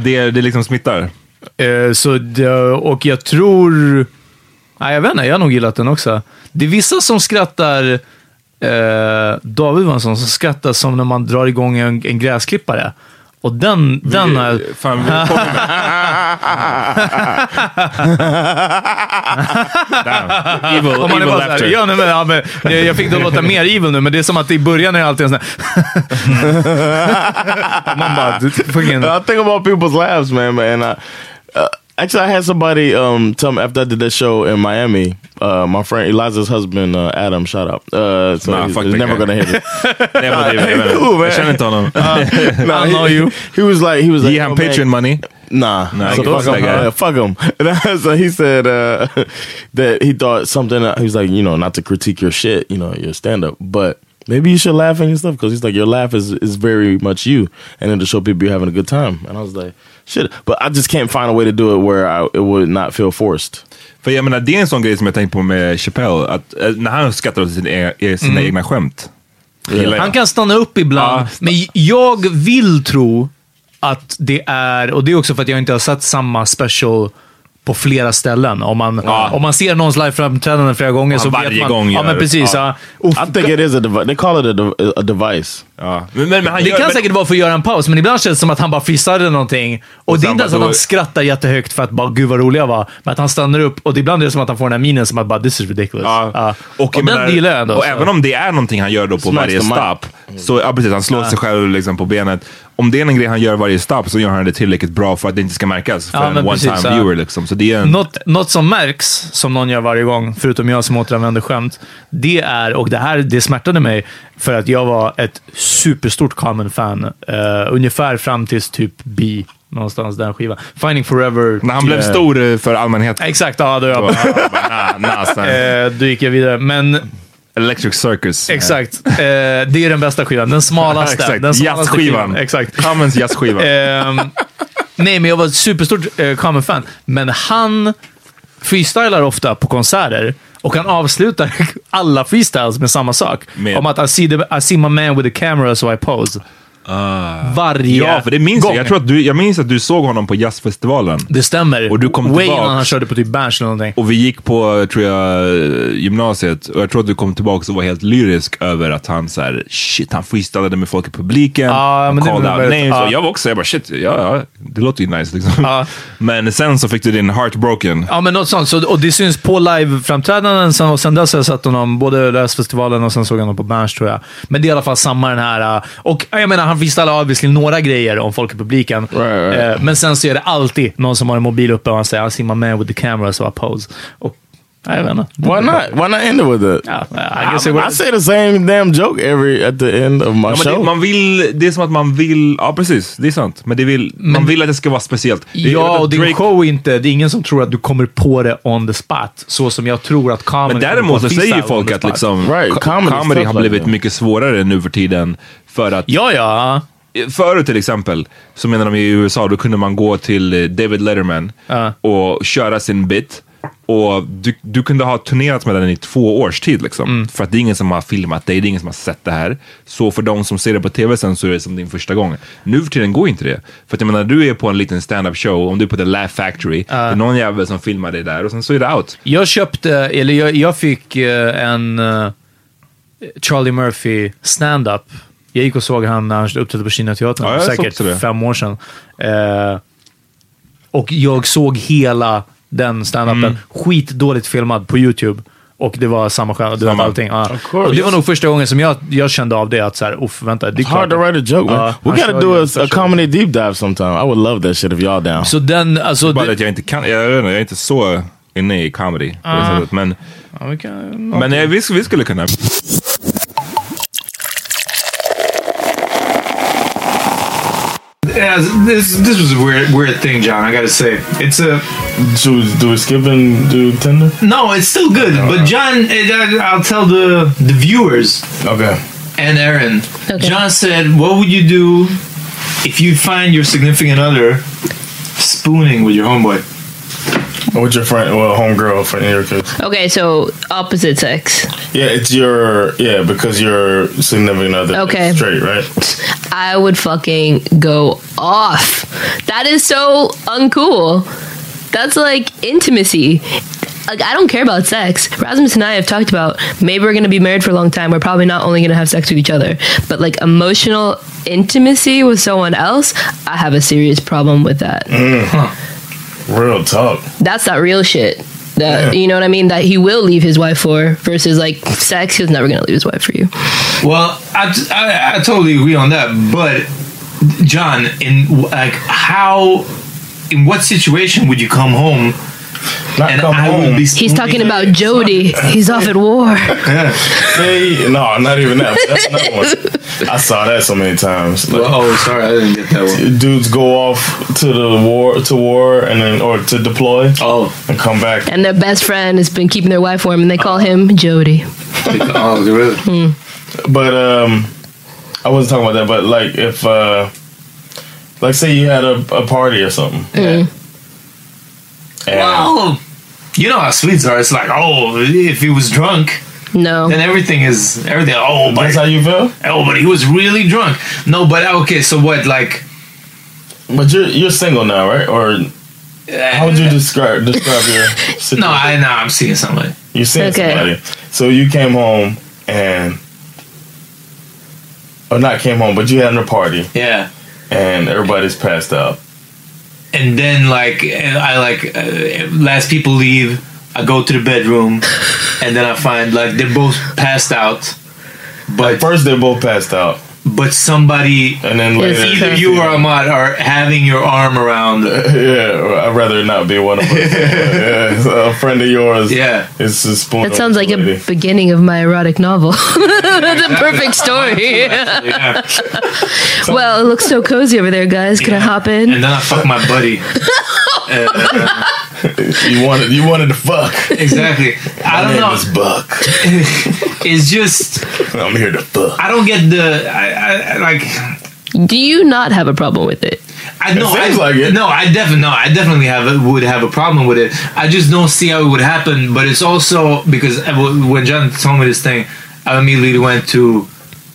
[SPEAKER 3] det, det liksom smittar.
[SPEAKER 2] Eh, så det, och jag tror... Nej, jag vet inte. Jag har nog gillat den också. Det är vissa som skrattar... Eh, David var en sån som skrattar som när man drar igång en, en gräsklippare. Och den,
[SPEAKER 3] Eh,
[SPEAKER 2] den har jag...
[SPEAKER 3] Fan, vi kommer med. Damn. Evil,
[SPEAKER 2] Om man är
[SPEAKER 3] evil
[SPEAKER 2] bara så här,
[SPEAKER 3] laughter.
[SPEAKER 2] ja, nej, men, ja, men, nej, jag fick det att låta mer evil nu, men det är som att i början är det alltid en sån här... man bara... du- Fucking,
[SPEAKER 1] I think about people's laughs, man. man, And I, uh, actually, I had somebody um, tell me after I did that show in Miami. Uh, my friend Eliza's husband, uh, Adam, shout out. Uh, so
[SPEAKER 3] Nah,
[SPEAKER 1] he's,
[SPEAKER 3] fuck
[SPEAKER 1] he's
[SPEAKER 3] that
[SPEAKER 1] never
[SPEAKER 3] guy.
[SPEAKER 1] gonna hear it.
[SPEAKER 3] Nej, jag bara, det- jag menar,
[SPEAKER 1] Cool, man.
[SPEAKER 3] Jag känner inte honom.
[SPEAKER 1] no,
[SPEAKER 2] I
[SPEAKER 1] he-
[SPEAKER 2] know you.
[SPEAKER 1] He was like, he was like,
[SPEAKER 3] Ge han
[SPEAKER 1] "Yo, man,
[SPEAKER 3] Patreon money.
[SPEAKER 1] Nah,
[SPEAKER 3] Nah,
[SPEAKER 1] so
[SPEAKER 3] I guess
[SPEAKER 1] fuck
[SPEAKER 3] that
[SPEAKER 1] him.
[SPEAKER 3] guy.
[SPEAKER 1] uh, fuck him. And I- so he said uh, that he thought something. He was like, you know, not to critique your shit, you know, your stand up, but maybe you should laugh at your stuff because he's like, your laugh is is very much you, and it'll show people you're having a good time. And I was like, shit, but I just can't find a way to do it where I, it would not feel forced.
[SPEAKER 3] För jag menar, det är en sån grej som jag tänkt på med Chappelle. Att, eh, när han skrattar åt sina, e- sina egna skämt. Gillar jag.
[SPEAKER 2] Mm. Han kan stanna upp ibland,
[SPEAKER 3] Ja,
[SPEAKER 2] men jag vill tro att det är, och det är också för att jag inte har sett samma special på flera ställen. Om man,
[SPEAKER 3] Ja.
[SPEAKER 2] om man ser någons liveframträdande flera gånger
[SPEAKER 3] Ja,
[SPEAKER 2] så
[SPEAKER 3] varje
[SPEAKER 2] vet man...
[SPEAKER 3] gång
[SPEAKER 2] ja,
[SPEAKER 3] gör-
[SPEAKER 2] men precis.
[SPEAKER 3] ja.
[SPEAKER 2] Ja. Och
[SPEAKER 1] I think it is a device. They call it a, de- a device.
[SPEAKER 3] Ja. Men, men, men han
[SPEAKER 2] det
[SPEAKER 3] gör,
[SPEAKER 2] kan
[SPEAKER 3] men,
[SPEAKER 2] säkert vara för att göra en paus, men ibland känns det som att han bara fissade någonting. Och, det är
[SPEAKER 3] sen
[SPEAKER 2] inte
[SPEAKER 3] bara
[SPEAKER 2] ens att
[SPEAKER 3] då-
[SPEAKER 2] han skrattar jättehögt för att bara “Gud vad rolig jag var”. Men att han stannar upp och det ibland är det som att han får den här minen som att bara “This is ridiculous”.
[SPEAKER 3] Ja.
[SPEAKER 2] Ja.
[SPEAKER 3] Och,
[SPEAKER 2] Och,
[SPEAKER 3] jag
[SPEAKER 2] den
[SPEAKER 3] menar,
[SPEAKER 2] gillar jag ändå.
[SPEAKER 3] Och
[SPEAKER 2] så.
[SPEAKER 3] även om det är någonting han gör då på
[SPEAKER 1] Smacks
[SPEAKER 3] varje
[SPEAKER 1] the mic.
[SPEAKER 3] stapp.
[SPEAKER 2] Mm.
[SPEAKER 3] Så, ja, precis, han slår sig själv liksom på benet. Om det är en grej han gör varje stapp så gör han det tillräckligt bra för att det inte ska märkas för
[SPEAKER 2] Ja,
[SPEAKER 3] en
[SPEAKER 2] men
[SPEAKER 3] one
[SPEAKER 2] precis,
[SPEAKER 3] time
[SPEAKER 2] ja.
[SPEAKER 3] viewer. Liksom. Så det är en...
[SPEAKER 2] Något, något som märks, som någon gör varje gång, förutom jag som återanvänder skämt, det är, och det här det smärtade mig, för att jag var ett superstort Common-fan. eh, ungefär fram tills typ B, någonstans den skivan. Finding Forever.
[SPEAKER 3] när han blev
[SPEAKER 2] eh,
[SPEAKER 3] stor eh, för allmänheten.
[SPEAKER 2] Exakt, ja, då, jag
[SPEAKER 3] Då-
[SPEAKER 2] bara,
[SPEAKER 3] Nah, nah, son.
[SPEAKER 2] eh, då gick jag vidare. Men
[SPEAKER 3] Electric Circus.
[SPEAKER 2] Eh. exakt, eh, det är den bästa skivan. Den smalaste.
[SPEAKER 3] Exakt,
[SPEAKER 2] den smalaste
[SPEAKER 3] jazzskivan.
[SPEAKER 2] skivan, Exakt.
[SPEAKER 3] Commons jazzskiva.
[SPEAKER 2] Ehm, nej, men jag var ett superstort eh, Common-fan. Men han freestylar ofta på konserter och han avslutar alla freestyles med samma sak.
[SPEAKER 3] Med-
[SPEAKER 2] Om att I see, the, I see my man with the camera so I pose. Varje
[SPEAKER 3] Ah. Ja, för det minns jag.
[SPEAKER 2] gång.
[SPEAKER 3] Jag, tror att du, jag minns att du såg honom på jazzfestivalen.
[SPEAKER 2] Det stämmer.
[SPEAKER 3] Och du kom
[SPEAKER 2] Way
[SPEAKER 3] tillbaks.
[SPEAKER 2] innan han körde på typ Berns eller någonting.
[SPEAKER 3] Och vi gick på, tror jag, gymnasiet och jag tror att du kom tillbaka och var helt lyrisk över att han så här, shit, han freestylade med folk i publiken.
[SPEAKER 2] Ja,
[SPEAKER 3] han
[SPEAKER 2] Ah, men det ah.
[SPEAKER 3] called
[SPEAKER 2] är
[SPEAKER 3] out names.
[SPEAKER 2] väl- ja.
[SPEAKER 3] Och jag var också, jag bara shit, ja, ja, det låter ju nice liksom.
[SPEAKER 2] Ja.
[SPEAKER 3] Men sen så fick du din heart broken.
[SPEAKER 2] Ja, men något sånt. Så, och det syns på live-framträdanden sen, och sen dess har jag sett honom både läsfestivalen och sen såg jag honom på Berns, tror jag. Men det är i alla fall samma den här... äh, Och äh, jag menar, han freestylar obviously några grejer om folk i publiken.
[SPEAKER 1] right.
[SPEAKER 2] Eh, Men sen så är det alltid någon som har en mobil uppe och han säger “I see my man with the camera, so I pose”. Och, nej, jag vet inte.
[SPEAKER 1] Why not? Why not end it with it?
[SPEAKER 2] Ja, I
[SPEAKER 1] I,
[SPEAKER 2] guess it
[SPEAKER 1] I
[SPEAKER 2] was.
[SPEAKER 1] say the same damn joke every at the end of my
[SPEAKER 3] Ja, men
[SPEAKER 1] show.
[SPEAKER 3] det, man vill, det är som att man vill, ja precis, det är sant. Men, det vill, man vill att det ska vara speciellt. Det- jag vet
[SPEAKER 2] Ja,
[SPEAKER 3] att
[SPEAKER 2] och din
[SPEAKER 3] Drake-
[SPEAKER 2] show är inte... Det är ingen som tror att du kommer på det on the spot, så som jag tror att kameran
[SPEAKER 3] Men däremot så säger ju folk att liksom,
[SPEAKER 1] Right,
[SPEAKER 3] ko-
[SPEAKER 1] comedy
[SPEAKER 3] comedy,
[SPEAKER 1] stuff
[SPEAKER 3] har
[SPEAKER 1] like
[SPEAKER 3] blivit
[SPEAKER 1] that.
[SPEAKER 3] mycket svårare nu för tiden. För att
[SPEAKER 2] Ja, ja.
[SPEAKER 3] Förut till exempel, så menar de i USA, då kunde man gå till eh, David Letterman och köra sin bit. Och du, du kunde ha turnerat med den i två års tid. Liksom. För att det är ingen som har filmat dig, det är ingen som har sett det här. Så för de som ser det på tv sen så är det som din första gång. Nu för tiden går inte det. För att jag menar, du är på en liten stand-up show, om du är på The Laugh Factory, det är någon jävel som filmar dig där och sen så är det out.
[SPEAKER 6] Jag köpte, eller jag, jag fick eh, en eh, Charlie Murphy stand-up. Jag gick och såg han när han uppträdde på Kinateatern,
[SPEAKER 3] Ja, jag såg också det.
[SPEAKER 6] säkert fem år sedan. Eh, och jag såg hela den stand-upen.
[SPEAKER 1] Mm.
[SPEAKER 6] Skitdåligt filmad på YouTube. Och det var samma skämt, du vet
[SPEAKER 3] Samma.
[SPEAKER 6] allting. Ja.
[SPEAKER 1] Of course.
[SPEAKER 6] Och det var nog första gången som jag, jag kände av det, att såhär, uff, vänta. Det är
[SPEAKER 1] It's hard to
[SPEAKER 6] klart-
[SPEAKER 1] write a joke, man.
[SPEAKER 2] Uh,
[SPEAKER 6] Ja,
[SPEAKER 1] we
[SPEAKER 6] han
[SPEAKER 1] gotta
[SPEAKER 6] kör
[SPEAKER 1] do
[SPEAKER 6] ju-
[SPEAKER 1] a,
[SPEAKER 6] han kör
[SPEAKER 1] a
[SPEAKER 6] ju.
[SPEAKER 1] comedy deep dive sometime. I would love that shit if y'all down.
[SPEAKER 6] Så den, alltså...
[SPEAKER 3] Bara
[SPEAKER 6] det-
[SPEAKER 3] att jag inte kan, er- jag, vet inte, jag är inte så inne i comedy på det sättet. Men,
[SPEAKER 6] Ja, vi kan-
[SPEAKER 3] men eh, vi, vi skulle kunna.
[SPEAKER 2] Yeah, this this was a weird weird thing, John. I gotta say, it's a
[SPEAKER 1] Should we, do we skip and do Tinder?
[SPEAKER 2] no. It's still good, but John, eh, I- I'll tell the the viewers
[SPEAKER 1] Okay.
[SPEAKER 2] and Aaron. John said, "What would you do if you find your significant other spooning with your homeboy?"
[SPEAKER 1] What's your friend? Well, homegirl friend in your case.
[SPEAKER 7] Okay, so opposite sex.
[SPEAKER 1] Yeah, it's your yeah because your significant other. is
[SPEAKER 7] Okay.
[SPEAKER 1] Straight, right?
[SPEAKER 7] I would fucking go off. That is so uncool. That's like intimacy. Like I don't care about sex. Rasmus and I have talked about maybe we're gonna be married for a long time. We're probably not only gonna have sex with each other, but like emotional intimacy with someone else, I have a serious problem with that.
[SPEAKER 1] Mm, Real talk.
[SPEAKER 7] That's that real shit. That
[SPEAKER 1] Yeah.
[SPEAKER 7] you know what I mean? That he will leave his wife for versus like sex, he's never gonna leave his wife for you.
[SPEAKER 2] Well, I, I, I totally agree on that, but John, in like how, in what situation would you come home
[SPEAKER 1] Not
[SPEAKER 2] and
[SPEAKER 1] come
[SPEAKER 2] I
[SPEAKER 1] home.
[SPEAKER 2] would be?
[SPEAKER 7] He's talking about Jody. He's off at war.
[SPEAKER 1] Hey, no, not even that. That's another one. I saw that so many times. Like,
[SPEAKER 2] Oh, sorry, I didn't get that one.
[SPEAKER 1] dudes go off to the war to war and then or to deploy
[SPEAKER 2] Oh,
[SPEAKER 1] and come back.
[SPEAKER 7] and their best friend has been keeping their wife warm, and they call him Jody.
[SPEAKER 2] oh, really?
[SPEAKER 1] But um, I wasn't talking about that. But like if uh, like say you had a, a party or something.
[SPEAKER 7] Mm.
[SPEAKER 1] And
[SPEAKER 2] Well, you know how sweets are. It's like, oh, if he was drunk,
[SPEAKER 7] No,
[SPEAKER 2] then everything is everything. Oh, but
[SPEAKER 1] That's how you feel.
[SPEAKER 2] oh, but he was really drunk. No, but okay, so what? Like,
[SPEAKER 1] But you're you're single now, right? Or how would you describe describe your situation?
[SPEAKER 2] no, I no, I'm seeing somebody.
[SPEAKER 1] you seen
[SPEAKER 7] Okay.
[SPEAKER 1] somebody. So you came home and or not came home, but you had a party
[SPEAKER 2] Yeah.
[SPEAKER 1] and everybody's passed out.
[SPEAKER 2] and then like and I like uh, last people leave. I go to the bedroom, and then I find like they're both passed out, but
[SPEAKER 1] First they both passed out,
[SPEAKER 2] but somebody
[SPEAKER 1] and then later
[SPEAKER 7] Yes, okay.
[SPEAKER 2] either you or Ahmad are having your arm around.
[SPEAKER 1] Yeah, I'd rather not be one of us. yeah, a friend of yours.
[SPEAKER 2] Yeah.
[SPEAKER 1] is a spoon.
[SPEAKER 7] that sounds like a beginning of my erotic novel. That's a perfect story.
[SPEAKER 2] Yeah.
[SPEAKER 7] well, it looks so cozy over there, guys. Can I hop in?
[SPEAKER 2] And then I fuck my buddy.
[SPEAKER 1] you wanted. You wanted to fuck.
[SPEAKER 2] Exactly. I
[SPEAKER 1] My
[SPEAKER 2] don't
[SPEAKER 1] name
[SPEAKER 2] know.
[SPEAKER 1] is Buck.
[SPEAKER 2] It's just
[SPEAKER 1] I'm here to fuck.
[SPEAKER 2] I don't get the I, I, I like
[SPEAKER 7] Do you not have a problem with it?
[SPEAKER 2] I know.
[SPEAKER 1] seems
[SPEAKER 2] I,
[SPEAKER 1] like it.
[SPEAKER 2] No, I definitely no. I definitely have a, would have a problem with it. I just don't see how it would happen. But it's also because I- w- when John told me this thing, I immediately went to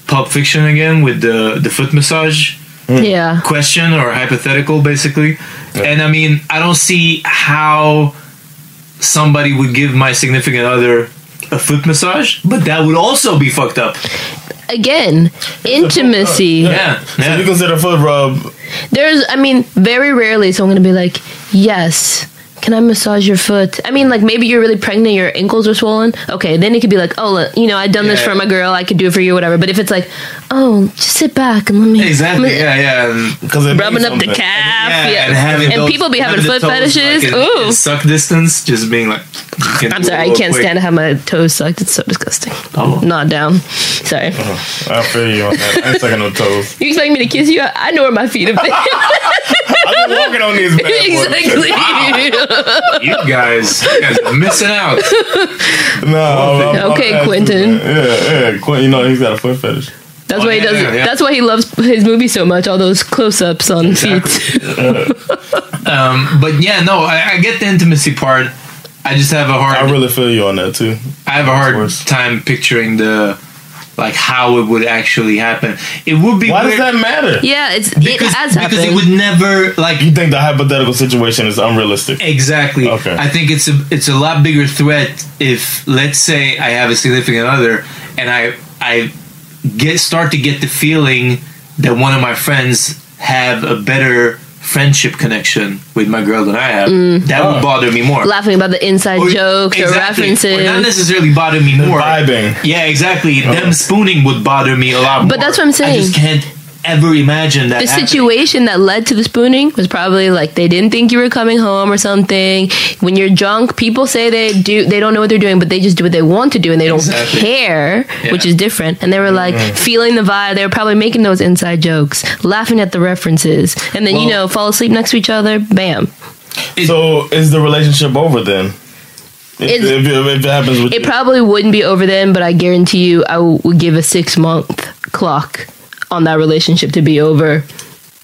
[SPEAKER 2] Pulp Fiction again with the the foot massage
[SPEAKER 7] Yeah.
[SPEAKER 2] question or hypothetical, basically. And I mean, I don't see how somebody would give my significant other a foot massage, but that would also be fucked up.
[SPEAKER 7] Again, intimacy.
[SPEAKER 2] Yeah,
[SPEAKER 1] So you
[SPEAKER 2] yeah.
[SPEAKER 1] consider foot rub?
[SPEAKER 7] There's, I mean, very rarely someone gonna be like, yes. Can I massage your foot? I mean, like maybe you're really pregnant, your ankles are swollen. Okay, then it could be like, oh, look, you know, I've done this
[SPEAKER 2] Yeah.
[SPEAKER 7] for my girl, I could do it for you, whatever. But if it's like, oh, just sit back and let me
[SPEAKER 2] Exactly.
[SPEAKER 7] let me-
[SPEAKER 2] Yeah, yeah. And-
[SPEAKER 1] Because
[SPEAKER 7] rubbing up the calf, yeah,
[SPEAKER 2] and having
[SPEAKER 7] and,
[SPEAKER 2] those-
[SPEAKER 7] people be having,
[SPEAKER 2] the
[SPEAKER 7] foot
[SPEAKER 2] toes,
[SPEAKER 7] fetishes.
[SPEAKER 2] like, in-
[SPEAKER 7] Ooh,
[SPEAKER 2] in suck distance, just being like.
[SPEAKER 7] I'm sorry, I can't stand to have my toes sucked. It's so disgusting.
[SPEAKER 2] Oh. Uh-huh.
[SPEAKER 7] Not down. Sorry.
[SPEAKER 1] I feel you on that. I ain't sucking no toes.
[SPEAKER 7] You expect me to kiss you? I I know where my feet have been.
[SPEAKER 1] I've been walking on these. Bad boys.
[SPEAKER 7] exactly.
[SPEAKER 2] You guys, you guys are missing out.
[SPEAKER 1] No. I'm- I'm-
[SPEAKER 7] Okay,
[SPEAKER 1] I'm-
[SPEAKER 7] Quentin.
[SPEAKER 1] Yeah, yeah. Quentin, you know he's got a foot fetish.
[SPEAKER 7] That's
[SPEAKER 2] Oh,
[SPEAKER 7] why he
[SPEAKER 2] yeah,
[SPEAKER 7] does.
[SPEAKER 2] yeah, yeah.
[SPEAKER 7] That's why he loves his movie so much. All those close-ups on feet.
[SPEAKER 2] Um, but yeah, no, I, I get the intimacy part. I
[SPEAKER 8] I just have a hard.
[SPEAKER 1] I really feel you on that too.
[SPEAKER 8] I have a hard time picturing the like how it would actually happen. It would be.
[SPEAKER 1] Why does
[SPEAKER 8] weird-
[SPEAKER 1] that matter?
[SPEAKER 7] Yeah, it's it has
[SPEAKER 8] because it
[SPEAKER 7] happened.
[SPEAKER 8] would never like.
[SPEAKER 1] You think the hypothetical situation is unrealistic?
[SPEAKER 8] Exactly.
[SPEAKER 1] Okay.
[SPEAKER 8] I think it's a it's a lot bigger threat if let's say I have a significant other and I I get start to get the feeling that one of my friends have a better friendship connection with my girl than I have.
[SPEAKER 7] Mm.
[SPEAKER 8] That would bother me more.
[SPEAKER 7] Laughing about the inside jokes or
[SPEAKER 8] Exactly.
[SPEAKER 7] references.
[SPEAKER 8] Or not necessarily bother me more.
[SPEAKER 1] Vibing.
[SPEAKER 8] Yeah, exactly. Them spooning would bother me a lot more.
[SPEAKER 7] But that's what I'm
[SPEAKER 8] I just
[SPEAKER 7] saying.
[SPEAKER 8] can't ever imagine that.
[SPEAKER 7] the
[SPEAKER 8] happening.
[SPEAKER 7] situation that led to the spooning was probably like they didn't think you were coming home or something. When you're drunk, people say they do they don't know what they're doing, but they just do what they want to do and they don't
[SPEAKER 8] Exactly.
[SPEAKER 7] care,
[SPEAKER 8] Yeah.
[SPEAKER 7] which is different. And they were like
[SPEAKER 8] Mhm.
[SPEAKER 7] feeling the vibe. They were probably making those inside jokes, laughing at the references, and then you
[SPEAKER 1] Well-
[SPEAKER 7] know fall asleep next to each other. Bam.
[SPEAKER 1] so is the relationship over then? If,
[SPEAKER 7] It's-
[SPEAKER 1] if, it- if it happens with
[SPEAKER 7] It
[SPEAKER 1] you.
[SPEAKER 7] probably wouldn't be over then, but I guarantee you, I w- would give a six month clock on that relationship to be over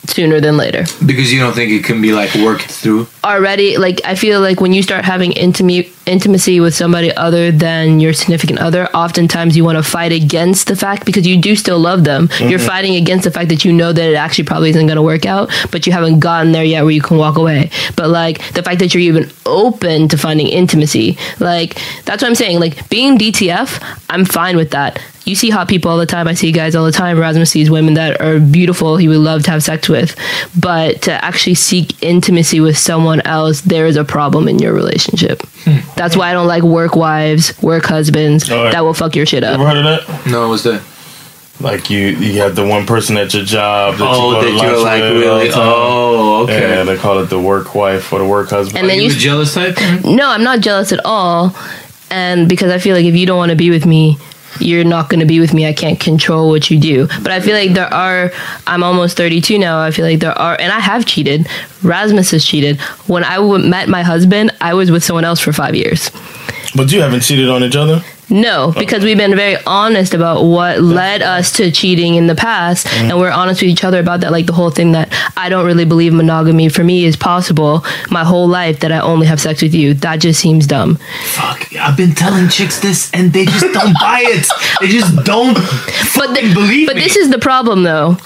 [SPEAKER 7] sooner than later.
[SPEAKER 8] because you don't think it can be like worked through.
[SPEAKER 7] already like I feel like when you start having intimate intimacy with somebody other than your significant other, oftentimes you want to fight against the fact because you do still love them. You're
[SPEAKER 9] Mhm.
[SPEAKER 7] fighting against the fact that you know that it actually probably isn't going to work out, but you haven't gotten there yet where you can walk away. But like the fact that you're even open to finding intimacy, like that's what I'm saying. Like being DTF, I'm fine with that. You see hot people all the time. I see guys all the time. Rasmus sees women that are beautiful. He would love to have sex with, but to actually seek intimacy with someone else, there is a problem in your relationship. That's why I don't like work wives, work husbands.
[SPEAKER 1] Hmm. All right.
[SPEAKER 7] That will fuck your shit
[SPEAKER 1] You
[SPEAKER 7] up.
[SPEAKER 1] ever heard of that?
[SPEAKER 8] No, what's that?
[SPEAKER 1] Like you, you have the one person at your job. That
[SPEAKER 8] Oh,
[SPEAKER 1] you go to
[SPEAKER 8] that you're
[SPEAKER 1] lunch
[SPEAKER 8] like
[SPEAKER 1] with all
[SPEAKER 8] really-
[SPEAKER 1] the time.
[SPEAKER 8] oh, okay.
[SPEAKER 1] Yeah, they call it the work wife or the work husband.
[SPEAKER 7] And then Are you you- the
[SPEAKER 8] jealous type?
[SPEAKER 7] No, I'm not jealous at all. And because I feel like if you don't want to be with me, you're not going to be with me. I can't control what you do. But I feel like there are, I'm almost 32 now. I feel like there are, and I have cheated. Rasmus has cheated. When I w- met my husband, I was with someone else for five years.
[SPEAKER 1] But you haven't cheated on each other.
[SPEAKER 7] No, because we've been very honest about what led us to cheating in the past, and we're honest with each other about that. Like the whole thing that I don't really believe monogamy for me is possible my whole life that I only have sex with you. That just seems dumb.
[SPEAKER 8] Fuck, I've been telling chicks this and they just don't buy it. They just don't
[SPEAKER 7] but the, believe But this is the problem though,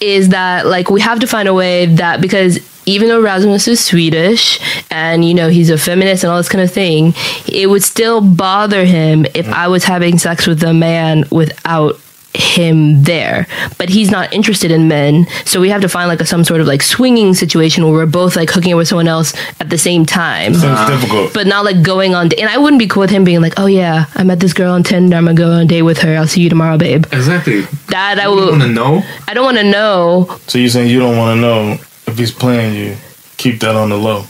[SPEAKER 7] is that like we have to find a way that because even though Rasmus is Swedish and you know he's a feminist and all this kind of thing, it would still bother him if I was having sex with a man without him there but he's not interested in men so we have to find like a, some sort of like swinging situation where we're both like hooking up with someone else at the same time
[SPEAKER 1] Seems difficult.
[SPEAKER 7] but not like going on. And I wouldn't be cool with him being like, "Oh yeah, I met this girl on Tinder. I'm gonna go on a date with her. I'll see you tomorrow, babe."
[SPEAKER 8] Exactly.
[SPEAKER 7] That I will.
[SPEAKER 8] know.
[SPEAKER 7] I don't want to know.
[SPEAKER 1] So you're saying you don't want to know if he's playing you? Keep that on the low,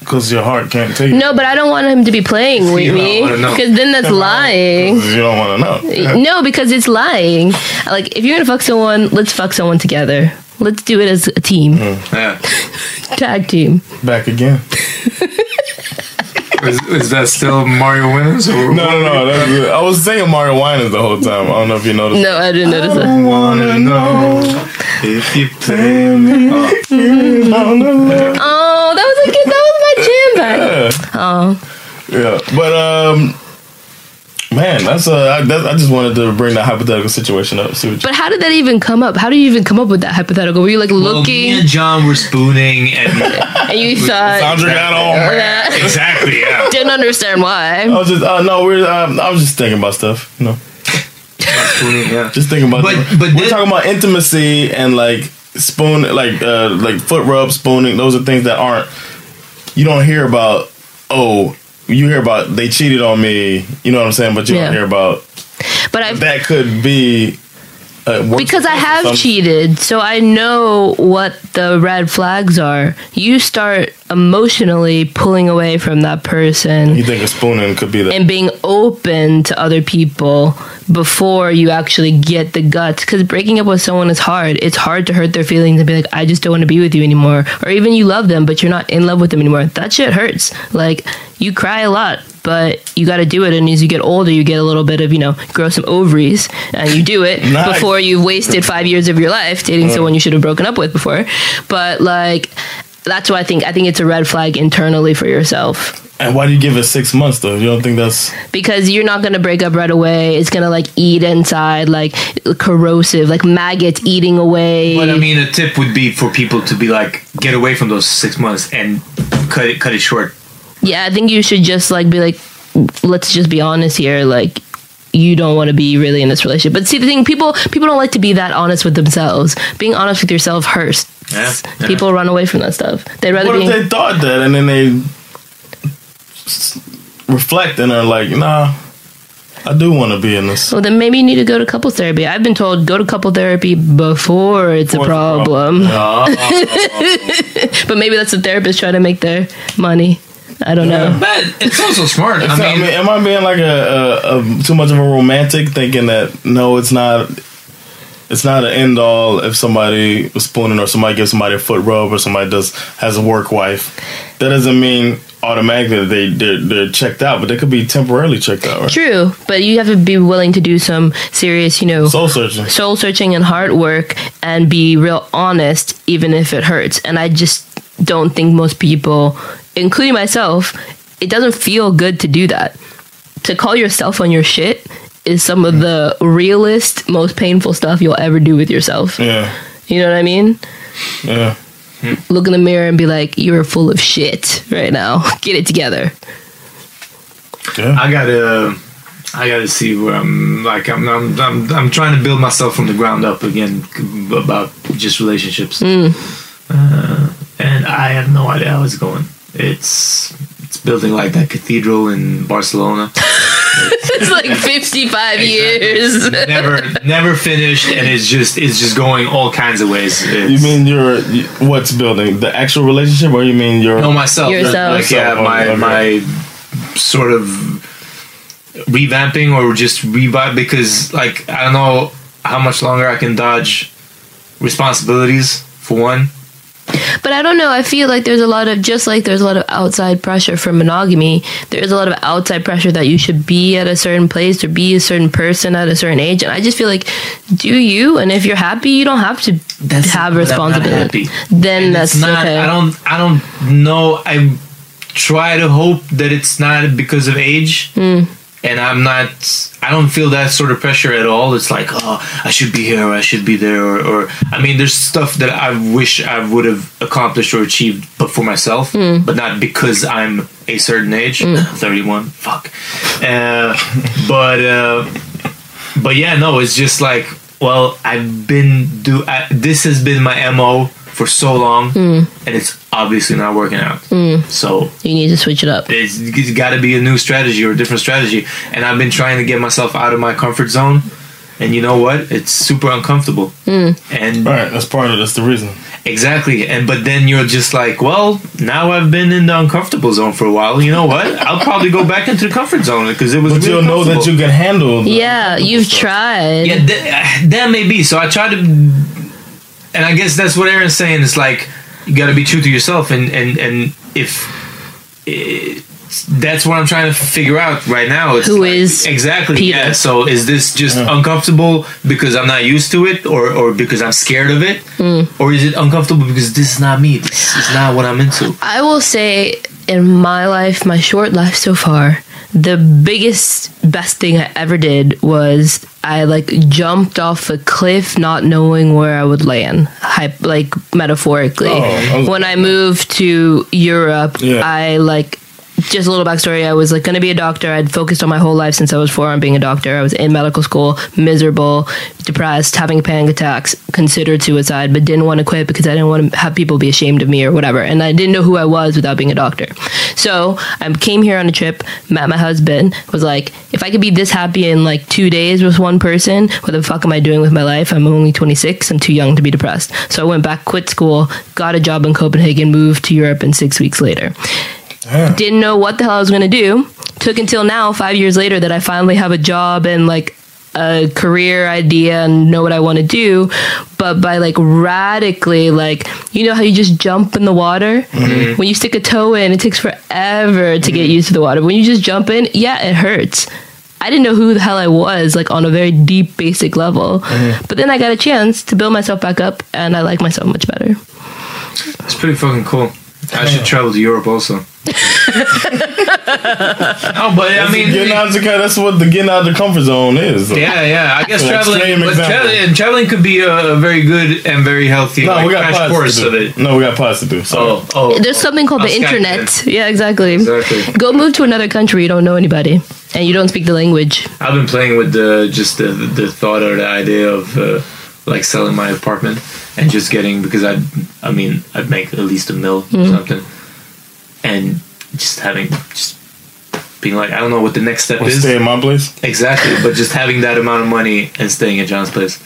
[SPEAKER 1] because your heart can't take it.
[SPEAKER 7] No, but I don't want him to be playing with
[SPEAKER 1] You don't
[SPEAKER 7] me
[SPEAKER 1] wanna know.
[SPEAKER 7] because then that's lying.
[SPEAKER 1] 'Cause You don't want to know.
[SPEAKER 7] No, because it's lying. Like if you're gonna fuck someone, let's fuck someone together. Let's do it as a team,
[SPEAKER 8] Yeah.
[SPEAKER 7] tag team.
[SPEAKER 1] Hmm. Back again.
[SPEAKER 8] Is, is that still Mario Williams? Or
[SPEAKER 1] no, no, no. That's good. I was saying Mario Winans the whole time. I don't know if you noticed. Oh.
[SPEAKER 7] No, I didn't notice
[SPEAKER 1] I
[SPEAKER 7] that.
[SPEAKER 1] don't wanna know if you play me.
[SPEAKER 7] Oh, that was a good. That was my jam back. Oh,
[SPEAKER 1] Yeah, but um, man, that's uh, I, that, I just wanted to bring that hypothetical situation up. See what you,
[SPEAKER 7] but how did that even come up? How do you even come up with that hypothetical? Were you like
[SPEAKER 8] Well,
[SPEAKER 7] looking?
[SPEAKER 8] me and John were spooning and.
[SPEAKER 7] and you thought
[SPEAKER 1] Sandra got on.
[SPEAKER 7] Yeah.
[SPEAKER 8] Exactly, yeah.
[SPEAKER 7] Didn't understand why.
[SPEAKER 1] I was just uh, no, we're um, I was just thinking about stuff. You know, just thinking about. But, we're talking about intimacy and like spoon, like uh, like foot rub, spooning. Those are things that aren't. You don't hear about. Oh, you hear about they cheated on me. You know what I'm saying? But you
[SPEAKER 7] Yeah.
[SPEAKER 1] don't hear about.
[SPEAKER 7] But I
[SPEAKER 1] that could be. Uh, work-
[SPEAKER 7] Because I have
[SPEAKER 1] some-
[SPEAKER 7] cheated, so I know what the red flags are. You start emotionally pulling away from that person
[SPEAKER 1] You think a spooning could be that?
[SPEAKER 7] and being open to other people before you actually get the guts. Because breaking up with someone is hard. It's hard to hurt their feelings and be like, I just don't want to be with you anymore. Or even you love them, but you're not in love with them anymore. That shit hurts. Like, you cry a lot. But you got to do it, and as you get older, you get a little bit of you know, grow some ovaries, and you do it
[SPEAKER 9] Nice.
[SPEAKER 7] before you've wasted five years of your life dating
[SPEAKER 9] Mm.
[SPEAKER 7] someone you should have broken up with before. But like, that's what I think. I think it's a red flag internally for yourself.
[SPEAKER 1] And why do you give it six months though? You don't think that's
[SPEAKER 7] because you're not gonna break up right away. It's gonna like eat inside, like corrosive, like maggots eating away.
[SPEAKER 2] But I mean, a tip would be for people to be like, get away from those six months and cut it, cut it short.
[SPEAKER 7] yeah, I think you should just like be like, let's just be honest here. Like, you don't want to be really in this relationship. But see, the thing people people don't like to be that honest with themselves. Being honest with yourself hurts.
[SPEAKER 1] yeah.
[SPEAKER 7] People run away from that stuff. They'd rather
[SPEAKER 1] What
[SPEAKER 7] be.
[SPEAKER 1] if they thought that and then they s- reflect and are like, nah, I do want to be in this.
[SPEAKER 7] Well, then maybe you need to go to couple therapy. I've been told go to couple therapy before it's a problem. but maybe that's the therapist trying to make their money. I don't know.
[SPEAKER 2] But it's also smart.
[SPEAKER 1] I mean, am I being like a, a, a too much of a romantic thinking that no, it's not. It's not an end all if somebody was spooning or somebody gives somebody a foot rub or somebody does has a work wife. That doesn't mean automatically that they they're, they're checked out, but they could be temporarily checked out. Right?
[SPEAKER 7] True, but you have to be willing to do some serious, you know,
[SPEAKER 1] soul searching,
[SPEAKER 7] soul searching, and hard work, and be real honest, even if it hurts. And I just don't think most people, including myself, it doesn't feel good to do that. To call yourself on your shit is some of the realest, most painful stuff you'll ever do with yourself.
[SPEAKER 1] Yeah,
[SPEAKER 7] You know what I mean?
[SPEAKER 1] yeah.
[SPEAKER 7] Look in the mirror and be like, "You're full of shit right now. Get it together."
[SPEAKER 2] I gotta, I gotta see where I'm. Like I'm, I'm, I'm, I'm trying to build myself from the ground up again about just relationships. Uh, and I have no idea how it's going. It's it's building like that cathedral in Barcelona.
[SPEAKER 7] it's like 55 years.
[SPEAKER 2] never never finished, and it's just it's just going all kinds of ways. It's,
[SPEAKER 1] You mean your what's building the actual relationship, or you mean your
[SPEAKER 10] Um,
[SPEAKER 2] No, myself. Like, yeah, my my sort of revamping or just revive because, like, I don't know how much longer I can dodge responsibilities for one.
[SPEAKER 7] But I don't know. I feel like there's a lot of just like there's a lot of outside pressure from monogamy. There's a lot of outside pressure that you should be at a certain place or be a certain person at a certain age. And I just feel like, do you? And if you're happy, you don't have to have
[SPEAKER 2] but I'm not
[SPEAKER 7] responsibility.
[SPEAKER 2] happy.
[SPEAKER 7] Then that's
[SPEAKER 2] It's not.
[SPEAKER 7] okay.
[SPEAKER 2] I don't. I don't know. I try to hope that it's not because of age.
[SPEAKER 7] Mm.
[SPEAKER 2] and I'm not. I don't feel that sort of pressure at all. It's like, oh, I should be here, or I should be there, or, or I mean, there's stuff that I wish I would have accomplished or achieved, but for myself,
[SPEAKER 7] Mm.
[SPEAKER 2] but not because I'm a certain age, 31. Fuck. Uh, but uh, but yeah, no, it's just like, well, I've been do. I, this has been my mo for so long,
[SPEAKER 7] Mm.
[SPEAKER 2] and it's obviously not working out.
[SPEAKER 7] Mm.
[SPEAKER 2] So
[SPEAKER 7] You need to switch it up.
[SPEAKER 2] it's, it's got to be a new strategy or a different strategy. And I've been trying to get myself out of my comfort zone. And you know what? It's super uncomfortable. And
[SPEAKER 1] right, that's part of that's the reason.
[SPEAKER 2] Exactly. And but then you're just like, well, now I've been in the uncomfortable zone for a while. You know what? I'll probably go back into the comfort zone because it was.
[SPEAKER 1] But you'll know that you can handle.
[SPEAKER 7] Yeah, you've tried.
[SPEAKER 2] Yeah, th- that may be. So I try to, and I guess that's what Aaron's saying. It's like you got to be true to yourself, and and and if eh, that's what I'm trying to figure out right now. It's
[SPEAKER 7] Who
[SPEAKER 2] like-
[SPEAKER 7] is
[SPEAKER 2] exactly?
[SPEAKER 7] Peter?
[SPEAKER 2] Yeah. So is this just uncomfortable because I'm not used to it, or or because I'm scared of it,
[SPEAKER 7] Mm.
[SPEAKER 2] or is it uncomfortable because this is not me? This is not what I'm into.
[SPEAKER 7] I will say in my life, my short life so far, the biggest best thing I ever did was I like jumped off a cliff not knowing where I would land, hype, like metaphorically.
[SPEAKER 11] Oh, okay.
[SPEAKER 7] when I moved to Europe,
[SPEAKER 11] Yeah.
[SPEAKER 7] I like just a little backstory. I was like going to be a doctor. I'd focused on my whole life since I was four on being a doctor. I was in medical school, miserable, depressed, having panic attacks, considered suicide, but didn't want to quit because I didn't want to have people be ashamed of me or whatever. And I didn't know who I was without being a doctor. So I came here on a trip, met my husband, was like, if I could be this happy in like two days with one person, what the fuck am I doing with my life? I'm only 26. I'm too young to be depressed. So I went back, quit school, got a job in Copenhagen, moved to Europe, and six weeks later. Didn't know what the hell I was going to do. Took until now, five years later, that I finally have a job and like a career idea and know what I want to do. But by like radically, like, you know how you just jump in the water?
[SPEAKER 11] Mhm.
[SPEAKER 7] When you stick a toe in, it takes forever to get used to the water. When you just jump in, yeah, it hurts. I didn't know who the hell I was, like on a very deep, basic level.
[SPEAKER 2] Mhm.
[SPEAKER 7] But then I got a chance to build myself back up and I like myself much better.
[SPEAKER 2] It's pretty fucking cool.
[SPEAKER 10] I should travel to Europe
[SPEAKER 2] Oh,
[SPEAKER 10] also. no, but I
[SPEAKER 12] That's
[SPEAKER 10] mean,
[SPEAKER 12] getting out the, that's what the getting out of the comfort zone is.
[SPEAKER 10] yeah, yeah. I guess
[SPEAKER 12] An
[SPEAKER 10] traveling,
[SPEAKER 12] extreme
[SPEAKER 10] but
[SPEAKER 12] example.
[SPEAKER 10] traveling, traveling could be a very good and very healthy
[SPEAKER 12] No,
[SPEAKER 10] like,
[SPEAKER 12] we got
[SPEAKER 10] crash
[SPEAKER 12] pods
[SPEAKER 10] course
[SPEAKER 12] to
[SPEAKER 10] of
[SPEAKER 12] do.
[SPEAKER 10] it.
[SPEAKER 12] No, we got pods to do. So
[SPEAKER 10] Oh, oh,
[SPEAKER 7] There's something called the
[SPEAKER 10] I'll scan it.
[SPEAKER 7] internet. Yeah, exactly.
[SPEAKER 10] Exactly.
[SPEAKER 7] Go move to another country. You don't know anybody, and you don't speak the language.
[SPEAKER 10] I've been playing with the just the, the thought or the idea of uh, like selling my apartment and just getting because I I mean I'd make at least a mil or
[SPEAKER 7] Mhm.
[SPEAKER 10] something, and just having just being like I don't know what the next step
[SPEAKER 12] Or
[SPEAKER 10] is.
[SPEAKER 12] stay at my place.
[SPEAKER 10] Exactly, but just having that amount of money and staying at John's place.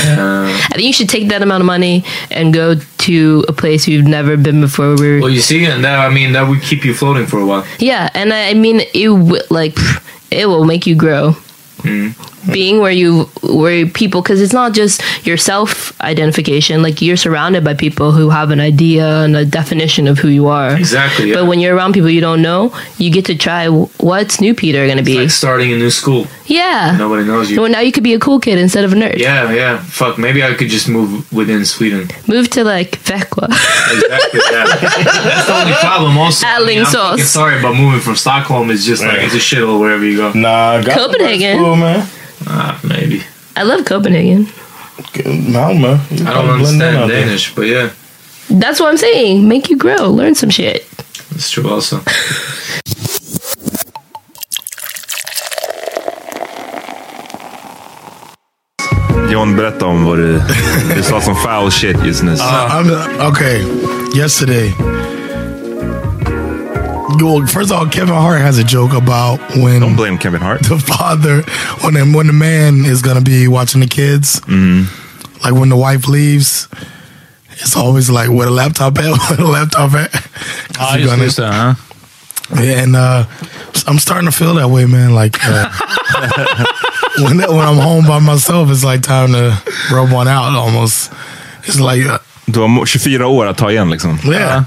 [SPEAKER 10] Uh,
[SPEAKER 7] I think you should take that amount of money and go to a place you've never been before. Where
[SPEAKER 10] well, you see, and that I mean that would keep you floating for a while.
[SPEAKER 7] yeah, and I, I mean it wi- like pff, it will make you grow.
[SPEAKER 10] Mm-hmm.
[SPEAKER 7] Being where you where people because it's not just your self identification. Like you're surrounded by people who have an idea and a definition of who you are.
[SPEAKER 10] Exactly, yeah.
[SPEAKER 7] But when you're around people you don't know, you get to try w- what's new Peter going to be.
[SPEAKER 10] Like starting a new school.
[SPEAKER 7] yeah.
[SPEAKER 10] Nobody knows you.
[SPEAKER 7] Well, now you could be a cool kid instead of a nerd.
[SPEAKER 10] Yeah, yeah. Fuck. Maybe I could just move within Sweden.
[SPEAKER 7] Move to like Vekwa.
[SPEAKER 10] Exactly. Yeah. That's the only problem. Also, I mean,
[SPEAKER 7] Adding
[SPEAKER 10] I'm fucking
[SPEAKER 7] sauce.
[SPEAKER 10] Sorry, but moving from Stockholm is just like it's a shithole wherever you go.
[SPEAKER 12] Nah,
[SPEAKER 7] Gothenburg's Copenhagen. cool,
[SPEAKER 12] man.
[SPEAKER 10] Ah, maybe.
[SPEAKER 7] I love Copenhagen.
[SPEAKER 12] Malmo. I
[SPEAKER 10] I don't understand Danish, but yeah,
[SPEAKER 7] That's what I'm saying. Make you grow, learn some shit.
[SPEAKER 10] it's true. Also,
[SPEAKER 3] John, berätta om vad du... Du sa som foul shit just nyss.
[SPEAKER 1] Ah. I'm, okay. Yesterday. Well, first of all, Kevin Hart has a joke about when. Don't
[SPEAKER 3] blame Kevin Hart.
[SPEAKER 1] The father, when the, when the man is going to be watching the kids. Like when the wife leaves, it's always like, where the laptop at? Where the laptop at? 'Cause
[SPEAKER 2] Ah,
[SPEAKER 1] you're
[SPEAKER 2] just
[SPEAKER 1] gonna-
[SPEAKER 2] just det, huh?
[SPEAKER 1] Yeah, and uh, I'm starting to feel that way, man. Like uh, when when I'm home by myself, it's like time to rub one out almost. It's like uh,
[SPEAKER 3] Du har 24 år att ta igen liksom.
[SPEAKER 1] yeah,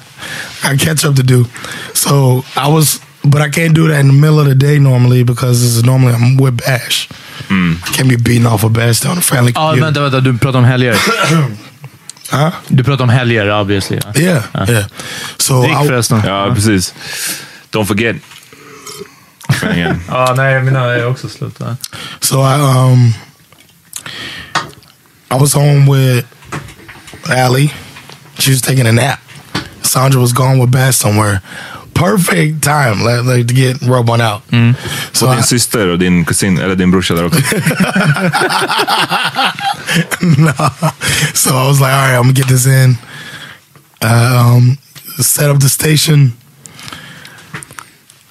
[SPEAKER 1] I catch up to do. So I was, but I can't do that in the middle of the day normally because it's normally I'm with Bash. I can't be beating off a Bash on the family.
[SPEAKER 2] Ja,
[SPEAKER 1] computer.
[SPEAKER 2] vänta, vänta. Du pratar om helger. Du pratar om helger, obviously.
[SPEAKER 1] Yeah, yeah. So
[SPEAKER 2] Drick förresten.
[SPEAKER 3] Ja, precis. Don't forget. Spänningen.
[SPEAKER 2] Ja, nej, mina är också slut. va?
[SPEAKER 1] So I um I was home with Allie. She was taking a nap. Sandra was gone with Bass somewhere. Perfect time like, like to get rub one out. Så
[SPEAKER 3] och din syster och din kusin, eller din brorsa där också.
[SPEAKER 1] no. So I was like, all right, I'm gonna get this in. Um, set up the station.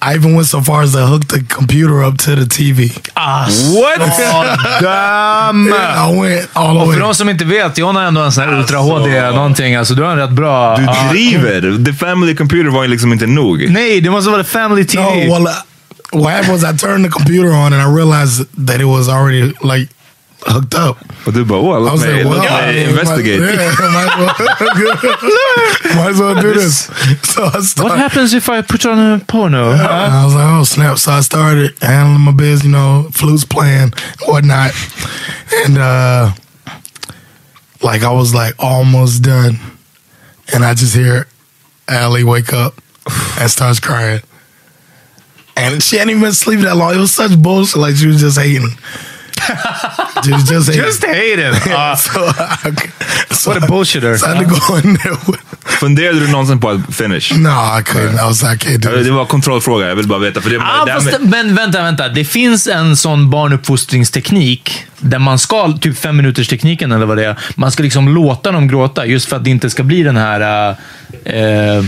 [SPEAKER 1] I even went so far as to hook the computer up to the TV.
[SPEAKER 2] Ah,
[SPEAKER 1] What?
[SPEAKER 2] Damn!
[SPEAKER 1] Yeah, I went all the
[SPEAKER 2] Och
[SPEAKER 1] way.
[SPEAKER 2] för de som inte vet, John har ändå en sån här Ultra HD någonting. Alltså, du har en rätt bra...
[SPEAKER 3] Du
[SPEAKER 2] Ah.
[SPEAKER 3] driver! The family computer var ju liksom inte nog.
[SPEAKER 2] Nej, det måste vara Family TV.
[SPEAKER 1] No, well, uh, what happened was I turned the computer on and I realized that it was already like hooked up.
[SPEAKER 3] Och du bara, åh,
[SPEAKER 1] I
[SPEAKER 3] låt
[SPEAKER 1] was
[SPEAKER 3] mig,
[SPEAKER 1] like, well,
[SPEAKER 3] låt mig
[SPEAKER 1] I-
[SPEAKER 3] investigate.
[SPEAKER 1] Yeah, might, as well, might as well do this. So I started,
[SPEAKER 2] What happens if I put on a porno?
[SPEAKER 1] And I was like, oh snap! So I started handling my biz, you know, flutes playing, whatnot, and uh, like I was like almost done, and I just hear Allie wake up and starts crying, and she hadn't even been sleeping that long. It was such bullshit. Like she was just hating. She was just hating.
[SPEAKER 2] Just hating. Ah.
[SPEAKER 1] so
[SPEAKER 2] what a bullshitter.
[SPEAKER 1] So I had to go in there.
[SPEAKER 3] Funderade du någonsin på att finish?
[SPEAKER 1] No, I couldn't. I was like, I can't do
[SPEAKER 3] Det var en kontrollfråga, jag vill bara veta. För det,
[SPEAKER 2] Ah,
[SPEAKER 3] det här
[SPEAKER 2] fast,
[SPEAKER 3] med-
[SPEAKER 2] men vänta, vänta. Det finns en sån barnuppfostringsteknik där man ska, typ fem minuters tekniken eller vad det är, man ska liksom låta dem gråta just för att det inte ska bli den här... eh, eh,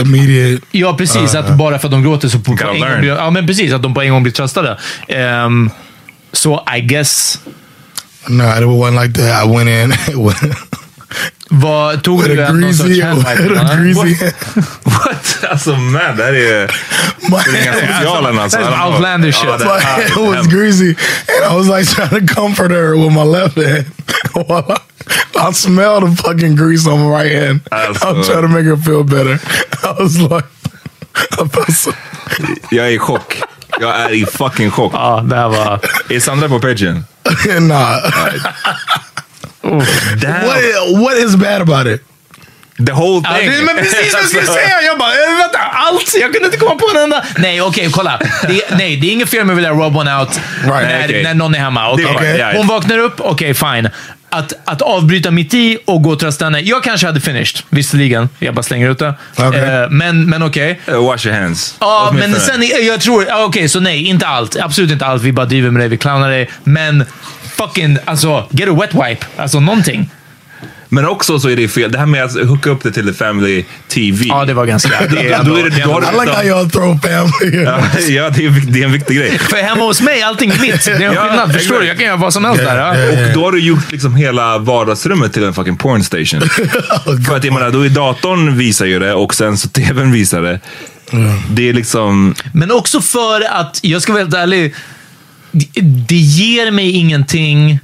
[SPEAKER 1] Immediate.
[SPEAKER 2] ja, precis.
[SPEAKER 1] Ah,
[SPEAKER 2] att
[SPEAKER 1] ah.
[SPEAKER 2] bara för att de gråter så på, på en gång
[SPEAKER 1] learn.
[SPEAKER 2] blir, Ja, men precis. Att de på en gång blir tröstade. Ehm, så I guess...
[SPEAKER 1] No, it wasn't like that. I went in.
[SPEAKER 2] Vad tog
[SPEAKER 1] With
[SPEAKER 2] du
[SPEAKER 1] a
[SPEAKER 2] en- någon sorts
[SPEAKER 1] greasy- with a greasy-
[SPEAKER 2] handpipe?
[SPEAKER 3] What? Alltså man, det här är... Det är ganska socialen alltså.
[SPEAKER 2] That's some outlander shit.
[SPEAKER 3] Ja, det-
[SPEAKER 1] That's why it was greasy. And I was like trying to comfort her with my left hand. While I, I smell the fucking grease on my right hand.
[SPEAKER 3] alltså.
[SPEAKER 1] I'm trying to make her feel better. I was like, I felt so.
[SPEAKER 3] Jag är i chock. Jag är i fucking chock.
[SPEAKER 2] Ja, det här var...
[SPEAKER 3] Är Sandra på pagen?
[SPEAKER 1] nah.
[SPEAKER 3] Damn.
[SPEAKER 1] What, what is bad about it?
[SPEAKER 3] The whole thing.
[SPEAKER 2] Ja, det, men precis vad jag skulle säga! Jag bara, eh, vänta, allt! Jag kunde inte komma på en enda... Nej, okej, kolla. Det, nej, det är inget fel med att vilja rub one out när,
[SPEAKER 6] okej.
[SPEAKER 2] när någon är hemma. Okej.
[SPEAKER 6] Det är okej. Ja, ja.
[SPEAKER 2] Hon vaknar upp, okej, fine. Att, att avbryta mitt i och gå till att stanna. Jag kanske hade finished, visserligen. Jag bara slänger ut det. Eh, men men okej.
[SPEAKER 3] Eh, wash your hands.
[SPEAKER 2] Ja, men
[SPEAKER 3] Åtminstone.
[SPEAKER 2] sen eh, jag tror... ja, Okej, så nej, inte allt. Absolut inte allt. Vi bara driver med dig, vi clownar dig. Men fucking, alltså, get a wet wipe. Alltså någonting.
[SPEAKER 3] Men också så är det fel. Det här med att hooka upp det till the family TV. Ja, det
[SPEAKER 2] var ganska...
[SPEAKER 3] då, då, då är det, då har du
[SPEAKER 9] I like how y'all throw family.
[SPEAKER 3] Ja, ja det, är, vik- det är en viktig grej.
[SPEAKER 2] För hemma hos mig är allting mitt. Det är en skillnad. Förstår du? Jag kan göra vad som helst där. ja.
[SPEAKER 3] Och då har du gjort liksom hela vardagsrummet till en fucking porn station. För att jag menar, då är datorn visar ju det och sen så tvn visar det. Det är liksom...
[SPEAKER 2] Men också för att, jag ska vara helt ärlig, det, det ger mig ingenting.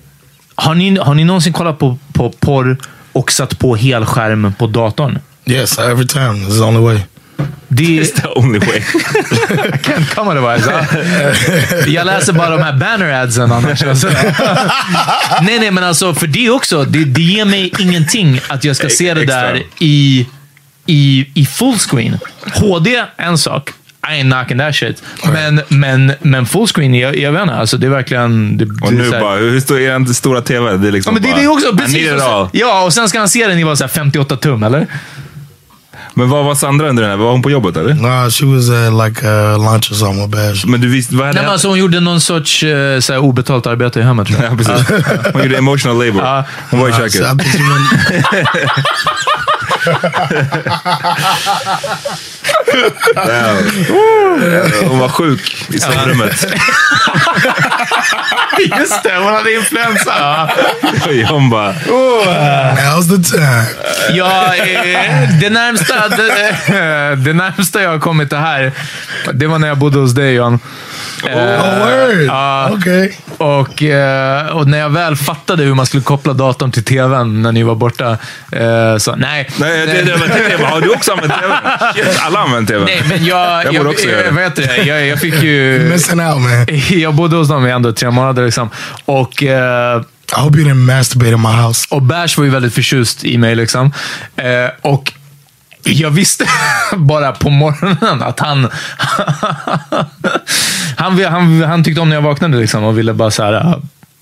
[SPEAKER 2] Har ni, har ni någonsin kollat på, på porr och satt på helskärm på datorn?
[SPEAKER 9] Yes, every time. This is the only way.
[SPEAKER 2] Det...
[SPEAKER 3] It's the only way.
[SPEAKER 2] I can't come otherwise. ah. Jag läser bara de här banner adsen annars. Alltså. nej, nej, men alltså för det också. Det, det ger mig ingenting att jag ska se det där i, i, i full screen. HD, en sak. I ain't knocking that shit. Men, men, men full screen, jag, jag vet inte. Alltså, det är verkligen... Det,
[SPEAKER 3] Och
[SPEAKER 2] det är
[SPEAKER 3] nu
[SPEAKER 2] så här-
[SPEAKER 3] bara, hur stor är den stora tvn? Det är
[SPEAKER 2] Ja,
[SPEAKER 3] liksom
[SPEAKER 2] men det är
[SPEAKER 3] bara,
[SPEAKER 2] det också.
[SPEAKER 3] I need
[SPEAKER 2] Precis.
[SPEAKER 3] it all.
[SPEAKER 2] Ja, och sen ska han se den i bara så här 58 tum, eller?
[SPEAKER 3] Men vad var Sandra under den här? Var hon på jobbet eller?
[SPEAKER 9] Nah, she was at like uh, lunch or something with Bash.
[SPEAKER 3] Men du visste, vad
[SPEAKER 2] Nej, men alltså, hon gjorde någon sorts eh, så här, obetalt arbete i hemmet. tror jag.
[SPEAKER 3] Ja, precis.
[SPEAKER 2] alltså-
[SPEAKER 3] Hon gjorde emotional labor. Hon var i köket. Damn. Hon var sjuk i sovrummet.
[SPEAKER 2] Just det, hon hade influensa.
[SPEAKER 3] Hon bara...
[SPEAKER 9] Now's the time.
[SPEAKER 2] Ja, eh, det, närmsta, det, eh, det närmsta jag har kommit det här, det var när jag bodde hos dig John. Eh, ja, och, eh, och när jag väl fattade hur man skulle koppla datorn till tvn när ni var borta, eh, så nej.
[SPEAKER 3] Nej, det, det, var det, jag bara, har du också använt tvn? Shit, alla har använt tvn.
[SPEAKER 2] Nej, men jag,
[SPEAKER 3] jag borde också
[SPEAKER 2] jag,
[SPEAKER 3] göra det.
[SPEAKER 2] vet det. Jag, jag fick ju...
[SPEAKER 9] Missing out, man.
[SPEAKER 2] Jag bodde hos dem i ändå tre månader. Liksom. Och, eh,
[SPEAKER 9] I hope you didn't masturbate in my house.
[SPEAKER 2] Och Bash var ju väldigt förtjust i mig. Liksom. Eh, och jag visste bara på morgonen att han... han, han, han tyckte om när jag vaknade liksom, och ville bara så här, eh,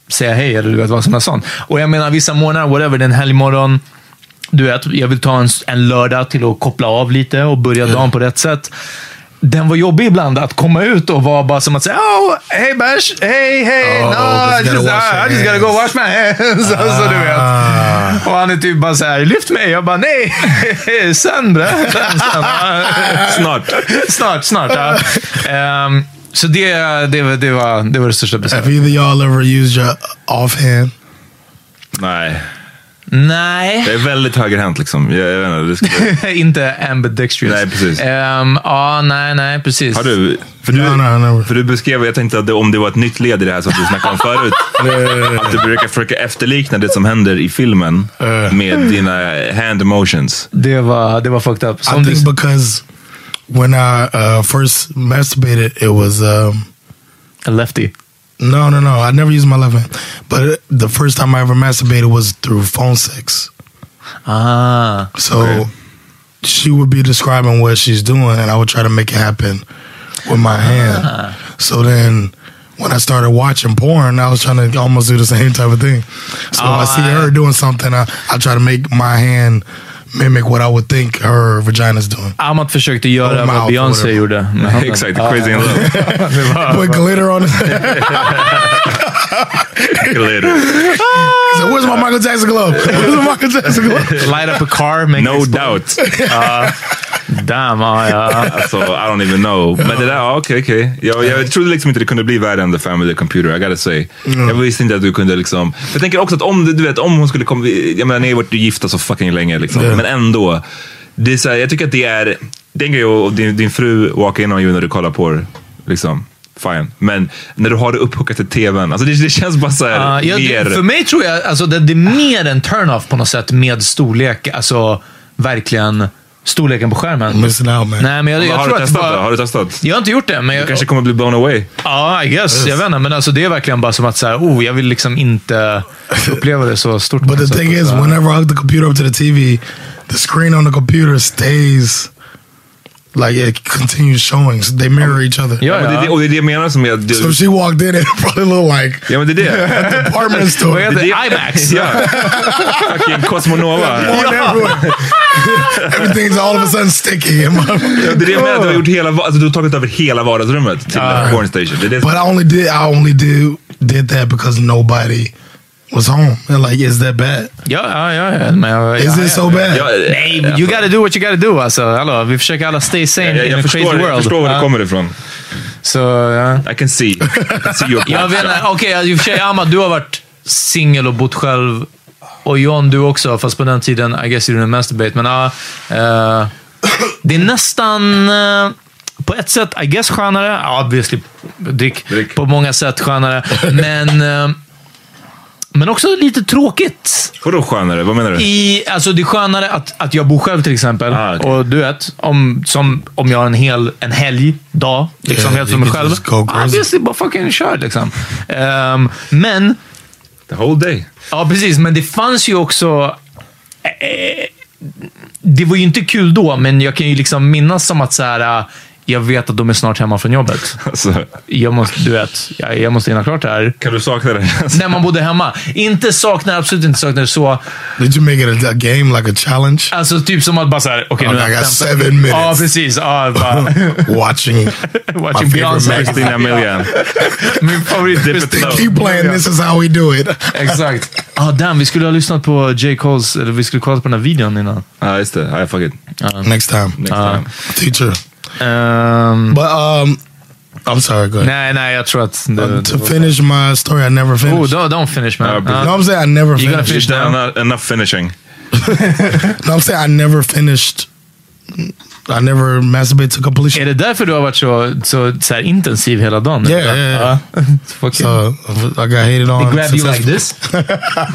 [SPEAKER 2] säga hej eller du vet vad som helst sånt. Och jag menar vissa morgnar, whatever, det är en helgmorgon. Du vet, jag vill ta en, en lördag till att koppla av lite och börja dagen på rätt sätt. Den var jobbig ibland att komma ut och vara bara som att säga oh, hey Bash, hey hey,
[SPEAKER 6] Oh,
[SPEAKER 2] no, I
[SPEAKER 6] just gotta
[SPEAKER 2] just,
[SPEAKER 6] wash
[SPEAKER 2] I
[SPEAKER 6] your
[SPEAKER 2] just gotta go wash my hands. Alltså, du vet. Och han är typ bara så här, lyft mig. Jag bara, nej, sen bre. Sen, sen.
[SPEAKER 3] Snart.
[SPEAKER 2] Snart, snart. Ja. Ehm, så det, det, var- det, var, det var det största beslutet.
[SPEAKER 9] Have either y'all ever used your offhand?
[SPEAKER 3] Nej.
[SPEAKER 2] Nej.
[SPEAKER 3] Det är väldigt högerhänt liksom. Jag, jag vet inte, det skulle...
[SPEAKER 2] Inte ambidextrous.
[SPEAKER 3] Nej, precis.
[SPEAKER 2] Ehm, ja, nej, nej, precis.
[SPEAKER 3] Har du? För du, för du beskrev, jag tänkte att det, om det var ett nytt led i det här som du snackade om förut. att du brukar försöka efterlikna det som händer i filmen med dina hand emotions.
[SPEAKER 2] Det var, det var fucked up.
[SPEAKER 9] I think because when I uh, first masturbated, it was um,
[SPEAKER 2] a lefty.
[SPEAKER 9] No, no, no. I never used my left hand, but the first time I ever masturbated was through phone sex.
[SPEAKER 2] Ah.
[SPEAKER 9] So she would be describing what she's doing, and I would try to make it happen with my hand. So then. When I started watching porn, I was trying to almost do the same type of thing. So if I see her doing something, I, I try to make my hand mimic what I would think her vagina's doing.
[SPEAKER 2] Amat försökte göra
[SPEAKER 9] Mouth
[SPEAKER 2] vad
[SPEAKER 9] or
[SPEAKER 2] Beyoncé
[SPEAKER 9] whatever.
[SPEAKER 2] gjorde. med handen.
[SPEAKER 3] Exakt,
[SPEAKER 2] Mm. Ja.
[SPEAKER 3] crazy in love.
[SPEAKER 2] Det var-
[SPEAKER 9] Put glitter on it. so where's my Michael Jackson glove? Where's my Michael Jackson glove?
[SPEAKER 2] Light up a car, make
[SPEAKER 3] No doubt.
[SPEAKER 2] damn, ja, ja.
[SPEAKER 3] Alltså, I don't even know. Men det där, ja, okej, okej. Jag, jag trodde liksom inte det kunde bli värre än The Family Computer, I gotta say. Jag visste inte att du kunde liksom... För jag tänker också att om, du- du vet, om hon skulle komma... Jag menar, ni har varit gifta så fucking länge liksom.
[SPEAKER 9] Ja.
[SPEAKER 3] Men ändå. Det är så här, jag tycker att det är... Det är en grej och din, din fru walkar in on you när du kollar på det, liksom. Fine. Men när du har det upphookat till tvn. Alltså det, det känns bara så här,
[SPEAKER 2] Ja, Ah, ja, det-
[SPEAKER 3] mer...
[SPEAKER 2] För mig tror jag alltså, det, det är mer en turn-off på något sätt med storlek. Alltså verkligen storleken på skärmen.
[SPEAKER 1] Missing out man.
[SPEAKER 2] Nej, men jag, jag
[SPEAKER 3] har,
[SPEAKER 2] tror
[SPEAKER 3] du
[SPEAKER 2] att
[SPEAKER 3] testat,
[SPEAKER 2] bara-
[SPEAKER 3] då? har du testat?
[SPEAKER 2] Jag har inte gjort det, men...
[SPEAKER 3] Du kanske kommer bli blown away.
[SPEAKER 2] Ja, I guess. Jag vet inte, men alltså, det är verkligen bara som att så här, oh, jag vill liksom inte uppleva det så stort.
[SPEAKER 1] But the thing is, whenever I hook the computer up to the TV, the screen on the computer stays like it continues showing. So they mirror each other.
[SPEAKER 3] Ja, men det, är det- och det är det jag menar som jag...
[SPEAKER 1] So if she walked in, it probably looked like
[SPEAKER 3] Ja, men det är det.
[SPEAKER 1] department store.
[SPEAKER 3] Det är det- Ja. Fucking Cosmonova.
[SPEAKER 1] Going everywhere. Everything's all of a sudden sticky. in my-
[SPEAKER 3] Ja, det är det jag menar. Du har, gjort hela, va- alltså, du har tagit över hela vardagsrummet till
[SPEAKER 1] Ah.
[SPEAKER 3] porn station. Det är det som-
[SPEAKER 1] But I only did I only do did that because nobody was home. And like, is that bad?
[SPEAKER 2] Ja, ja, ja. ja, Men jag,
[SPEAKER 1] Is
[SPEAKER 2] ja,
[SPEAKER 1] it
[SPEAKER 2] ja.
[SPEAKER 1] so bad?
[SPEAKER 2] Ja, Nej, you gotta do what you gotta do alltså. Hallå, vi försöker alla stay sane
[SPEAKER 3] jag,
[SPEAKER 2] in
[SPEAKER 3] jag,
[SPEAKER 2] a
[SPEAKER 3] förstår,
[SPEAKER 2] crazy world.
[SPEAKER 3] jag förstår var det
[SPEAKER 2] Ja.
[SPEAKER 3] kommer ifrån.
[SPEAKER 2] Så,
[SPEAKER 3] I can see. I can see your
[SPEAKER 2] Jag vet inte. Okej, i och för sig, Ahmad, du har varit singel och bott själv. Och John, du också. Fast på den tiden, I guess you didn't masturbate. Men ja, eh, det är nästan... eh, på ett sätt, I guess, skönare. Ja, obviously, drick. På många sätt skönare. Men, eh, men också lite tråkigt.
[SPEAKER 3] Vadå skönare? Vad menar du?
[SPEAKER 2] I, alltså det är skönare att, att jag bor själv till exempel. Och du vet, om, som, om jag har en hel en helg, dag, liksom
[SPEAKER 1] Yeah,
[SPEAKER 2] helt
[SPEAKER 1] you
[SPEAKER 2] för mig
[SPEAKER 1] can
[SPEAKER 2] själv.
[SPEAKER 1] just go crazy.
[SPEAKER 2] Obviously, bara fucking kör liksom. Ehm, men...
[SPEAKER 3] The whole day.
[SPEAKER 2] Ja, precis. Men det fanns ju också... eh, det var ju inte kul då, men jag kan ju liksom minnas som att så här, eh, jag vet att de är snart hemma från jobbet. Jag måste, du vet, jag, jag måste hinna klart det här.
[SPEAKER 3] Alltså, Kan du sakna det? Alltså,
[SPEAKER 2] När man bodde hemma. Inte saknar, absolut inte saknar så.
[SPEAKER 1] Did you make it a, a game like a challenge?
[SPEAKER 2] Alltså typ som att bara såhär, okej
[SPEAKER 1] Okay,
[SPEAKER 2] är
[SPEAKER 1] I
[SPEAKER 2] det
[SPEAKER 1] got
[SPEAKER 2] 15.
[SPEAKER 1] seven minutes.
[SPEAKER 2] Ja, precis. Ja, bara,
[SPEAKER 1] watching
[SPEAKER 2] watching Beyoncé. Min favorit.
[SPEAKER 1] They keep playing This Is How We Do It.
[SPEAKER 2] Exakt. Ah, damn, vi skulle ha lyssnat på J. Coles, eller vi skulle kollat på den här videon innan.
[SPEAKER 3] Ja, just det. Ah, fuck it.
[SPEAKER 1] Next time.
[SPEAKER 3] Next time.
[SPEAKER 1] Teacher. but um, I'm sorry. Go ahead.
[SPEAKER 2] Nej, nej, jag tror att... Det,
[SPEAKER 1] Um, to
[SPEAKER 2] det var-
[SPEAKER 1] finish my story, I never
[SPEAKER 2] Oh,
[SPEAKER 1] finished.
[SPEAKER 2] don't, don't finish man.
[SPEAKER 1] No,
[SPEAKER 2] Ah.
[SPEAKER 1] I'm saying I never
[SPEAKER 2] You gotta
[SPEAKER 1] finished.
[SPEAKER 2] finish now.
[SPEAKER 3] Enough, enough finishing.
[SPEAKER 1] No, I'm saying I never finished. I never masturbate to completion.
[SPEAKER 2] Är det därför du har varit så, så, så här intensiv hela dagen?
[SPEAKER 1] Yeah, yeah, yeah. So I got hated on.
[SPEAKER 2] They grab you like this?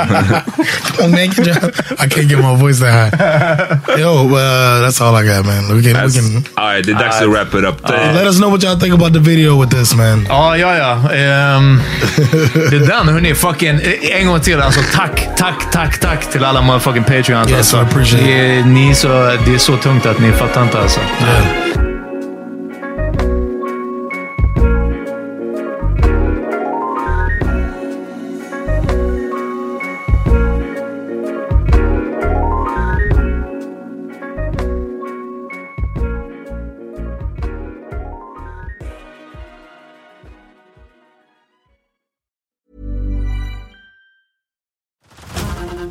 [SPEAKER 1] Don't make it, John. I can't get my voice that high. Yo, uh, that's all I got, man. We can, we can
[SPEAKER 3] Alright, det är dags att wrap it up.
[SPEAKER 1] let us know what y'all think about the video with this, man.
[SPEAKER 2] Ja, ja, ja. Ehm, det är den, hörni. Fucking, eh, en gång till. Alltså, tack, tack, tack, tack till alla motherfucking patreons.
[SPEAKER 1] Yes,
[SPEAKER 2] alltså.
[SPEAKER 1] I appreciate
[SPEAKER 2] det, är, ni är så, det är så tungt att ni fattar inte alltså.